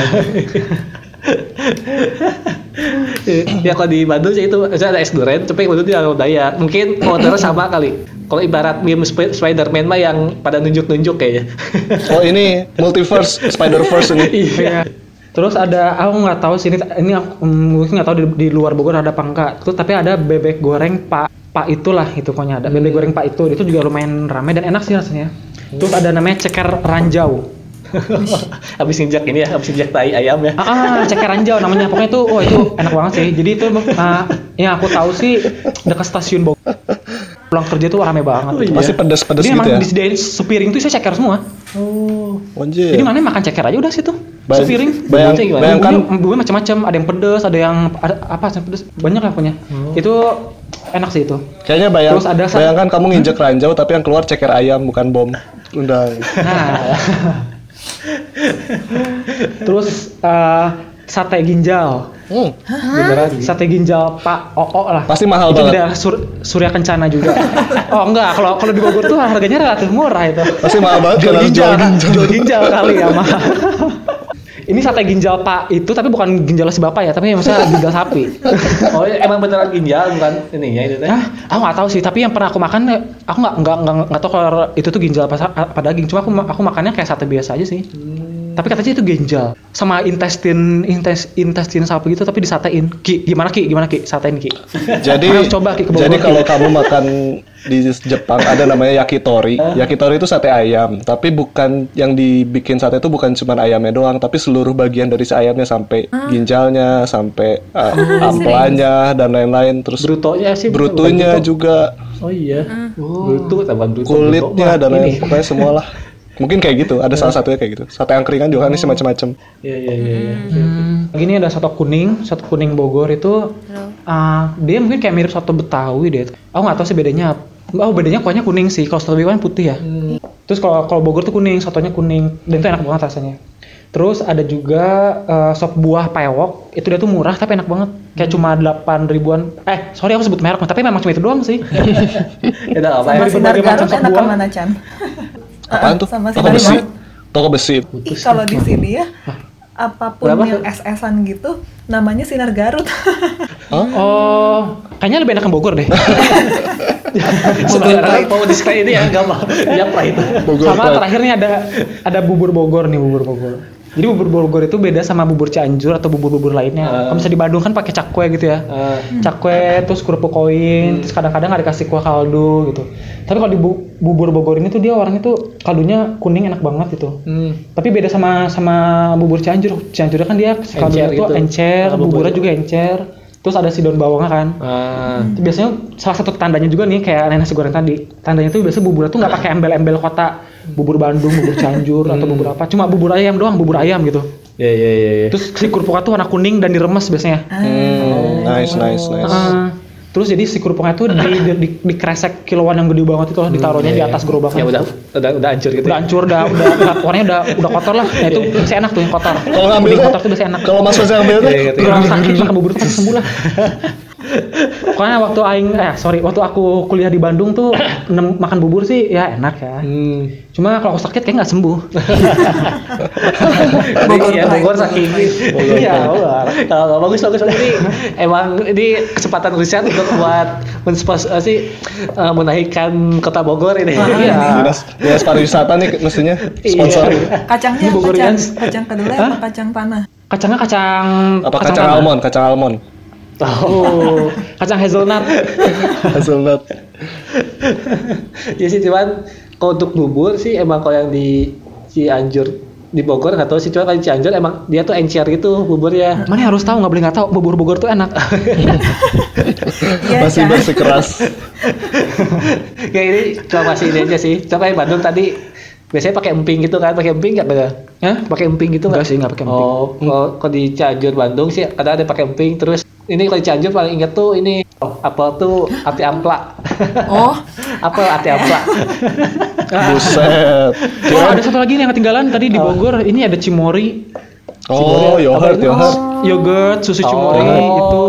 Speaker 1: ya kalau di Bandung sih itu misalnya ada es durian tapi waktu itu di Lodaya mungkin motornya sama kali kalau ibarat meme Sp- Spider-Man mah yang pada nunjuk-nunjuk kayaknya
Speaker 5: Oh, ini multiverse, Spider-Verse ini.
Speaker 2: Iya. Terus ada aku nggak tahu sih ini ini aku mm, mungkin nggak tahu di, di luar Bogor ada apa enggak. Terus tapi ada bebek goreng Pak Pak itulah itu pokoknya ada bebek goreng Pak itu itu juga lumayan rame dan enak sih rasanya. Terus ada namanya ceker ranjau.
Speaker 1: habis injak ini ya habis injak tai ayam ya
Speaker 2: Ah, ah, ceker ranjau namanya pokoknya itu oh itu enak banget sih. Jadi itu ah, yang aku tahu sih dekat stasiun Bogor. Pulang kerja tuh rame banget.
Speaker 1: Oh, iya.
Speaker 5: Masih pedas-pedas
Speaker 2: Jadi
Speaker 5: gitu
Speaker 2: emang
Speaker 5: ya.
Speaker 2: disediain sepiring tuh saya ceker semua.
Speaker 5: Anjir.
Speaker 2: Jadi mana makan ceker aja udah situ.
Speaker 5: Bay-
Speaker 2: Sepiring.
Speaker 5: Iya. bayang-
Speaker 2: Bumbunya gimana?
Speaker 5: bayangkan-
Speaker 2: Bumbunya- bumbunya macam-macam, ada yang pedes, ada yang ada, apa yang pedes, banyak lah punya.
Speaker 5: Oh.
Speaker 2: Itu enak sih itu.
Speaker 5: Kayaknya bayang,
Speaker 2: Terus ada sa-
Speaker 5: bayangkan kamu nginjek ranjau tapi yang keluar ceker ayam bukan bom. Udah.
Speaker 2: Nah. Terus eh, sate ginjal.
Speaker 5: Hmm.
Speaker 1: beneran
Speaker 2: Sate ginjal Pak Oo lah.
Speaker 5: Pasti mahal
Speaker 2: itu
Speaker 5: banget.
Speaker 2: di daerah Sur- Surya Kencana juga. oh enggak, kalau kalau di Bogor tuh harganya relatif murah itu.
Speaker 5: Pasti mahal
Speaker 2: Jual
Speaker 5: banget karena harus
Speaker 2: ginjal,
Speaker 5: jual
Speaker 2: kan?
Speaker 5: ginjal.
Speaker 2: Jual ginjal kali ya mahal. Ini sate ginjal Pak itu tapi bukan ginjal si Bapak ya, tapi maksudnya ginjal sapi.
Speaker 1: oh emang beneran ginjal bukan ini ya itu teh
Speaker 2: Hah? Aku nggak tahu sih, tapi yang pernah aku makan, eh, aku nggak nggak nggak nggak tahu kalau itu tuh ginjal apa, apa daging. Cuma aku ma- aku makannya kayak sate biasa aja sih.
Speaker 5: Hmm.
Speaker 2: Tapi katanya itu ginjal sama intestin intes, intestin sapi gitu tapi disatein. Ki, gimana Ki? Gimana Ki? Satein Ki.
Speaker 5: Jadi
Speaker 2: Harus coba Ki ke Bogor.
Speaker 5: jadi
Speaker 2: Ki.
Speaker 5: kalau kamu makan di Jepang ada namanya yakitori. Yakitori itu sate ayam, tapi bukan yang dibikin sate itu bukan cuma ayamnya doang, tapi seluruh bagian dari si ayamnya sampai
Speaker 2: Ah.
Speaker 5: ginjalnya, sampai uh, amplanya dan lain-lain terus
Speaker 1: Brutonya sih
Speaker 5: brutunya
Speaker 1: bukan
Speaker 2: gitu.
Speaker 5: juga,
Speaker 1: bruto. Oh iya. Bruto tambah bruto.
Speaker 5: kulitnya
Speaker 1: bruto.
Speaker 5: dan
Speaker 1: Wah,
Speaker 5: lain
Speaker 1: ini.
Speaker 5: pokoknya semualah. Mungkin kayak gitu, ada
Speaker 2: Iya.
Speaker 5: salah satunya kayak gitu. Sate angkringan juga
Speaker 2: Oh.
Speaker 5: nih semacam-macam.
Speaker 1: Iya iya iya iya.
Speaker 2: Gini ada soto kuning, soto kuning Bogor itu ah, dia mungkin kayak mirip soto Betawi deh. Aku nggak tahu sih bedanya. apa. Oh bedanya kuahnya kuning sih. Kalau soto Betawi kan putih ya. Terus kalau kalau Bogor tuh kuning, sotonya kuning dan itu enak banget rasanya. Terus ada juga eh, sop buah pewok, itu dia tuh murah tapi enak banget. Kayak cuma 8 ribuan. Eh, sorry aku sebut merek, tapi memang cuma itu doang sih.
Speaker 1: Ya udah apa ya.
Speaker 2: Dari
Speaker 4: Sama sinar
Speaker 2: berbagai
Speaker 4: Garut
Speaker 2: macam
Speaker 4: enak
Speaker 2: buah.
Speaker 4: kemana Chan? Ah,
Speaker 5: Apaan tuh?
Speaker 4: Sama
Speaker 5: Toko
Speaker 4: sinar
Speaker 5: besi.
Speaker 4: Garut.
Speaker 5: Toko besi.
Speaker 4: Ih, kalau di sini ya apapun
Speaker 1: Berapa?
Speaker 4: yang SS-an gitu namanya sinar Garut.
Speaker 2: Oh, kayaknya lebih enak yang Bogor deh.
Speaker 1: Sebelum kalian mau display ini ya enggak mau. Dia pride.
Speaker 5: Bogor
Speaker 2: sama
Speaker 5: Pride.
Speaker 2: terakhir nih ada ada bubur Bogor nih bubur Bogor. Jadi bubur Bogor itu beda sama bubur Cianjur atau bubur-bubur lainnya.
Speaker 1: Ah.
Speaker 2: Kalau misalnya di Bandung kan pakai cakwe gitu ya.
Speaker 1: Eh,
Speaker 2: Cakwe terus kerupuk koin,
Speaker 1: Hmm.
Speaker 2: terus kadang-kadang ada kasih kuah kaldu gitu. Tapi kalau di bu- bubur Bogor ini tuh dia orangnya tuh kaldunya kuning enak banget gitu.
Speaker 1: hmm.
Speaker 2: Tapi beda sama sama bubur Cianjur. Cianjur kan dia kaldunya tuh
Speaker 1: gitu.
Speaker 2: encer,
Speaker 1: Ah,
Speaker 2: buburnya
Speaker 1: bubur.
Speaker 2: juga encer. Terus ada si daun bawangnya kan.
Speaker 1: Ah.
Speaker 2: Itu biasanya salah satu tandanya juga nih kayak nasi goreng tadi tandanya tuh biasanya buburnya tuh nggak pakai embel-embel kota bubur Bandung bubur Cianjur atau bubur apa cuma bubur ayam doang bubur ayam gitu
Speaker 1: Iya iya iya. iya.
Speaker 2: terus si kerupuknya tuh warna kuning dan diremes biasanya
Speaker 4: Ah.
Speaker 5: Hmm, nice nice nice.
Speaker 2: Heeh. terus jadi si kerupuknya tuh di, di, di, dikresek kiloan yang gede banget itu loh ditaruhnya di atas gerobak
Speaker 1: Ya udah udah udah hancur gitu.
Speaker 2: udah
Speaker 1: ya.
Speaker 2: hancur udah udah udah- warnanya udah udah kotor lah nah itu biasanya enak tuh yang kotor
Speaker 5: Kalau ngambil
Speaker 2: Kuning kotor tuh biasanya enak
Speaker 5: Iya. Kalau Mas Faisal ngambil tuh,
Speaker 1: Iya, iya, iya.
Speaker 2: Orang sakit makan bubur tuh pasti sembuh lah. Pokoknya waktu aing eh sorry waktu aku kuliah di Bandung tuh nem- makan bubur sih ya enak ya.
Speaker 1: Hmm.
Speaker 2: Cuma kalau aku sakit kayak nggak sembuh.
Speaker 1: Bogor, ya,
Speaker 4: Pride.
Speaker 1: Bogor saking
Speaker 2: Iya,
Speaker 1: iya Kalau bagus bagus bagus. ini emang ini kesempatan Riset untuk buat menspos apa sih eh, menaikkan kota Bogor ini
Speaker 2: Iya.
Speaker 5: dinas, dinas pariwisata nih mestinya sponsor.
Speaker 1: Iya.
Speaker 4: Kacangnya
Speaker 2: Ini
Speaker 4: apa
Speaker 2: Bogor
Speaker 4: Chan?
Speaker 2: Yans.
Speaker 4: Kacang kedelai
Speaker 2: Hah?
Speaker 4: apa kacang tanah?
Speaker 2: Kacangnya kacang
Speaker 5: Apa kacang
Speaker 2: tanah.
Speaker 5: almond, kacang almond.
Speaker 2: Oh, kacang hazelnut.
Speaker 5: Hazelnut.
Speaker 1: ya sih cuman kalau untuk bubur sih emang kalau yang di Cianjur di Bogor nggak tahu sih cuman kalau di Cianjur emang dia tuh encer gitu buburnya
Speaker 2: Mana yang harus tahu nggak boleh nggak tahu bubur Bogor tuh enak.
Speaker 4: Iya
Speaker 5: Masih
Speaker 4: Chan.
Speaker 5: bersikeras.
Speaker 1: ya ini cuma masih ini aja sih coba yang Bandung tadi biasanya pakai emping gitu kan pakai emping nggak bener
Speaker 2: Hah?
Speaker 1: pakai emping gitu nggak
Speaker 2: Enggak sih nggak pakai emping.
Speaker 1: Oh, kalau kalau di Cianjur Bandung sih ada ada pakai emping terus ini kalau di Cianjur paling inget tuh ini oh, apel tuh ati ampla.
Speaker 4: Oh,
Speaker 1: apel ati ampla.
Speaker 5: Buset. Iya.
Speaker 2: Oh, ada satu lagi nih yang ketinggalan tadi di
Speaker 1: Oh.
Speaker 2: Bogor. Ini ada cimori.
Speaker 5: Oh,
Speaker 2: iya.
Speaker 5: yogurt, yogurt.
Speaker 2: yogurt, susu cimori
Speaker 1: Oh.
Speaker 2: itu.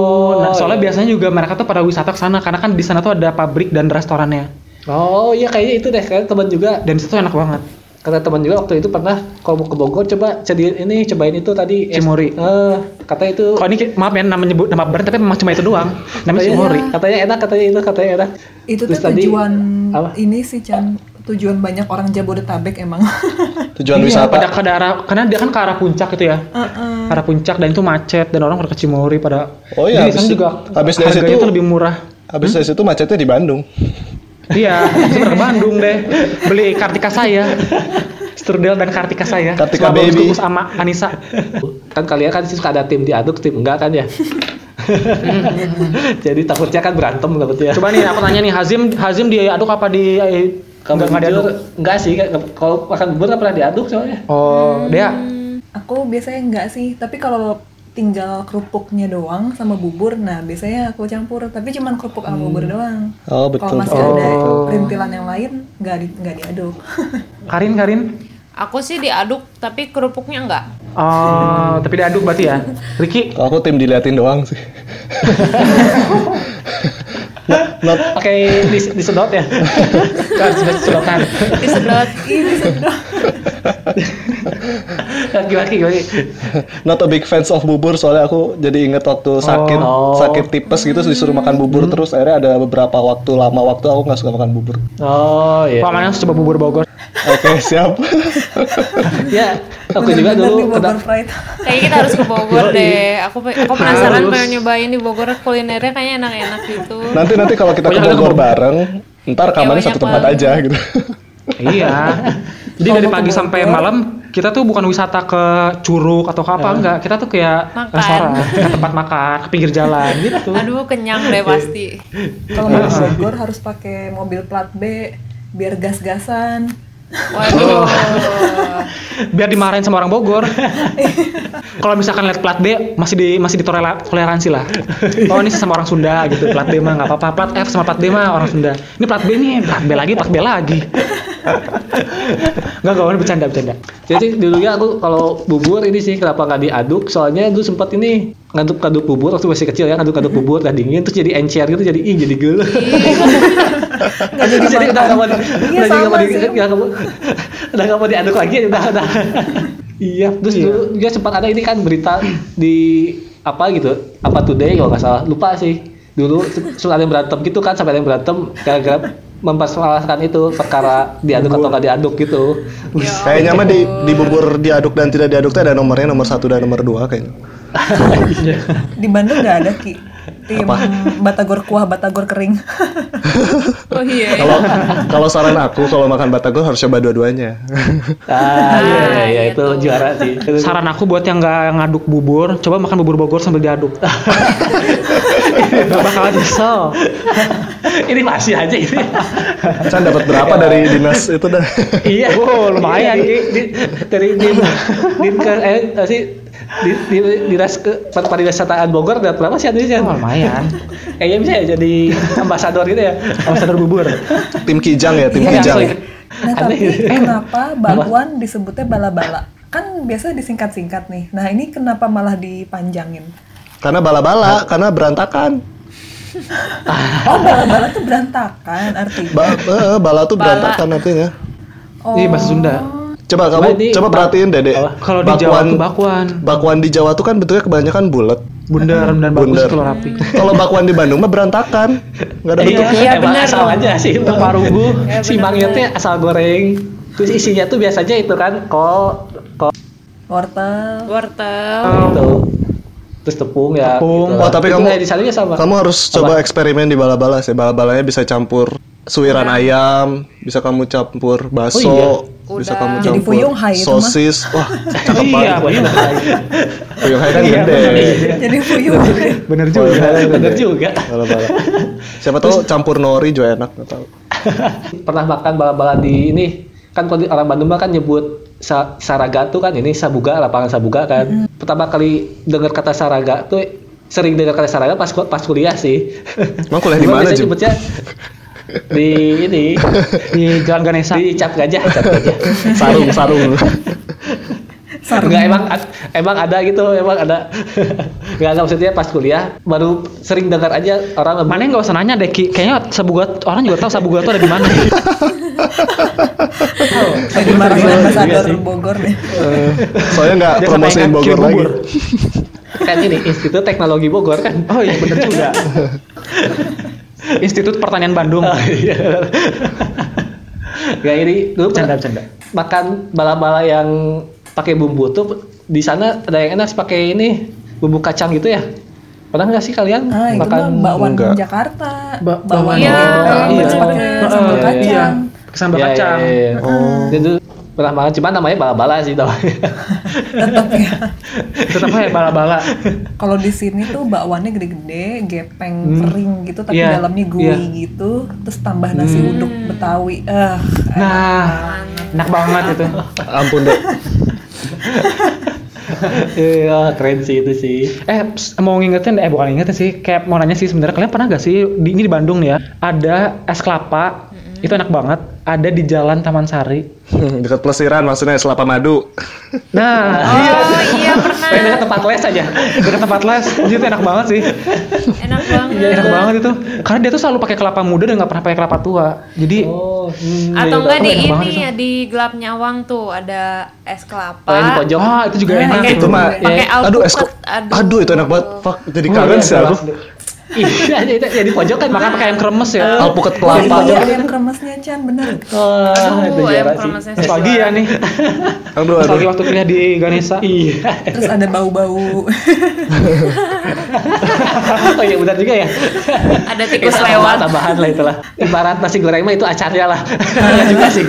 Speaker 2: Nah, soalnya biasanya juga mereka tuh pada wisata ke sana karena kan di sana tuh ada pabrik dan restorannya.
Speaker 1: Oh iya kayaknya itu deh kayaknya teman juga
Speaker 2: Dan itu enak banget.
Speaker 1: kata teman juga waktu itu pernah kalau mau ke Bogor coba cedi ini cobain itu tadi es-
Speaker 2: Cimori.
Speaker 1: Eh, katanya itu
Speaker 2: Kalau ini ki- maaf ya nama nyebut nama brand tapi memang cuma itu doang.
Speaker 1: Oh,
Speaker 2: Namanya
Speaker 1: iya.
Speaker 2: cimori.
Speaker 1: Katanya enak katanya itu katanya enak.
Speaker 4: itu
Speaker 1: Terus
Speaker 4: tuh
Speaker 1: tadi-
Speaker 4: tujuan
Speaker 1: apa?
Speaker 4: ini sih Chan. Tujuan banyak orang Jabodetabek emang.
Speaker 5: Tujuan
Speaker 2: Iya, Pada
Speaker 5: wisata.
Speaker 2: ke daerah karena dia kan ke arah puncak gitu ya.
Speaker 4: Heeh.
Speaker 2: Ke arah puncak dan itu macet dan orang pada ke Cimori pada
Speaker 5: Oh
Speaker 2: Jadi
Speaker 5: iya,
Speaker 2: di sana
Speaker 5: habis-
Speaker 2: juga
Speaker 5: habis dari
Speaker 2: harganya
Speaker 5: situ-
Speaker 2: tuh lebih murah.
Speaker 5: Habis dari situ macetnya di Bandung.
Speaker 2: Iya, habis itu ke Bandung deh. Beli Kartika saya. Strudel dan Kartika saya.
Speaker 5: Kartika
Speaker 2: Sama Bagus
Speaker 5: Baby.
Speaker 2: Kukus sama Anissa.
Speaker 1: Kan kalian kan sih suka ada tim diaduk, tim enggak kan ya. Jadi takutnya kan berantem takutnya.
Speaker 2: Coba nih aku tanya nih Hazim Hazim diaduk apa di
Speaker 1: Kamu
Speaker 2: nggak nggak diaduk?
Speaker 1: jujur, enggak sih, kan, kalau makan bubur nggak pernah diaduk soalnya.
Speaker 2: Oh, dia
Speaker 4: Aku biasanya enggak sih, tapi kalau tinggal kerupuknya doang sama bubur, nah biasanya aku campur. Tapi cuman kerupuk sama bubur doang.
Speaker 5: Oh,
Speaker 4: Kalau
Speaker 5: betul.
Speaker 4: masih ada
Speaker 2: Oh.
Speaker 4: rintilan yang lain, nggak di, nggak diaduk.
Speaker 2: Karin Karin.
Speaker 3: Aku sih diaduk tapi kerupuknya enggak.
Speaker 2: Oh, tapi diaduk berarti ya. Ricky.
Speaker 5: Kalau aku tim diliatin doang sih. Not
Speaker 1: Pakai dis- disedot ya.
Speaker 2: Kan sudah sedotan.
Speaker 3: Disedot.
Speaker 4: Ini
Speaker 1: Laki-laki lagi.
Speaker 5: Not a big fans of bubur soalnya aku jadi inget waktu sakit
Speaker 1: Oh.
Speaker 5: sakit tipes gitu disuruh makan bubur
Speaker 2: Hmm.
Speaker 5: terus akhirnya ada beberapa waktu lama waktu aku nggak suka makan bubur.
Speaker 1: Oh iya.
Speaker 2: Pamannya harus coba bubur Bogor.
Speaker 5: Oke siap.
Speaker 1: Ya, aku juga
Speaker 4: Bener-bener
Speaker 1: dulu
Speaker 4: nih Bogor
Speaker 1: kena
Speaker 4: Pride.
Speaker 3: Kayaknya kita harus ke Bogor
Speaker 1: Yoi.
Speaker 3: deh. Aku pe- aku penasaran
Speaker 1: Harus.
Speaker 3: pengen nyobain di Bogor kulinernya kayaknya enak-enak gitu.
Speaker 5: nanti nanti kalau kita ke
Speaker 1: Pokoknya kita ke
Speaker 5: Bogor
Speaker 1: Bogor.
Speaker 5: bareng, ntar rekamannya
Speaker 3: banyak
Speaker 5: satu tempat
Speaker 3: banget.
Speaker 5: aja gitu.
Speaker 2: iya. Jadi
Speaker 4: Kalau
Speaker 2: dari
Speaker 4: mau ke
Speaker 2: pagi sampai
Speaker 4: Bogor.
Speaker 2: malam kita tuh bukan wisata ke curug atau ke apa enggak, kita tuh kayak
Speaker 3: Makan.
Speaker 2: restoran, ke tempat makan, ke pinggir jalan gitu.
Speaker 3: Aduh kenyang deh pasti.
Speaker 4: Kalau
Speaker 1: Iya.
Speaker 4: mau ke Bogor harus pakai mobil plat B biar gas-gasan.
Speaker 3: Waduh.
Speaker 2: Biar dimarahin sama orang Bogor. Kalau misalkan lihat plat B masih di masih ditoleransi lah. Oh ini sama orang Sunda gitu. Plat B mah nggak apa-apa. Plat F sama plat D mah orang Sunda. Ini plat B nih, plat B lagi, plat B lagi. Enggak enggak, ini bercanda bercanda.
Speaker 1: Jadi dulunya aku kalau bubur ini sih kenapa nggak diaduk? Soalnya dulu sempat ini ngaduk-aduk bubur waktu masih kecil ya ngaduk-aduk bubur nggak dingin terus jadi encer gitu jadi ih jadi gel.
Speaker 4: Nggak
Speaker 1: Jadi jadi udah nggak mau di-
Speaker 4: Iya,
Speaker 1: udah nggak mau
Speaker 4: sama
Speaker 1: di-
Speaker 4: sih.
Speaker 1: nggak mau- udah nggak mau diaduk lagi ya udah udah. Iya, terus
Speaker 2: Iya.
Speaker 1: dulu juga sempat ada ini kan berita di apa gitu apa today kalau nggak salah lupa sih dulu sempat ada yang berantem gitu kan sampai ada yang berantem gara-gara mempersoalkan itu perkara diaduk atau nggak diaduk gitu
Speaker 5: Kayaknya mah di, di bubur diaduk dan tidak diaduk tuh ada nomornya nomor satu dan nomor dua kayaknya.
Speaker 4: Di Bandung nggak ada ki. Tim Batagor kuah, Batagor kering.
Speaker 3: Oh iya.
Speaker 5: Kalau kalau saran aku kalau makan batagor harus coba dua-duanya.
Speaker 1: Ah, iya, iya, iya,
Speaker 3: iya
Speaker 1: itu
Speaker 3: tuh.
Speaker 1: juara sih.
Speaker 2: Saran aku buat yang nggak ngaduk bubur, coba makan bubur Bogor sambil diaduk. Gak bakalan nyesel.
Speaker 1: ini masih aja ini.
Speaker 5: Chan Kan dapat berapa dari dinas itu dah?
Speaker 1: iya.
Speaker 2: Wow, lumayan,
Speaker 1: Di, di- dari din, din ke eh apa sih di di, di ras ke pariwisataan Bogor dapat berapa sih Adrian?
Speaker 2: Oh, lumayan.
Speaker 1: Kayaknya bisa ya jadi ambasador gitu ya.
Speaker 2: Ambasador bubur.
Speaker 5: Tim Kijang ya, tim
Speaker 4: Iya,
Speaker 5: Kijang.
Speaker 1: sorry.
Speaker 4: Nah
Speaker 1: Aneh. Eh,
Speaker 4: tapi kenapa bakwan disebutnya bala-bala? Kan biasa disingkat-singkat nih. Nah ini kenapa malah dipanjangin?
Speaker 5: Karena bala-bala, karena berantakan.
Speaker 4: Oh bala-bala tuh berantakan artinya.
Speaker 5: Ba- eh, bala tuh berantakan nantinya.
Speaker 4: Oh.
Speaker 2: Ini bahasa Sunda.
Speaker 5: Coba kamu
Speaker 1: ini
Speaker 5: coba
Speaker 1: bak-
Speaker 5: perhatiin Dede.
Speaker 1: apa?
Speaker 2: Kalau di Jawa tuh bakwan.
Speaker 5: Bakwan di Jawa tuh kan bentuknya kebanyakan bulat.
Speaker 2: Bundar dan bagus
Speaker 5: Bundar.
Speaker 2: kalau rapi.
Speaker 5: Kalau bakwan di Bandung mah berantakan. Nggak ada bentuknya.
Speaker 3: Iya,
Speaker 1: emang
Speaker 3: benar.
Speaker 1: asal aja sih. Itu parugu,
Speaker 3: Iya,
Speaker 1: si
Speaker 3: benar,
Speaker 1: mangnyotnya asal goreng. Terus isinya tuh biasanya itu kan kol, kol
Speaker 4: Wortel.
Speaker 3: Wortel.
Speaker 1: gitu. Terus tepung ya.
Speaker 2: Tepung.
Speaker 1: gitu
Speaker 5: Oh,
Speaker 1: lah.
Speaker 5: tapi
Speaker 1: Itu
Speaker 5: kamu-
Speaker 1: kayak di salingnya sama.
Speaker 5: Kamu harus coba eksperimen di bala-bala sih. Bala-balanya bisa campur suiran ayam, bisa kamu campur bakso,
Speaker 1: Oh, iya.
Speaker 5: bisa
Speaker 3: Udah.
Speaker 5: kamu
Speaker 4: Jadi
Speaker 5: campur
Speaker 4: fuyung hai itu mah.
Speaker 5: sosis. Wah, cakep
Speaker 2: Iya,
Speaker 5: banget. Fuyung hai kan gede.
Speaker 1: Iya.
Speaker 4: Jadi puyuh.
Speaker 2: bener
Speaker 5: Fuyung
Speaker 2: juga.
Speaker 5: hai kan
Speaker 1: Bener
Speaker 5: gede.
Speaker 1: juga.
Speaker 5: Bala-bala. Siapa tahu campur nori juga enak, nggak tahu.
Speaker 1: pernah makan bala-bala di ini kan kalau di orang Bandung mah kan nyebut sa- Saragato kan ini Sabuga lapangan Sabuga kan pertama kali dengar kata Saraga tuh sering dengar kata Saraga pas ku- pas kuliah sih
Speaker 5: Emang kuliah di
Speaker 1: Cuma
Speaker 5: mana,
Speaker 1: biasanya
Speaker 5: Jim?
Speaker 1: nyebutnya di ini
Speaker 2: Di Jalan Ganesha.
Speaker 1: di cap gajah cap gajah
Speaker 5: Sarung, sarung.
Speaker 1: Enggak emang ad- emang ada gitu emang ada nggak nggak, maksudnya pas kuliah baru sering dengar aja orang
Speaker 2: Mana yang nggak usah nanya deh, Ki. Kayaknya sabugat orang juga tahu sabugat tuh ada di mana.
Speaker 1: "Oh,
Speaker 4: Jadi marahin
Speaker 1: Iya,
Speaker 4: ambasador Bogor deh.
Speaker 5: Eh, Soalnya nggak
Speaker 2: Dia
Speaker 5: promosiin
Speaker 2: sampaikan
Speaker 5: Bogor
Speaker 2: kirim
Speaker 5: lagi.
Speaker 2: bubur.
Speaker 1: kan ini Institut Teknologi Bogor kan
Speaker 2: Oh iya bener juga. Institut Pertanian Bandung.
Speaker 1: Oh, iya. Gak ini dulu pernah
Speaker 2: Bercanda, bercanda.
Speaker 1: makan bala-bala yang pakai bumbu tuh di sana ada yang enak pakai ini bumbu kacang gitu ya. Pernah nggak sih kalian
Speaker 4: Ah itu mah
Speaker 1: makan
Speaker 4: bakwan
Speaker 5: enggak.
Speaker 4: Jakarta.
Speaker 2: Ba-
Speaker 4: bakwan
Speaker 3: Iya,
Speaker 4: Jakarta.
Speaker 3: iya.
Speaker 4: Terus pakai sambal
Speaker 1: Iya, iya,
Speaker 4: kacang.
Speaker 2: Kesambal
Speaker 1: Iya,
Speaker 2: kacang.
Speaker 1: iya, iya.
Speaker 5: Oh.
Speaker 1: Itu pernah makan cuman namanya bala-bala sih namanya.
Speaker 4: Tetap ya.
Speaker 2: Tetap aja bala-bala.
Speaker 4: Kalau di sini tuh bakwannya gede-gede, gepeng
Speaker 5: Hmm.
Speaker 4: kering gitu, tapi
Speaker 2: Iya,
Speaker 4: dalamnya gooey
Speaker 2: iya.
Speaker 4: gitu, terus tambah nasi
Speaker 5: Hmm.
Speaker 4: uduk Betawi. Eh,
Speaker 2: Nah, enak banget itu.
Speaker 5: Ampun deh.
Speaker 1: Iya, keren sih itu sih.
Speaker 2: Eh, ps- mau ngingetin, eh bukan ngingetin sih, kayak mau nanya sih sebenarnya kalian pernah gak sih di, ini di Bandung nih ya, ada es kelapa Itu enak banget. Ada di Jalan Taman Sari.
Speaker 5: Dekat pelesiran maksudnya Selapa Madu.
Speaker 2: Nah,
Speaker 3: Oh iya
Speaker 1: Pengen
Speaker 3: pernah.
Speaker 1: dekat kan tempat les aja.
Speaker 2: dekat tempat les. Jadi itu enak banget sih.
Speaker 3: Enak banget.
Speaker 2: Iya, enak banget itu. Karena dia tuh selalu pakai kelapa muda dan nggak pernah pakai kelapa tua. Jadi
Speaker 1: Oh, hmm, iya,
Speaker 3: Atau enggak
Speaker 2: tahu,
Speaker 3: di
Speaker 2: enak banget
Speaker 3: ini ya di gelap nyawang tuh ada es kelapa.
Speaker 1: Oh, yang di pojok.
Speaker 2: ah itu juga enak.
Speaker 5: itu mah
Speaker 3: Pakai
Speaker 5: eh, aduh es
Speaker 3: alpukat,
Speaker 5: aduh.
Speaker 3: aduh.
Speaker 5: itu enak banget. Fuck, jadi
Speaker 2: Oh,
Speaker 5: kangen
Speaker 2: iya,
Speaker 5: sih aku.
Speaker 1: Iya, itu ya di pojok kan
Speaker 2: Makan
Speaker 1: makan
Speaker 2: pakai ayam kremes ya.
Speaker 5: Alpukat
Speaker 4: Jadi
Speaker 5: Nah, kelapa.
Speaker 4: punya ayam kremesnya Chan bener.
Speaker 1: Wah, Ah, itu
Speaker 3: Aduh, ayam
Speaker 1: jarang sih.
Speaker 3: kremesnya
Speaker 2: Nostalgia ya nih.
Speaker 5: Aduh
Speaker 2: Nostalgia
Speaker 5: aduh.
Speaker 2: waktu kuliah di Ganesha.
Speaker 1: Iya.
Speaker 4: Terus ada bau-bau.
Speaker 1: Oh iya benar juga ya.
Speaker 3: Ada tikus
Speaker 1: Itu
Speaker 3: lewat.
Speaker 1: tambahan- Iya, Tambahan lah itulah. Ibarat nasi goreng mah itu acarnya lah. Enggak juga sih.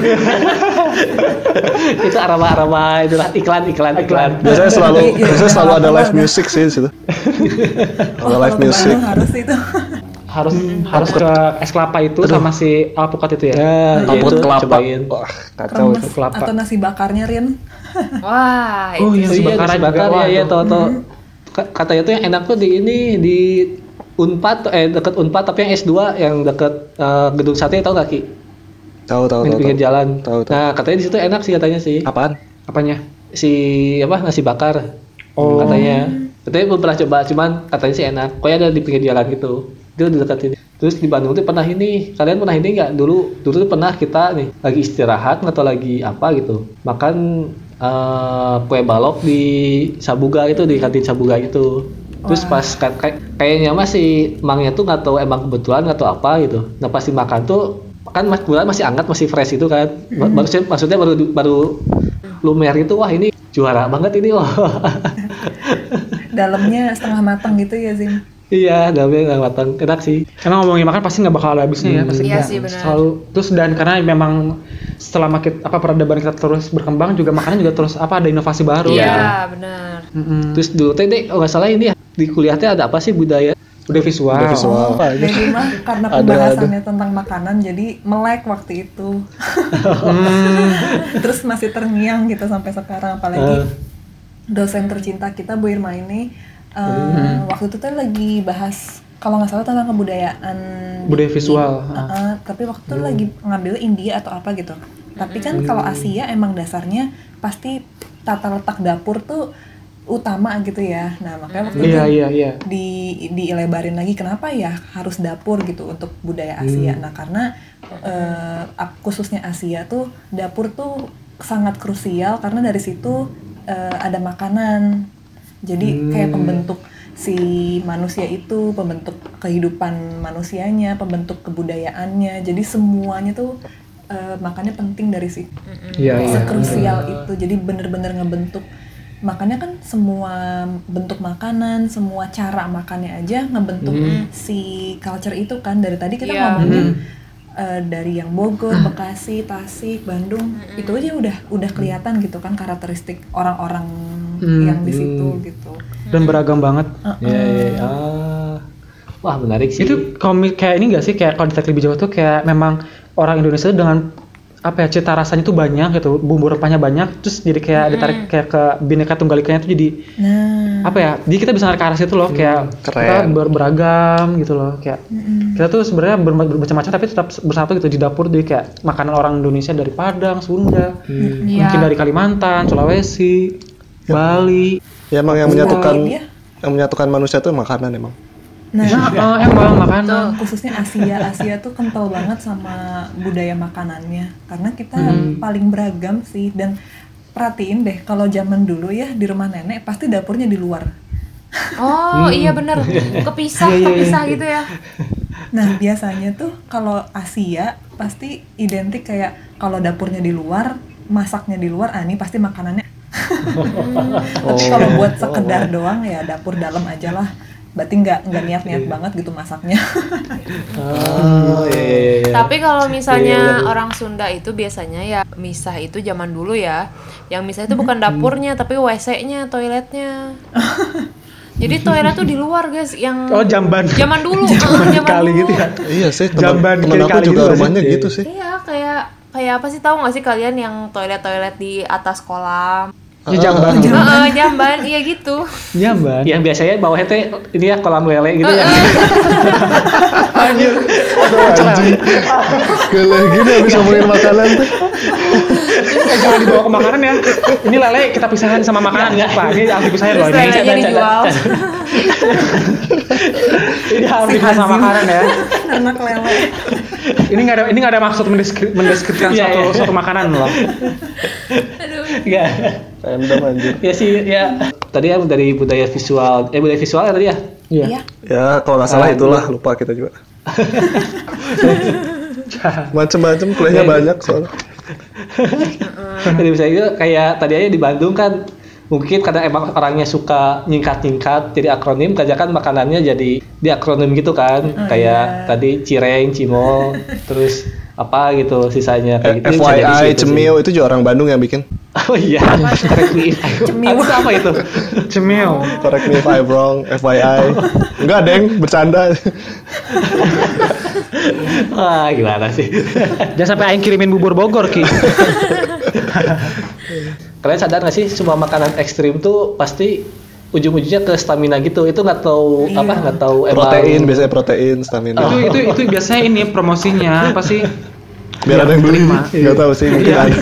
Speaker 1: itu aroma-aroma itulah iklan-iklan iklan.
Speaker 5: Biasanya selalu
Speaker 4: Iya, iya,
Speaker 5: biasanya selalu ada
Speaker 4: apa-apa
Speaker 5: live
Speaker 4: ada.
Speaker 5: music sih di situ. Ada
Speaker 4: Wah,
Speaker 5: live
Speaker 4: kalau ke
Speaker 5: music.
Speaker 4: Bandung harus itu.
Speaker 2: Harus harus ke es kelapa itu sama si alpukat itu ya.
Speaker 1: Ya,
Speaker 5: Alpukat
Speaker 1: itu,
Speaker 5: kelapa.
Speaker 1: cobain.
Speaker 5: Wah, kacau
Speaker 4: Kremes
Speaker 5: itu.
Speaker 2: kelapa.
Speaker 4: atau nasi bakarnya Rian.
Speaker 3: Wah,
Speaker 2: Oh,
Speaker 1: Iya,
Speaker 2: Nasi
Speaker 1: nasi
Speaker 2: bakar
Speaker 1: bakar,
Speaker 2: juga, wah,
Speaker 1: ya, ya,
Speaker 2: tuh.
Speaker 1: tau tau. Ka- Katanya tuh yang enak tuh di ini di Unpad eh deket Unpad tapi yang S2 yang deket eh, gedung sate tau gak Ki?
Speaker 5: Tahu tahu
Speaker 1: Yang
Speaker 5: tahu.
Speaker 1: di pinggir
Speaker 5: tahu.
Speaker 1: jalan.
Speaker 5: Tahu, tahu.
Speaker 1: Nah, katanya di situ enak sih katanya sih.
Speaker 5: Apaan?
Speaker 2: Apanya?
Speaker 1: Si apa nasi bakar.
Speaker 2: Oh.
Speaker 1: katanya katanya belum pernah coba cuman katanya sih enak pokoknya ada di pinggir jalan gitu itu di dekat ini terus di Bandung tuh pernah ini kalian pernah ini nggak dulu dulu tuh pernah kita nih lagi istirahat atau lagi apa gitu makan eh, kue balok di Sabuga itu di kantin Sabuga gitu terus pas ka- kayak- kayaknya masih emangnya tuh nggak tahu emang kebetulan atau apa gitu nah pas dimakan tuh kan mas bulan masih hangat masih fresh itu kan Ba- baru maksudnya baru baru lumer itu wah ini juara banget ini wah
Speaker 4: Dalamnya setengah matang gitu ya Zim.
Speaker 1: Iya, dalamnya nggak matang. Enak sih.
Speaker 2: Karena ngomongin makan pasti nggak bakal ada habisnya ya, pasti
Speaker 3: Iya
Speaker 2: nggak.
Speaker 3: sih, benar.
Speaker 2: selalu terus dan karena memang setelah makin apa peradaban kita terus berkembang juga makanan juga terus apa ada inovasi baru.
Speaker 3: Iya,
Speaker 1: Iya.
Speaker 3: benar.
Speaker 2: Mm-mm.
Speaker 1: Terus dulu teh deh, oh nggak salah ini ya di kuliah teh ada apa sih budaya?
Speaker 2: udah visual.
Speaker 5: Udah visual. Wow.
Speaker 4: Jadi mah karena
Speaker 5: Ada,
Speaker 4: pembahasannya tentang makanan jadi melek waktu itu.
Speaker 2: Hmm.
Speaker 4: Terus masih terngiang gitu sampai sekarang apalagi dosen tercinta kita Bu Irma ini eh,
Speaker 2: Hmm.
Speaker 4: waktu itu kan lagi bahas kalau nggak salah tentang kebudayaan
Speaker 2: Budaya Hmm. visual.
Speaker 4: Heeh, tapi waktu itu lagi ngambil India atau apa gitu tapi kan
Speaker 2: Hmm.
Speaker 4: kalau Asia emang dasarnya pasti tata letak dapur tuh utama gitu ya nah makanya waktu itu
Speaker 2: Iya iya iya.
Speaker 4: di dilebarin lagi kenapa ya harus dapur gitu untuk budaya Asia. Nah, karena eh, ap- khususnya Asia tuh dapur tuh sangat krusial karena dari situ eh, ada makanan. Jadi kayak pembentuk si manusia itu, pembentuk kehidupan manusianya, pembentuk kebudayaannya. Jadi semuanya tuh eh, makanya penting dari situ
Speaker 2: Iya iya.
Speaker 4: sekrusial itu jadi bener-bener ngebentuk makanya kan semua bentuk makanan semua cara makannya aja ngebentuk
Speaker 2: Hmm.
Speaker 4: si culture itu kan dari tadi kita
Speaker 3: Iya.
Speaker 4: ngomongin eh, dari yang Bogor,
Speaker 2: Ah.
Speaker 4: Bekasi, Tasik, Bandung itu aja udah udah kelihatan gitu kan karakteristik orang-orang
Speaker 2: Hmm.
Speaker 4: yang di situ gitu
Speaker 2: Dan beragam banget.
Speaker 1: Iya, iya, iya. Ah. Wah menarik sih.
Speaker 2: Itu komik kayak ini gak sih kayak kalau ditarik lebih jauh tuh kayak memang orang Indonesia tuh dengan apa ya cita rasanya tuh banyak gitu, bumbu rempahnya banyak, terus jadi kayak ditarik kayak ke bineka tunggal ikanya tuh jadi
Speaker 4: nah
Speaker 2: apa ya jadi kita bisa narik ke arah situ loh kayak
Speaker 1: Hmm,
Speaker 5: keren.
Speaker 2: kita ber- beragam gitu loh kayak kita tuh sebenarnya ber- bermacam-macam tapi tetap bersatu gitu di dapur jadi kayak makanan orang Indonesia dari Padang Sunda mungkin dari Kalimantan Sulawesi Bali
Speaker 5: Ya emang yang menyatukan
Speaker 4: Iya.
Speaker 5: yang menyatukan manusia tuh makanan emang.
Speaker 4: nah
Speaker 2: nah eh, emang makanan
Speaker 4: khususnya Asia Asia tuh kental banget sama budaya makanannya karena kita paling beragam sih dan perhatiin deh kalau zaman dulu ya di rumah nenek pasti dapurnya di luar
Speaker 3: Oh,
Speaker 2: Hmm.
Speaker 3: iya benar. Kepisah,
Speaker 2: Iya,
Speaker 3: kepisah gitu ya.
Speaker 4: nah biasanya tuh kalau Asia pasti identik kayak kalau dapurnya di luar masaknya di luar ah ini pasti makanannya tapi kalau buat sekedar doang ya dapur dalam aja lah berarti nggak nggak niat niat banget gitu masaknya
Speaker 1: Oh, iya, iya, iya.
Speaker 3: Tapi kalau
Speaker 2: iya,
Speaker 3: misalnya orang Sunda itu biasanya ya misah itu zaman dulu ya. Yang misah itu
Speaker 2: Hmm.
Speaker 3: bukan dapurnya tapi WC-nya, toiletnya. Jadi toilet tuh di luar, guys, yang
Speaker 2: oh jamban
Speaker 3: zaman dulu, eh, zaman,
Speaker 2: kali
Speaker 3: dulu.
Speaker 2: gitu ya
Speaker 5: Iya sih, temen,
Speaker 2: Jamban
Speaker 5: temen
Speaker 2: kiri
Speaker 5: aku
Speaker 2: kali gitu
Speaker 5: juga
Speaker 2: gak sih?
Speaker 5: rumahnya
Speaker 2: Iya,
Speaker 5: gitu sih.
Speaker 3: Iya, kayak kayak apa sih tahu nggak sih kalian yang toilet-toilet di atas kolam?
Speaker 2: Ya jamban.
Speaker 3: Heeh, jamban, iya gitu.
Speaker 2: Jamban.
Speaker 1: Yang biasanya bawahnya teh ini ya kolam lele gitu ya.
Speaker 5: Anjir. Aduh anjing. Gila gini habis ngomongin makanan tuh.
Speaker 2: Eh, jangan dibawa ke makanan ya. Ini lele kita pisahin sama makanan
Speaker 1: Iya,
Speaker 2: ya, Pak. Ini harus dipisahin loh
Speaker 3: Terus
Speaker 2: ini.
Speaker 3: lelenya dijual.
Speaker 2: Ini harus dipisahin sama makanan ya.
Speaker 4: Ternak lele.
Speaker 2: Ini nggak ada ini nggak ada maksud mendeskri- mendeskripsikan
Speaker 1: Iya,
Speaker 2: suatu
Speaker 1: iya.
Speaker 2: suatu makanan loh.
Speaker 3: Aduh.
Speaker 1: Enggak.
Speaker 5: Random anjir.
Speaker 1: ya sih ya tadi ya dari budaya visual eh budaya visual ya tadi ya
Speaker 4: Iya.
Speaker 5: Ya kalau nggak salah itulah lupa kita juga. Macem-macem kuliahnya banyak soalnya.
Speaker 1: Jadi misalnya itu kayak tadi aja di Bandung kan mungkin karena emang orangnya suka nyingkat-nyingkat jadi akronim kerja kan makanannya jadi di akronim gitu kan kayak tadi cireng, cimol, terus apa gitu sisanya
Speaker 5: Eh,
Speaker 1: kayak gitu. Bisa jadi sih itu
Speaker 5: FYI
Speaker 1: sih.
Speaker 5: cemil itu juga orang Bandung yang bikin.
Speaker 1: Oh iya. Cemil apa itu?
Speaker 2: Cemil.
Speaker 5: Correct me if I'm wrong, FYI. Enggak, Deng, bercanda.
Speaker 1: Wah, gimana sih?
Speaker 2: Jangan sampai aing kirimin bubur Bogor, Ki.
Speaker 1: Kalian sadar nggak sih semua makanan ekstrim tuh pasti ujung-ujungnya ke stamina gitu. Itu nggak tahu apa nggak tahu emang- Ah.
Speaker 5: Protein, biasanya protein, stamina.
Speaker 2: itu itu itu biasanya ini promosinya apa sih?
Speaker 5: Biar ada yang beli.
Speaker 2: Terima.
Speaker 5: Enggak tahu sih, mungkin
Speaker 1: Iya.
Speaker 5: ada.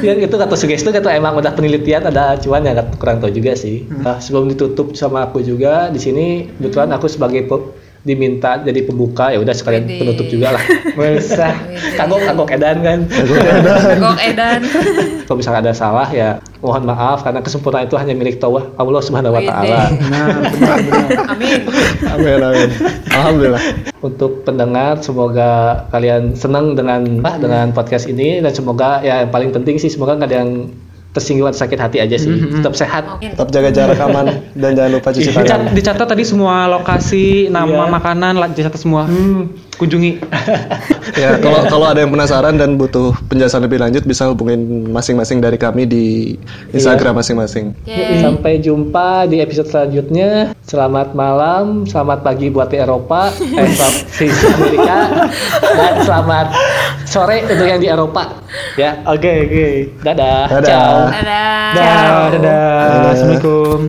Speaker 1: ya itu kata sugesti itu kata emang udah penelitian ada cuan ya nggak- kurang tahu juga sih
Speaker 3: Hmm.
Speaker 1: nah, sebelum ditutup sama aku juga di sini kebetulan aku sebagai pe- diminta jadi pembuka ya udah sekalian
Speaker 3: Wede.
Speaker 1: penutup juga lah Masa kagok kagok edan kan
Speaker 3: Tegok Edan.
Speaker 1: kalau misalnya ada salah ya mohon maaf karena kesempurnaan itu hanya milik Tawah Allah Subhanahu Wa
Speaker 3: Wede.
Speaker 1: Taala
Speaker 2: Nah, benar-benar.
Speaker 3: Amin.
Speaker 5: Amin, amin. Alhamdulillah.
Speaker 1: untuk pendengar semoga kalian senang dengan ah, dengan
Speaker 3: Hmm.
Speaker 1: podcast ini dan semoga ya yang paling penting sih semoga nggak ada yang tersinggung atau sakit hati aja sih tetap sehat
Speaker 3: Hmm, Oke.
Speaker 5: Tetap jaga jarak aman dan jangan lupa cuci
Speaker 2: Dicat-
Speaker 5: tangan.
Speaker 2: dicatat tadi semua lokasi, nama
Speaker 1: Iya.
Speaker 2: makanan, la- dicatat semua. Kunjungi.
Speaker 1: Iya.
Speaker 5: Ya, kalau kalau ada yang penasaran dan butuh penjelasan lebih lanjut bisa hubungin masing-masing dari kami di Instagram masing-masing.
Speaker 2: Iya.
Speaker 1: Sampai jumpa di episode selanjutnya. Selamat malam, selamat pagi buat di Eropa, eh, selamat- di Amerika, dan selamat sore untuk yang di Eropa. Ya, oke oke. Dadah.
Speaker 5: Dadah.
Speaker 1: Ciao.
Speaker 3: Dadah.
Speaker 2: Dadah, dadah. Assalamualaikum.